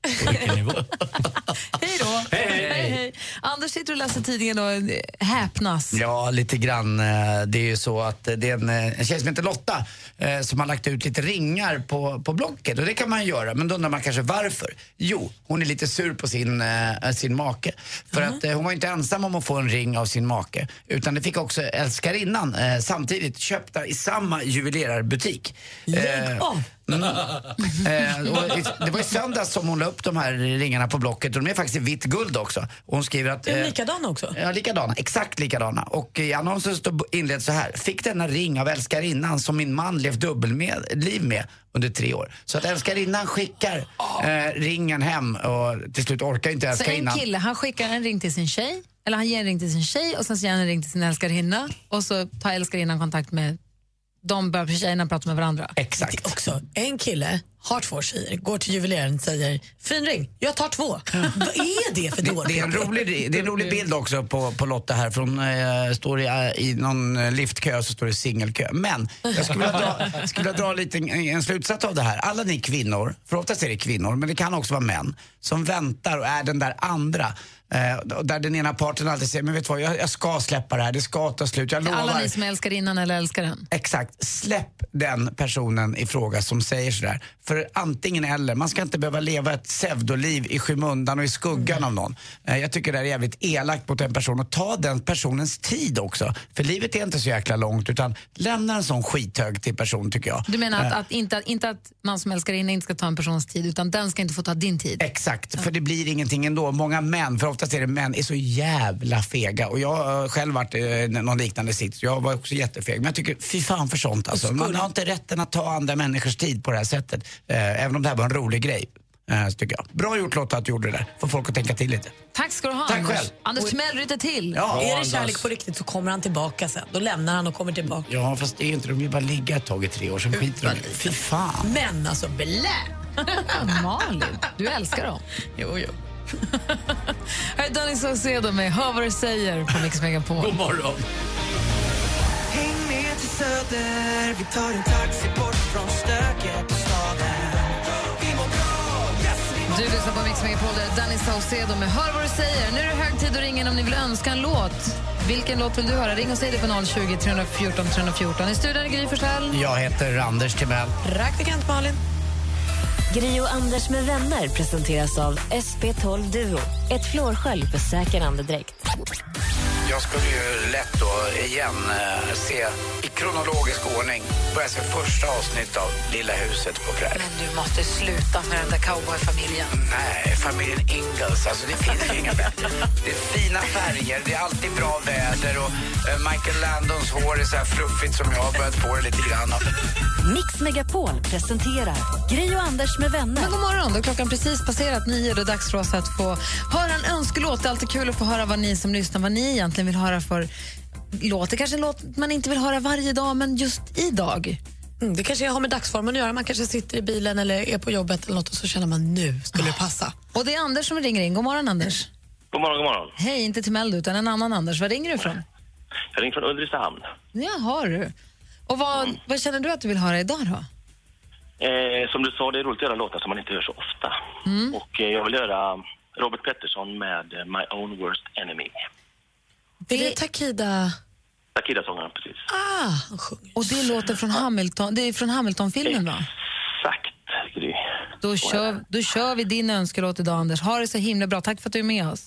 S3: Hej då!
S4: Hej, hej.
S3: Anders sitter och läser tidningen och eh, häpnas.
S4: Ja, lite grann. eh, Det är ju så att eh, det är en, eh, en tjej som heter Lotta eh, som har lagt ut lite ringar på, på Blocket och det kan man göra. Men då undrar man kanske varför? Jo, hon är lite sur på sin, eh, sin make. För att eh, hon var inte ensam om att få en ring av sin make utan det fick också älskarinnan eh, samtidigt köpta i samma juvelerarbutik. Eh, <laughs> Eh, och i- det var i söndags som hon la upp de här ringarna på Blocket och de är faktiskt i vitt guld också. Och hon skriver att...
S5: Är de
S4: eh,
S5: likadana också?
S4: Ja, likadana. Exakt likadana. Och i annonsen stod inleds så här. Fick denna ring av älskarinnan som min man levt dubbelliv med under tre år. Så att älskarinnan skickar eh, ringen hem och till slut orkar inte
S3: Så en
S4: älskarinnan.
S3: kille, han skickar en ring till sin tjej, eller han ger en ring till sin tjej och sen så ger han en ring till sin älskarinna och så tar älskarinnan kontakt med de börjar tjejerna prata med varandra.
S4: Exakt.
S5: Också, en kille har två tjejer, går till juveleraren och säger fin ring, jag tar två. Vad är det för
S4: Det,
S5: dåligt? Mm.
S4: det, är en rolig, det är en rolig bild också på, på Lotta här. För hon eh, står i, eh, i någon eh, liftkö så står det singelkö. Men jag skulle vilja dra, skulle vilja dra lite, en, en slutsats av det här. Alla ni kvinnor, för oftast är det kvinnor, men det kan också vara män, som väntar och är den där andra. Eh, och där den ena parten alltid säger, men vet du vad, jag, jag ska släppa det här, det ska ta slut, jag lovar.
S3: Alla ni som älskar innan eller älskaren.
S4: Exakt. Släpp den personen i fråga som säger sådär. För antingen eller. Man ska inte behöva leva ett pseudoliv i skymundan och i skuggan av någon. Eh, Jag tycker det här är jävligt elakt mot en person. Och ta den personens tid också. För livet är inte så jäkla långt. Utan lämna en sån skithög till person tycker jag.
S3: Du menar att,
S4: Eh,
S3: att, inte, inte att man som älskarinna inte ska ta en persons tid utan den ska inte få ta din tid?
S4: Exakt, för det blir ingenting ändå. Många män, för oftast är det män, är så jävla fega. Och jag har själv varit i någon liknande sits. Jag var också jättefeg. Men jag tycker, fy fan för sånt alltså. Man har inte rätten att ta andra människors tid på det här sättet. Eh, även om det här var en rolig grej. Eh, så tycker jag. Bra gjort Lotta att du gjorde det där. Får folk att tänka till lite.
S3: Tack ska du ha
S4: Tack
S3: Anders.
S4: själv.
S3: Anders Timell ryter till.
S5: är det kärlek på riktigt så kommer han tillbaka sen. Då lämnar han och kommer tillbaka.
S4: Ja, fast det är ju inte, de vill bara ligga ett tag i tre år, sen skiter de i det. Fy fan.
S5: Men alltså, blä!
S3: Malin, du älskar dem.
S5: Jo, jo.
S3: Här är Danny Saucedo med Hör vad du säger på Mix Megapol.
S4: God morgon.
S7: Häng med till Söder, vi tar en taxi bort från stöket i staden. Vi mår bra, yes vi mår
S3: Du lyssnar på Mix Megapol, där Danny Saucedo med Hör vad du säger. Nu är det hög tid att ringa in om ni vill önska en låt. Vilken låt vill du höra? Ring och säg det på 020 314 314. I studion är Gry Forssell.
S4: Jag heter Anders Timell.
S5: Praktikant Malin.
S10: Gri och Anders med vänner presenteras av SP12 Duo. Ett flårskölj för säker andedräkt.
S4: Jag skulle ju lätt då igen eh, se i kronologisk ordning börja se första avsnitt av Lilla huset på prärien.
S3: Du måste sluta med den där cowboyfamiljen.
S4: Nej, familjen Ingalls. Alltså det finns ju inga bättre. Det är fina färger, det är alltid bra väder och eh, Michael Landons hår är så här fluffigt som jag har börjat få det lite grann av.
S10: Mix Megapol presenterar Gri och Anders med vänner.
S3: Men god morgon, då är klockan precis passerat nio. Då är det dags för oss att få höra en önskelåt. Det är alltid kul att få höra vad ni som lyssnar vad ni egentligen vill höra för låt. Det kanske är en låt man inte vill höra varje dag, men just idag.
S5: Mm, det kanske har med dagsformen att göra. Man kanske sitter i bilen eller är på jobbet eller något och så känner man nu skulle det passa.
S3: Och det är Anders som ringer in. God morgon, Anders.
S13: God morgon, god morgon.
S3: Hej, inte till Mello, utan en annan Anders. Var ringer du från?
S13: Jag ringer från Ulricehamn.
S3: Jaha, du. Och vad, vad känner du att du vill höra idag då?
S13: Eh, som du sa, det är roligt att göra låtar som man inte hör så ofta. Och eh, jag vill göra Robert Pettersson med eh, My Own Worst Enemy.
S5: Det... Är det Takida?
S13: Takida-sångaren, precis.
S5: Ah, han sjunger.
S3: Och det låter från Hamilton, det är från Hamilton-filmen va?
S13: Gry.
S3: Då kör, då kör vi din önskelåt idag Anders. Ha det så himla bra. Tack för att du är med oss.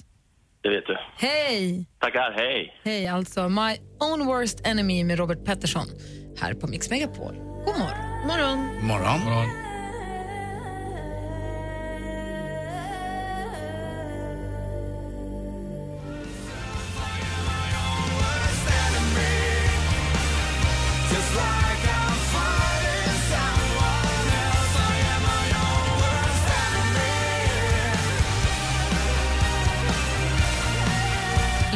S13: Det vet du.
S3: Hej!
S13: Tackar, hej!
S3: Hej, alltså My Own Worst Enemy med Robert Pettersson här på Mix Megapol. God morgon. morgon.
S4: Morgon.
S7: Just like I'm fighting someone else, I am my own worst enemy.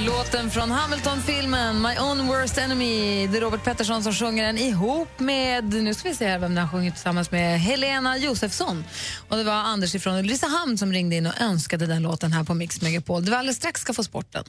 S3: Låt låten från Hamilton-filmen My own worst enemy. Det är Robert Pettersson som sjunger den ihop med, nu ska vi se här vem den har sjungit tillsammans med, Helena Josefsson. Och det var Anders ifrån Ulricehamn som ringde in och önskade den låten här på Mix Megapol. Det var alldeles strax ska få sporten.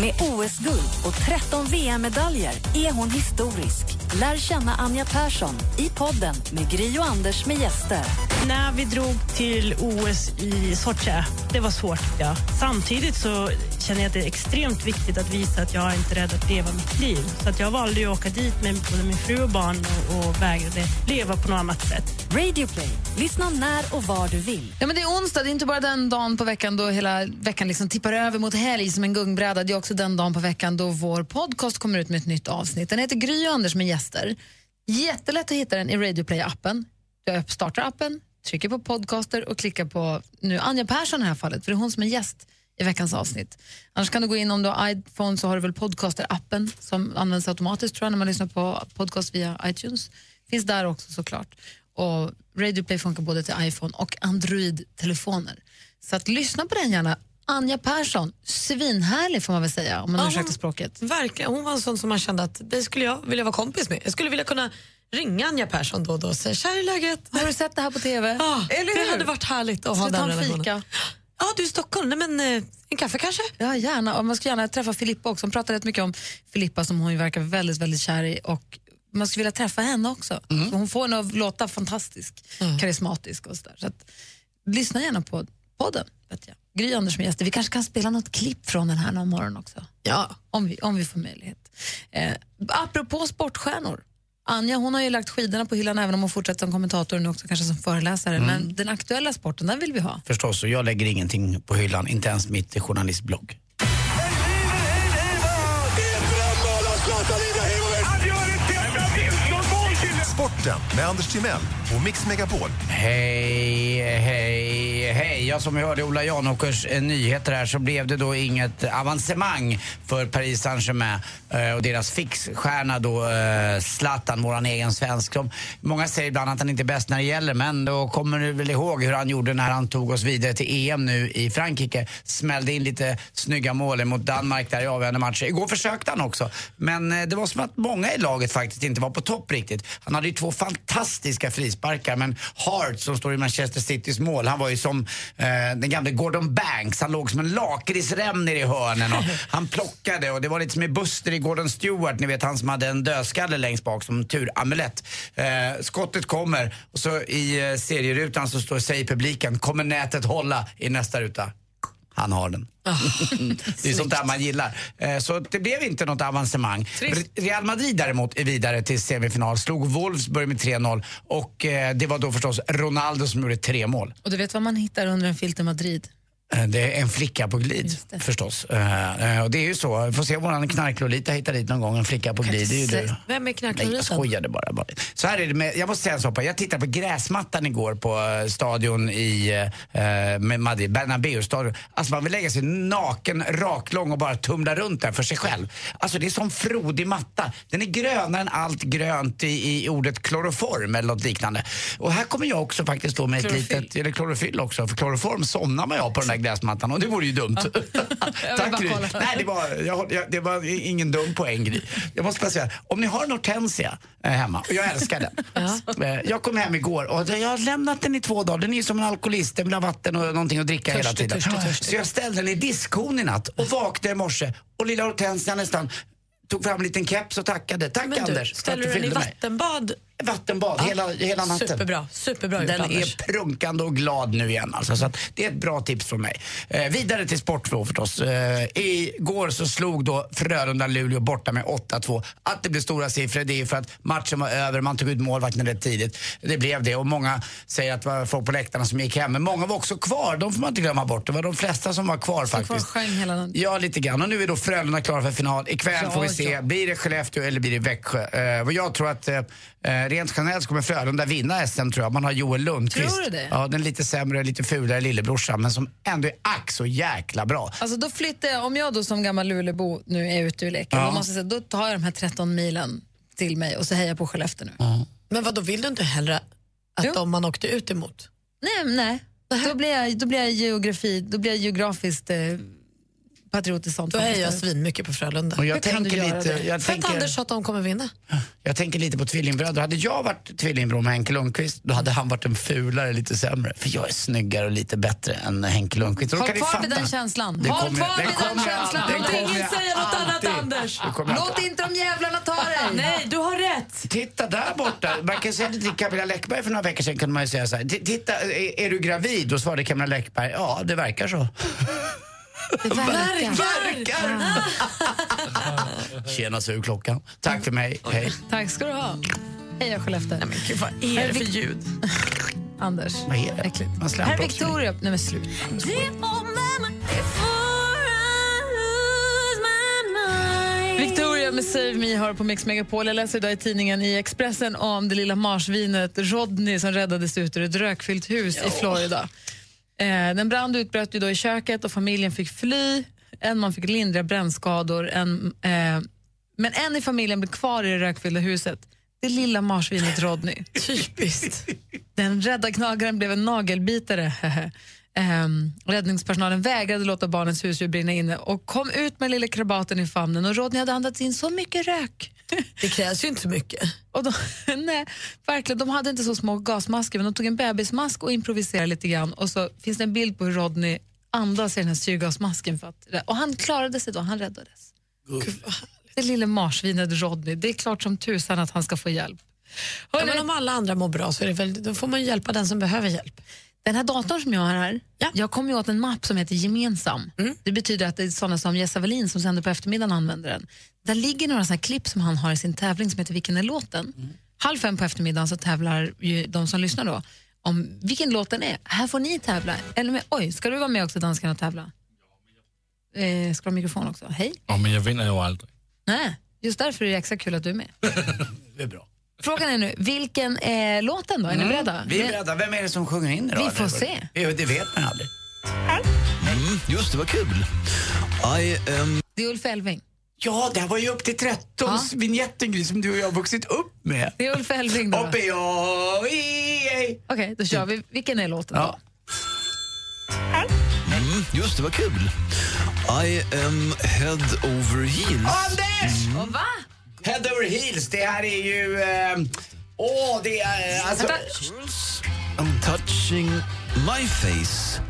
S10: Med OS-guld och 13 VM-medaljer är hon historisk. Lär känna Anja Persson i podden med Gry och Anders med gäster.
S1: När vi drog till OS i Sochi, det var svårt. Ja. Samtidigt så känner jag att det är extremt viktigt att visa att jag är inte är rädd att leva mitt liv. Så att jag valde ju att åka dit med både min fru och barn och, och vägrade leva på något annat sätt.
S10: Radio Play. Lyssna när och var du vill.
S3: Ja, men det är onsdag, det är inte bara den dagen på veckan då hela veckan liksom tippar över mot helg som en gungbräda. Det är också den dagen på veckan då vår podcast kommer ut med ett nytt avsnitt. Den heter Gry och Anders med gäster. Jättelätt att hitta den i Radioplay-appen. Jag startar appen, trycker på podcaster och klickar på nu Anja Persson i det här fallet, för det är hon som är gäst i veckans avsnitt. Annars kan du gå in, om du har iPhone så har du väl podcaster-appen som används automatiskt tror jag när man lyssnar på podcast via iTunes. Finns där också såklart. Och Radio Play funkar både till iPhone och Android-telefoner. Så att lyssna på den gärna. Anja Persson, svinhärlig får man väl säga om man
S5: Ja,
S3: ursäktar
S5: hon-
S3: språket.
S5: Verkligen. Hon var en sån som man kände att det skulle jag vilja vara kompis med. Jag skulle vilja kunna ringa Anja Persson då och då och säga tja hur är läget?
S3: Har du sett det här på TV?
S5: Ja,
S3: Eller hur?
S5: det hade varit härligt att
S3: Ska
S5: ha
S3: vi ta
S5: den
S3: en
S5: relationen.
S3: fika?
S5: Ja, du är i Stockholm. Nej, men, eh, en kaffe kanske?
S3: Ja, gärna. Och man skulle gärna träffa Filippa också. Hon pratar rätt mycket om Filippa som hon ju verkar väldigt, väldigt kär i. Och man skulle vilja träffa henne också.
S5: Mm.
S3: För Hon får henne att låta fantastisk, karismatisk och sådär. Så att, lyssna gärna på podden. Vet jag. Gry Anders med gäster. Vi kanske kan spela något klipp från den här någon morgon också. Ja. Om vi, om vi får möjlighet. Eh, apropå sportstjärnor. Anja hon har ju lagt skidorna på hyllan även om hon fortsätter som kommentator nu också kanske som föreläsare.
S4: Mm.
S3: Men den aktuella sporten, den vill vi ha.
S4: Förstås, och jag lägger ingenting på hyllan, inte ens mitt journalistblogg.
S14: Sporten med Anders Timell och Mix Megapol.
S4: Hej, hej, hej. Ja, som vi hörde Ola Janåkers eh, nyheter här så blev det då inget avancemang för Paris Saint-Germain eh, och deras fixstjärna då eh, Zlatan, våran egen svensk. Som många säger ibland att han inte är bäst när det gäller men då kommer du väl ihåg hur han gjorde när han tog oss vidare till E EM nu i Frankrike. Smällde in lite snygga mål mot Danmark där i avgörande matcher. Igår försökte han också men eh, det var som att många i laget faktiskt inte var på topp riktigt. Han hade ju två fantastiska frisparkar men Hart som står i Manchester Citys mål, han var ju som eh, den gamle Gordon Banks. Han låg som en lakritsrem nere i hörnen och han plockade och det var lite som i Buster i Gordon Stewart, ni vet han som hade en dödskalle längst bak som turamulett. Eh, skottet kommer och så i eh, serierutan så står, säger publiken, kommer nätet hålla i nästa ruta? Han har den. <laughs> det är sånt där man gillar. Eh, Så det blev inte något avancemang. Re- Real Madrid däremot är vidare till semifinal. Slog Wolfsburg med 3-0 och eh, det var då förstås Ronaldo som gjorde tre mål.
S3: Och du vet vad man hittar under en filt i Madrid?
S4: Eh, Det är en flicka på glid förstås. Eh, eh, Och det är ju så. Vi får se om våran knarklolita hittar dit någon gång. En flicka på glid, det är ju du.
S5: Vem är
S4: Nej, alltså, jag
S5: knarkloliten?
S4: skojade bara. bara. Så här är det med, jag måste säga en sak. bara. Jag tittade på gräsmattan igår på eh, stadion i eh, med Madrid, Bernabeu-stadion. Alltså man vill lägga sig naken, raklång och bara tumla runt där för sig själv. Alltså det är som frodig matta. Den är grönare än allt grönt i, i ordet kloroform eller något liknande. Och här kommer jag också faktiskt då med ett
S7: Klorofyll.
S4: litet, eller klorofyll också, för kloroform somnar man ju av på den där gräsmattan och det vore ju dumt. Tack Gry. Nej, det var, jag, håll- jag, det var i- ingen dum poäng Gry. Jag måste bara säga, om ni har en hortensia eh, hemma, och jag älskar
S5: <laughs>
S4: den. Eh, Jag kom hem igår och jag har lämnat den i två dagar. Den är ju som en alkoholist, den vill ha vatten och någonting att dricka hela
S7: Törstig,
S4: tiden.
S7: törstig, törstig.
S4: Så jag ställde den i diskhon i natt och vaknade i morse och lilla hortensia nästan tog fram en liten keps och tackade. Tack
S5: Men du,
S4: Anders. för
S5: ställer
S4: att
S5: du den i
S4: fyllde mig.
S5: vattenbad?
S4: Vattenbad hela, hela natten.
S5: Superbra, superbra gjort
S4: Den
S5: Anders.
S4: är prunkande och glad nu igen. Alltså, så att det är ett bra tips från mig. Eh, vidare till sportfrågor förstås. Eh, igår så slog då Frölunda Luleå borta med 8-2. Att det blev stora siffror det är för att matchen var över, man tog ut målvakten rätt tidigt. Det blev det och många säger att det var folk på läktarna som gick hem. Men många var också kvar, de får man inte glömma bort. Det var de flesta som var kvar
S3: Kvar
S4: faktiskt.
S3: sjöng hela den.
S4: Ja, lite grann. Och nu är då Frölunda klara för final. Ikväll
S3: Ja,
S4: får vi se.
S3: ja.
S4: Blir det Skellefteå eller blir det Växjö? Eh, vad jag tror att eh, eh, rent generellt så kommer Frölunda vinna SM tror jag. Man har Joel Lundqvist.
S3: Tror du det?
S4: Ja, den lite sämre, lite fulare lillebrorsan men som ändå är ack så jäkla bra.
S3: Alltså då flyttar jag, om jag då som gammal Lulebo nu är ute ur leken,
S4: Ja.
S3: då, måste jag, säga, då tar jag de här 13 milen till mig och så hejar jag på Skellefteå nu.
S5: Men vad då vill du inte hellre att de man åkte ut emot?
S3: Nej, nej. Då blir jag, då blir jag, geografi, då blir jag geografiskt eh, patriotisk. sånt
S5: Då är
S3: faktiskt.
S5: jag svinmycket på Frölunda.
S4: Och jag
S5: Hur kan
S4: tänker
S5: du göra
S4: lite-
S5: det?
S4: jag
S5: För
S4: tänker-
S5: att Anders sa att de kommer vinna.
S4: Jag tänker lite på tvillingbröder. Hade jag varit tvillingbror med Henke Lundqvist, då hade han varit en fulare, lite sämre. För jag är snyggare och lite bättre än Henke Lundqvist. Och då
S3: Håll
S4: kan ni
S3: kvar vid
S4: fatta.
S3: den känslan.
S4: Det
S3: Håll
S4: kommer-
S3: kvar
S4: det
S3: vid den
S4: kommer jag-
S3: känslan.
S4: det
S3: Låt
S4: kommer
S3: ingen
S4: jag
S3: säga något annat,
S4: alltid.
S3: Anders.
S4: Det kommer jag
S3: Låt inte de jävlarna
S4: <laughs>
S3: ta dig.
S5: Nej, du har rätt.
S4: Titta där borta. Man kan säga det till Camilla Läckberg för några veckor sedan kunde man ju säga så här. "Ti- Titta, är, är du gravid? Då svarade Camilla Läckberg, ja det verkar <laughs> så.
S3: Det verkar.
S4: Tjena surklockan. Tack för mig, hej.
S3: Tack ska du ha. Hej, jag Skellefteå. Nej, men gud, vad
S5: är det för ljud?
S3: <laughs> Anders.
S4: Vad är det?
S3: Äckligt.
S4: Man
S3: Här är
S4: slamproffsar.
S3: Victoria. Nej, men slut. Victoria med Save Me har på Mix Megapol. Jag läser idag i tidningen i Expressen om det lilla marsvinet Rodney som räddades ut ur ett rökfyllt hus i Florida. Eh, den brand utbröt ju då i köket och familjen fick fly. En man fick lindriga brännskador. En, eh, men en i familjen blev kvar i det rökfyllda huset. Det lilla marsvinet Rodney.
S5: Typiskt.
S3: Den rädda gnagaren blev en nagelbitare. <laughs> Ehm, räddningspersonalen vägrade låta barnens husdjur brinna inne och kom ut med lille krabaten i famnen och Rodney hade andats in så mycket rök.
S5: Det krävs ju inte så mycket.
S3: Och de, <laughs> nej, verkligen, de hade inte så små gasmasker men de tog en bebismask och improviserade lite grann och så finns det en bild på hur Rodney andas i den här syrgasmasken. För att, och han klarade sig då, han räddades. Det lilla marsvinet Rodney, det är klart som tusan att han ska få hjälp.
S5: Ja, men om alla andra mår bra så är det väl, då får man ju hjälpa den som behöver hjälp.
S3: Den här datorn som jag har här, jag kommer ju åt en mapp som heter Gemensam.
S4: Mm.
S3: Det betyder att det är sådana som Jesse Wallin som sänder på eftermiddagen använder den. Där ligger några sådana här klipp som han har i sin tävling som heter Vilken är låten?
S4: Mm.
S3: Halv fem på eftermiddagen så tävlar ju de som lyssnar då om vilken låt den är. Här får ni tävla. Eller med, oj, ska du vara med också danskarna och tävla? Eh, ska du ha mikrofon också? Hej.
S17: Ja, men jag vinner ju aldrig.
S3: Nej, just därför är det extra kul att du är med.
S4: <laughs> Det är bra.
S3: Frågan är nu, vilken är låten då? Är ni beredda?
S4: Mm. Vi är beredda. Vem är det som sjunger in idag?
S3: Vi får se.
S4: Ja, Det vet man aldrig.
S15: Mm, just det, vad kul. I am...
S3: Det är Ulf Elfving.
S4: Ja, det här var ju upp till 13 ja. vignetten Gry, som du och jag har vuxit upp med.
S3: Det är Ulf Elfving då.
S4: Uppe jag Okej,
S3: då kör vi. Vilken är låten då?
S15: Mm, just det, vad kul. I am head over heels.
S4: Anders!
S3: Mm. Och va?
S4: Head over heels, det här är ju... eh, Åh, det är... eh, Alltså,
S15: I'm touching my face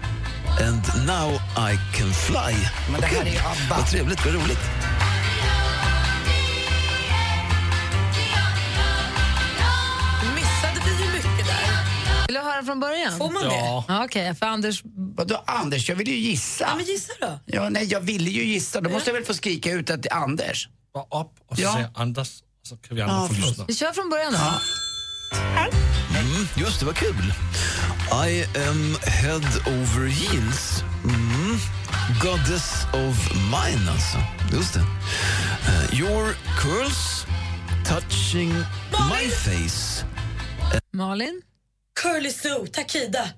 S15: and now I can fly.
S4: Men det här är ju ABBA.
S15: Vad trevligt, vad roligt.
S5: Missade vi ju mycket där.
S3: Vill du höra från början?
S5: Får man det?
S4: Ja.
S3: Ja, Okej, för Anders...
S4: Vadå Anders? Jag ville ju gissa. Ja, men
S5: gissa då.
S4: Ja, nej, jag ville ju gissa. Då måste jag väl få skrika ut att det är Anders.
S17: Bara upp och
S4: Ja.
S17: se Anders, så kan vi andra få lyssna.
S3: Vi kör från början då.
S15: Mm, just det, vad kul. I am head over heels. Mm. Goddess of mine, alltså. Just det. Eh, your curls touching my face.
S3: Malin?
S5: Curly Sue, Takida.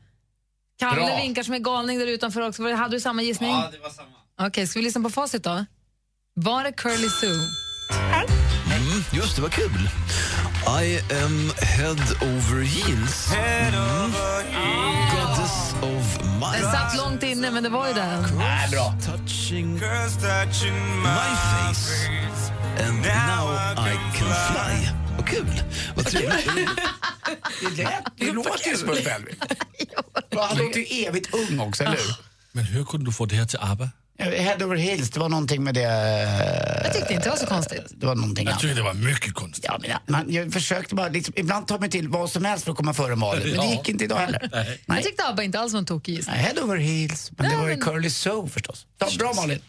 S3: Kalle
S15: Bra.
S3: vinkar som är galning där utanför också. Var- Hade du samma gissning?
S15: Ja,
S3: det var samma. Okej, ska vi lyssna på facit då? Var det Curly Sue?
S15: Mm, just det, vad kul. I am head over heels. Mm. Goddess of mine.
S3: Den satt långt inne, men det var ju den.
S15: Nej, bra. Touching my face. And now I can fly. Vad kul. Vad
S4: <laughs>
S15: trevligt.
S4: Det, lät, det låter ju som Ulf Elfving. Han låter alltså, ju evigt ung också, eller hur?
S17: Men hur kunde du få det här till ABBA?
S4: Head over heels, det var någonting med det... eh,
S3: Jag tyckte inte det var så konstigt.
S4: Det var någonting
S17: Jag
S4: annat.
S17: tycker det var mycket konstigt.
S4: Ja, men jag, man, jag försökte bara, liksom, ibland tar man till vad som helst för att komma före Malin. Men det
S17: Ja.
S4: gick inte idag heller. Nej.
S3: Jag tyckte ABBA inte alls var en tokig gissning.
S4: Head over heels, men det var ju Curly Soul förstås. Ja, bra Malin.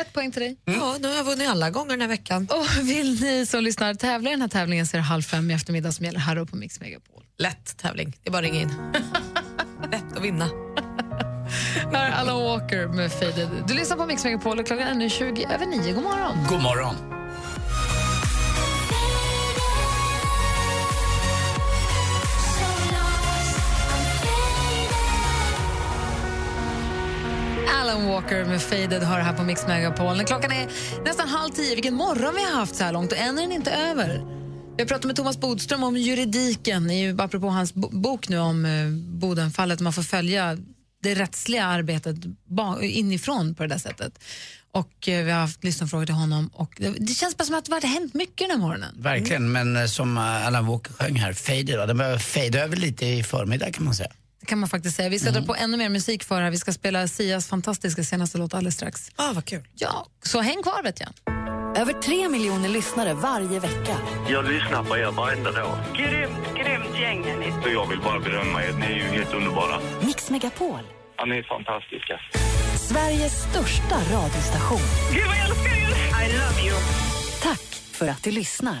S3: Ett poäng till dig.
S5: Ja, nu har jag vunnit alla gånger den här veckan.
S3: Och vill ni som lyssnar tävla i den här tävlingen så är det halv fem i eftermiddag som gäller här uppe på Mix Megapol.
S5: Lätt tävling, det är bara att ringa
S3: <laughs>
S5: in. Lätt att vinna.
S3: Här är Alan Walker med Faded. Du lyssnar på Mix Megapol och klockan är nu 20 över 9. God morgon!
S4: God morgon.
S3: Alan Walker med Faded har det här på Mix Megapol. När Klockan är nästan halv tio. Vilken morgon vi har haft så här långt och än är den inte över. Jag pratade med Thomas Bodström om juridiken, i- apropå hans bo- bok nu om eh, Bodenfallet. Man får följa det rättsliga arbetet ba- inifrån på det där sättet. Och eh, vi har haft lyssnarfrågor till honom och det, det känns bara som att det har hänt mycket den här morgonen.
S4: Verkligen, men eh, som eh, Allan Walker sjöng här, fade idag. Den börjar fade över lite i förmiddag kan man säga.
S3: Det kan man faktiskt säga. Vi ska
S4: Mhm.
S3: dra på ännu mer musik för här. Vi ska spela Sias fantastiska senaste låt alldeles strax.
S5: Ah, vad kul.
S3: Ja, så häng kvar vet jag.
S10: Över tre miljoner lyssnare varje vecka.
S13: Jag lyssnar på er varenda dag.
S21: Grymt, grymt gäng är ni.
S13: Och jag vill bara berömma er. Ni är ju helt underbara.
S10: Mix Megapol,
S13: Ja, ni är fantastiska.
S10: Sveriges största radiostation.
S21: Gud vad jag älskar er! I love you.
S10: Tack för att du lyssnar.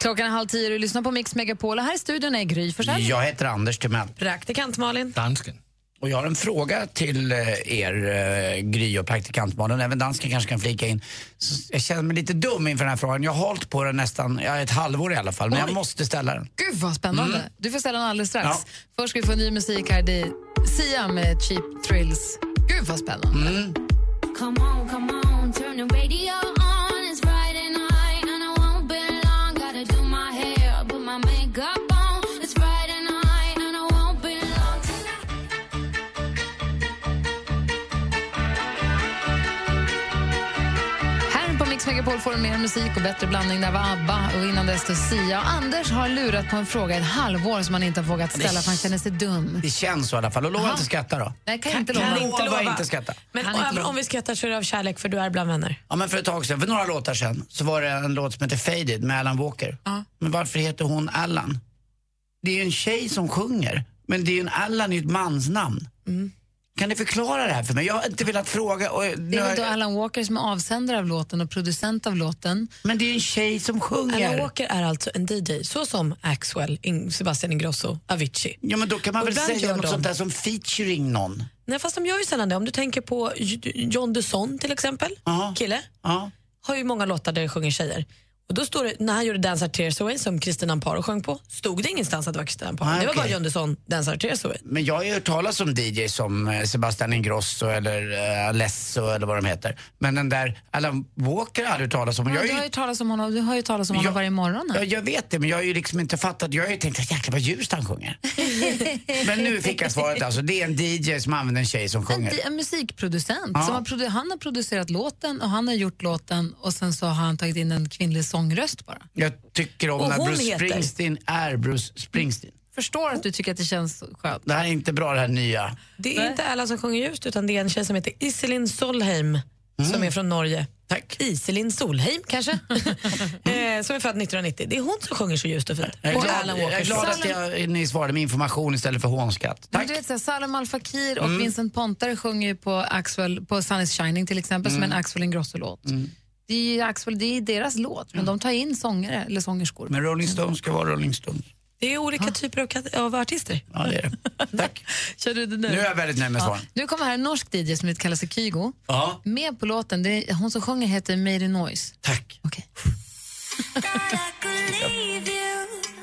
S3: Klockan är halv tio och du lyssnar på Mix Megapol och här i studion är Gry Forssell.
S4: Jag heter Anders Timell.
S3: Praktikant Malin.
S4: Dansken. Och jag har en fråga till eh, er, eh, Gry och praktikantbarnen. Även dansken kanske kan flika in. Så jag känner mig lite dum inför den här frågan. Jag har hållit på den nästan ja, ett halvår i alla fall, men jag måste ställa den.
S3: Gud vad spännande. Du får ställa den alldeles strax.
S4: Mm. Ja.
S3: Först ska vi få ny musik här. Det är Sia med Cheap Thrills. Gud vad spännande.
S4: Mm.
S24: Come on, come on, turn the radio on. It's Friday night, and I won't be long. Gotta do my hair, put my makeup on. It's Friday night, and I won't be long.
S3: Här på Mix Megapol får du mer musik och bättre blandning. Där var ABBA och innan dess då Sia. Och Anders har lurat på en fråga i ett halvår som han inte har vågat ställa för han känner sig dum.
S4: Det känns så i alla fall. Och lova inte skratta då.
S3: Nej, kan jag inte
S4: Kan
S3: lova.
S4: inte lova inte skratta.
S5: Men
S3: Kan inte
S5: även
S3: lova.
S5: om vi skrattar så är det av kärlek för du är bland vänner.
S4: Ja, men för ett tag sedan, för några låtar sedan, så var det en låt som heter Faded med Alan Walker. Men varför heter hon Allan? Det är ju en tjej som sjunger, men det är ju en Allan är ju ett mansnamn. Kan ni förklara det här för mig? Jag har inte velat fråga. Och,
S3: Mm. Det är väl då Alan Walker som är avsändare av låten och producent av låten.
S4: Men det är en tjej som sjunger.
S5: Alan Walker är alltså en DJ, så som Axwell, In- Sebastian Ingrosso, Avicii.
S4: Ja, men då kan man väl säga något sånt där som featuring någon?
S5: Nej, fast de gör ju sällan det. Om du tänker på J- John Dusson till exempel, kille, har ju många låtar där det sjunger tjejer. Och då står det, när han gjorde Dance Our Tears Away som Kristina Amparo sjöng på, stod det ingenstans att det var Kristina Amparo.
S4: Ah,
S5: det var
S4: okej.
S5: bara John Dusson, Dance Our Tears Away.
S4: Men jag har ju hört talas om DJ som eh, Sebastian Ingrosso eller eh, Alesso eller vad de heter. Men den där Alan Walker har jag aldrig hört talas om. Och
S3: Ja,
S4: jag är
S3: du
S4: ju
S3: har ju talat om honom, du har ju talat om honom
S4: Jag-
S3: varje morgon.
S4: Ja, jag vet det, men jag har ju liksom inte fattat. Jag har ju tänkt, jäklar vad ljust han sjunger. men nu fick jag svaret alltså. Det är en DJ som använder en tjej som
S3: En,
S4: sjunger.
S3: di- en musikproducent.
S4: Ja.
S3: Som har produ- han har producerat låten och han har gjort låten och sen så har han tagit in en kvinnlig sångröst bara.
S4: Jag tycker om
S3: Och
S4: när
S3: hon
S4: Bruce
S3: heter?
S4: Springsteen är Bruce Springsteen.
S3: Förstår att du tycker att det känns skönt.
S4: Det här är inte bra det här nya.
S5: Det är inte alla som sjunger ljust utan det är en tjej som heter Iselin Solheim
S3: Mm.
S5: som är från Norge.
S4: Tack.
S5: Iselin Solheim
S3: <laughs>
S5: kanske? eh, som är född 1990. Det är hon som sjunger så ljust och fint.
S4: Jag är
S5: Och
S4: glad,
S5: Alan Walker.
S4: jag är glad att jag, ni svarade med information istället för hånskatt.
S3: Men du vet, så här, Salem Al Fakir och
S4: Mm.
S3: Vincent Pontare sjunger ju på, Axwell, på Sun is Shining till exempel, som är
S4: Mm.
S3: en Axwell Ingrosso-låt. Det är ju Axwell, det är deras låt,
S4: Mm.
S3: men de tar in sångare eller sångerskor.
S4: Men Rolling Stones ska vara Rolling Stones.
S5: Det är olika typer av, kat- av artister.
S4: Ja, det är det.
S3: Kör du det
S4: Nu är jag väldigt nöjd med
S3: ja.
S4: svaren.
S3: Nu kommer här en norsk DJ som heter- kallar sig Kygo.
S4: Ja.
S3: Med på låten, det är, hon som sjunger heter Made in Noise.
S4: Tack.
S24: Leave you,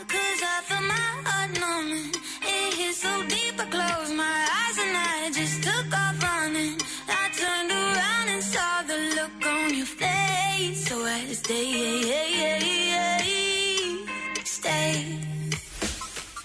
S24: 'cause I feel my heart numbing. It hit so deep, I closed my eyes and I just took off running. I turned around and saw the look on your face, so I stayed, stayed.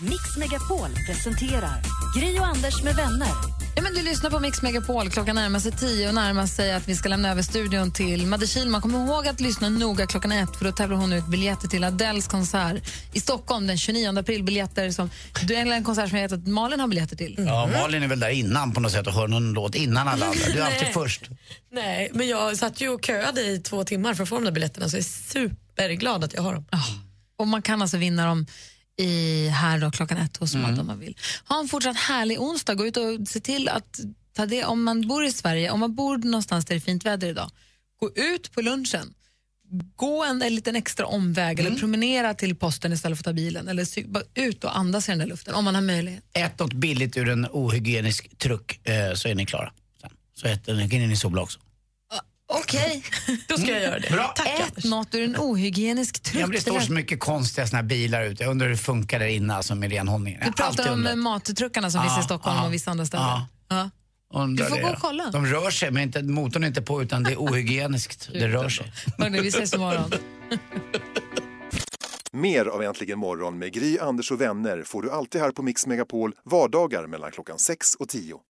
S10: Mix Megapol presenterar Gri och Anders med vänner.
S3: Ja, men du lyssnar på Mix Megapol. Klockan närmar sig tio och närmar sig att vi ska lämna över studion till Madde Kihlman. Kom ihåg att lyssna noga klockan ett för då tävlar hon ut biljetter till Adeles konsert i Stockholm den 29 april. Biljetter som, du är en konsert som jag vet att Malin har biljetter till.
S4: Ja, Malin är väl där innan på något sätt och hör någon låt innan alla andra. Du är alltid
S5: Nej.
S4: först.
S5: Nej, men jag satt ju och köade i två timmar för att få de där biljetterna så jag är superglad att jag har dem.
S3: Ah. Och man kan alltså vinna dem i, här då, klockan ett hos
S5: Mm.
S3: Madde om man vill. Ha en fortsatt härlig onsdag. Gå ut och se till att ta det, om man bor i Sverige, om man bor någonstans där det är fint väder idag, gå ut på lunchen. Gå en, en liten extra omväg eller promenera till posten istället för att ta bilen. Eller cy- bara ut och andas i den där luften om man har möjlighet.
S4: Ät något billigt ur en ohygienisk truck eh, så är ni klara. Sen. Så äter ni, kan ni sola också.
S3: Okej.
S5: Då ska jag göra det.
S4: Bra.
S3: Ät något ur en ohygienisk
S4: Ja,
S3: truck.
S4: men det står så mycket konstiga såna här bilar ute. Jag undrar hur det funkar där inne alltså med renhållningen.
S3: du
S4: Jag har alltid
S3: pratar om
S4: undrat.
S3: eh, mattruckarna som
S4: Ja,
S3: finns i Stockholm
S4: ja,
S3: och vissa andra ställen.
S4: ja.
S3: Ja.
S4: Undrar
S3: Du får
S4: det,
S3: gå och
S4: ja.
S3: kolla.
S4: De rör sig, men inte, motorn är inte på utan det är ohygieniskt. det rör sig.
S3: Hörni, vi ses imorgon.
S14: Mer av Äntligen morgon med Gry, Anders och vänner får du alltid här på Mix Megapol vardagar mellan klockan 6 och 10.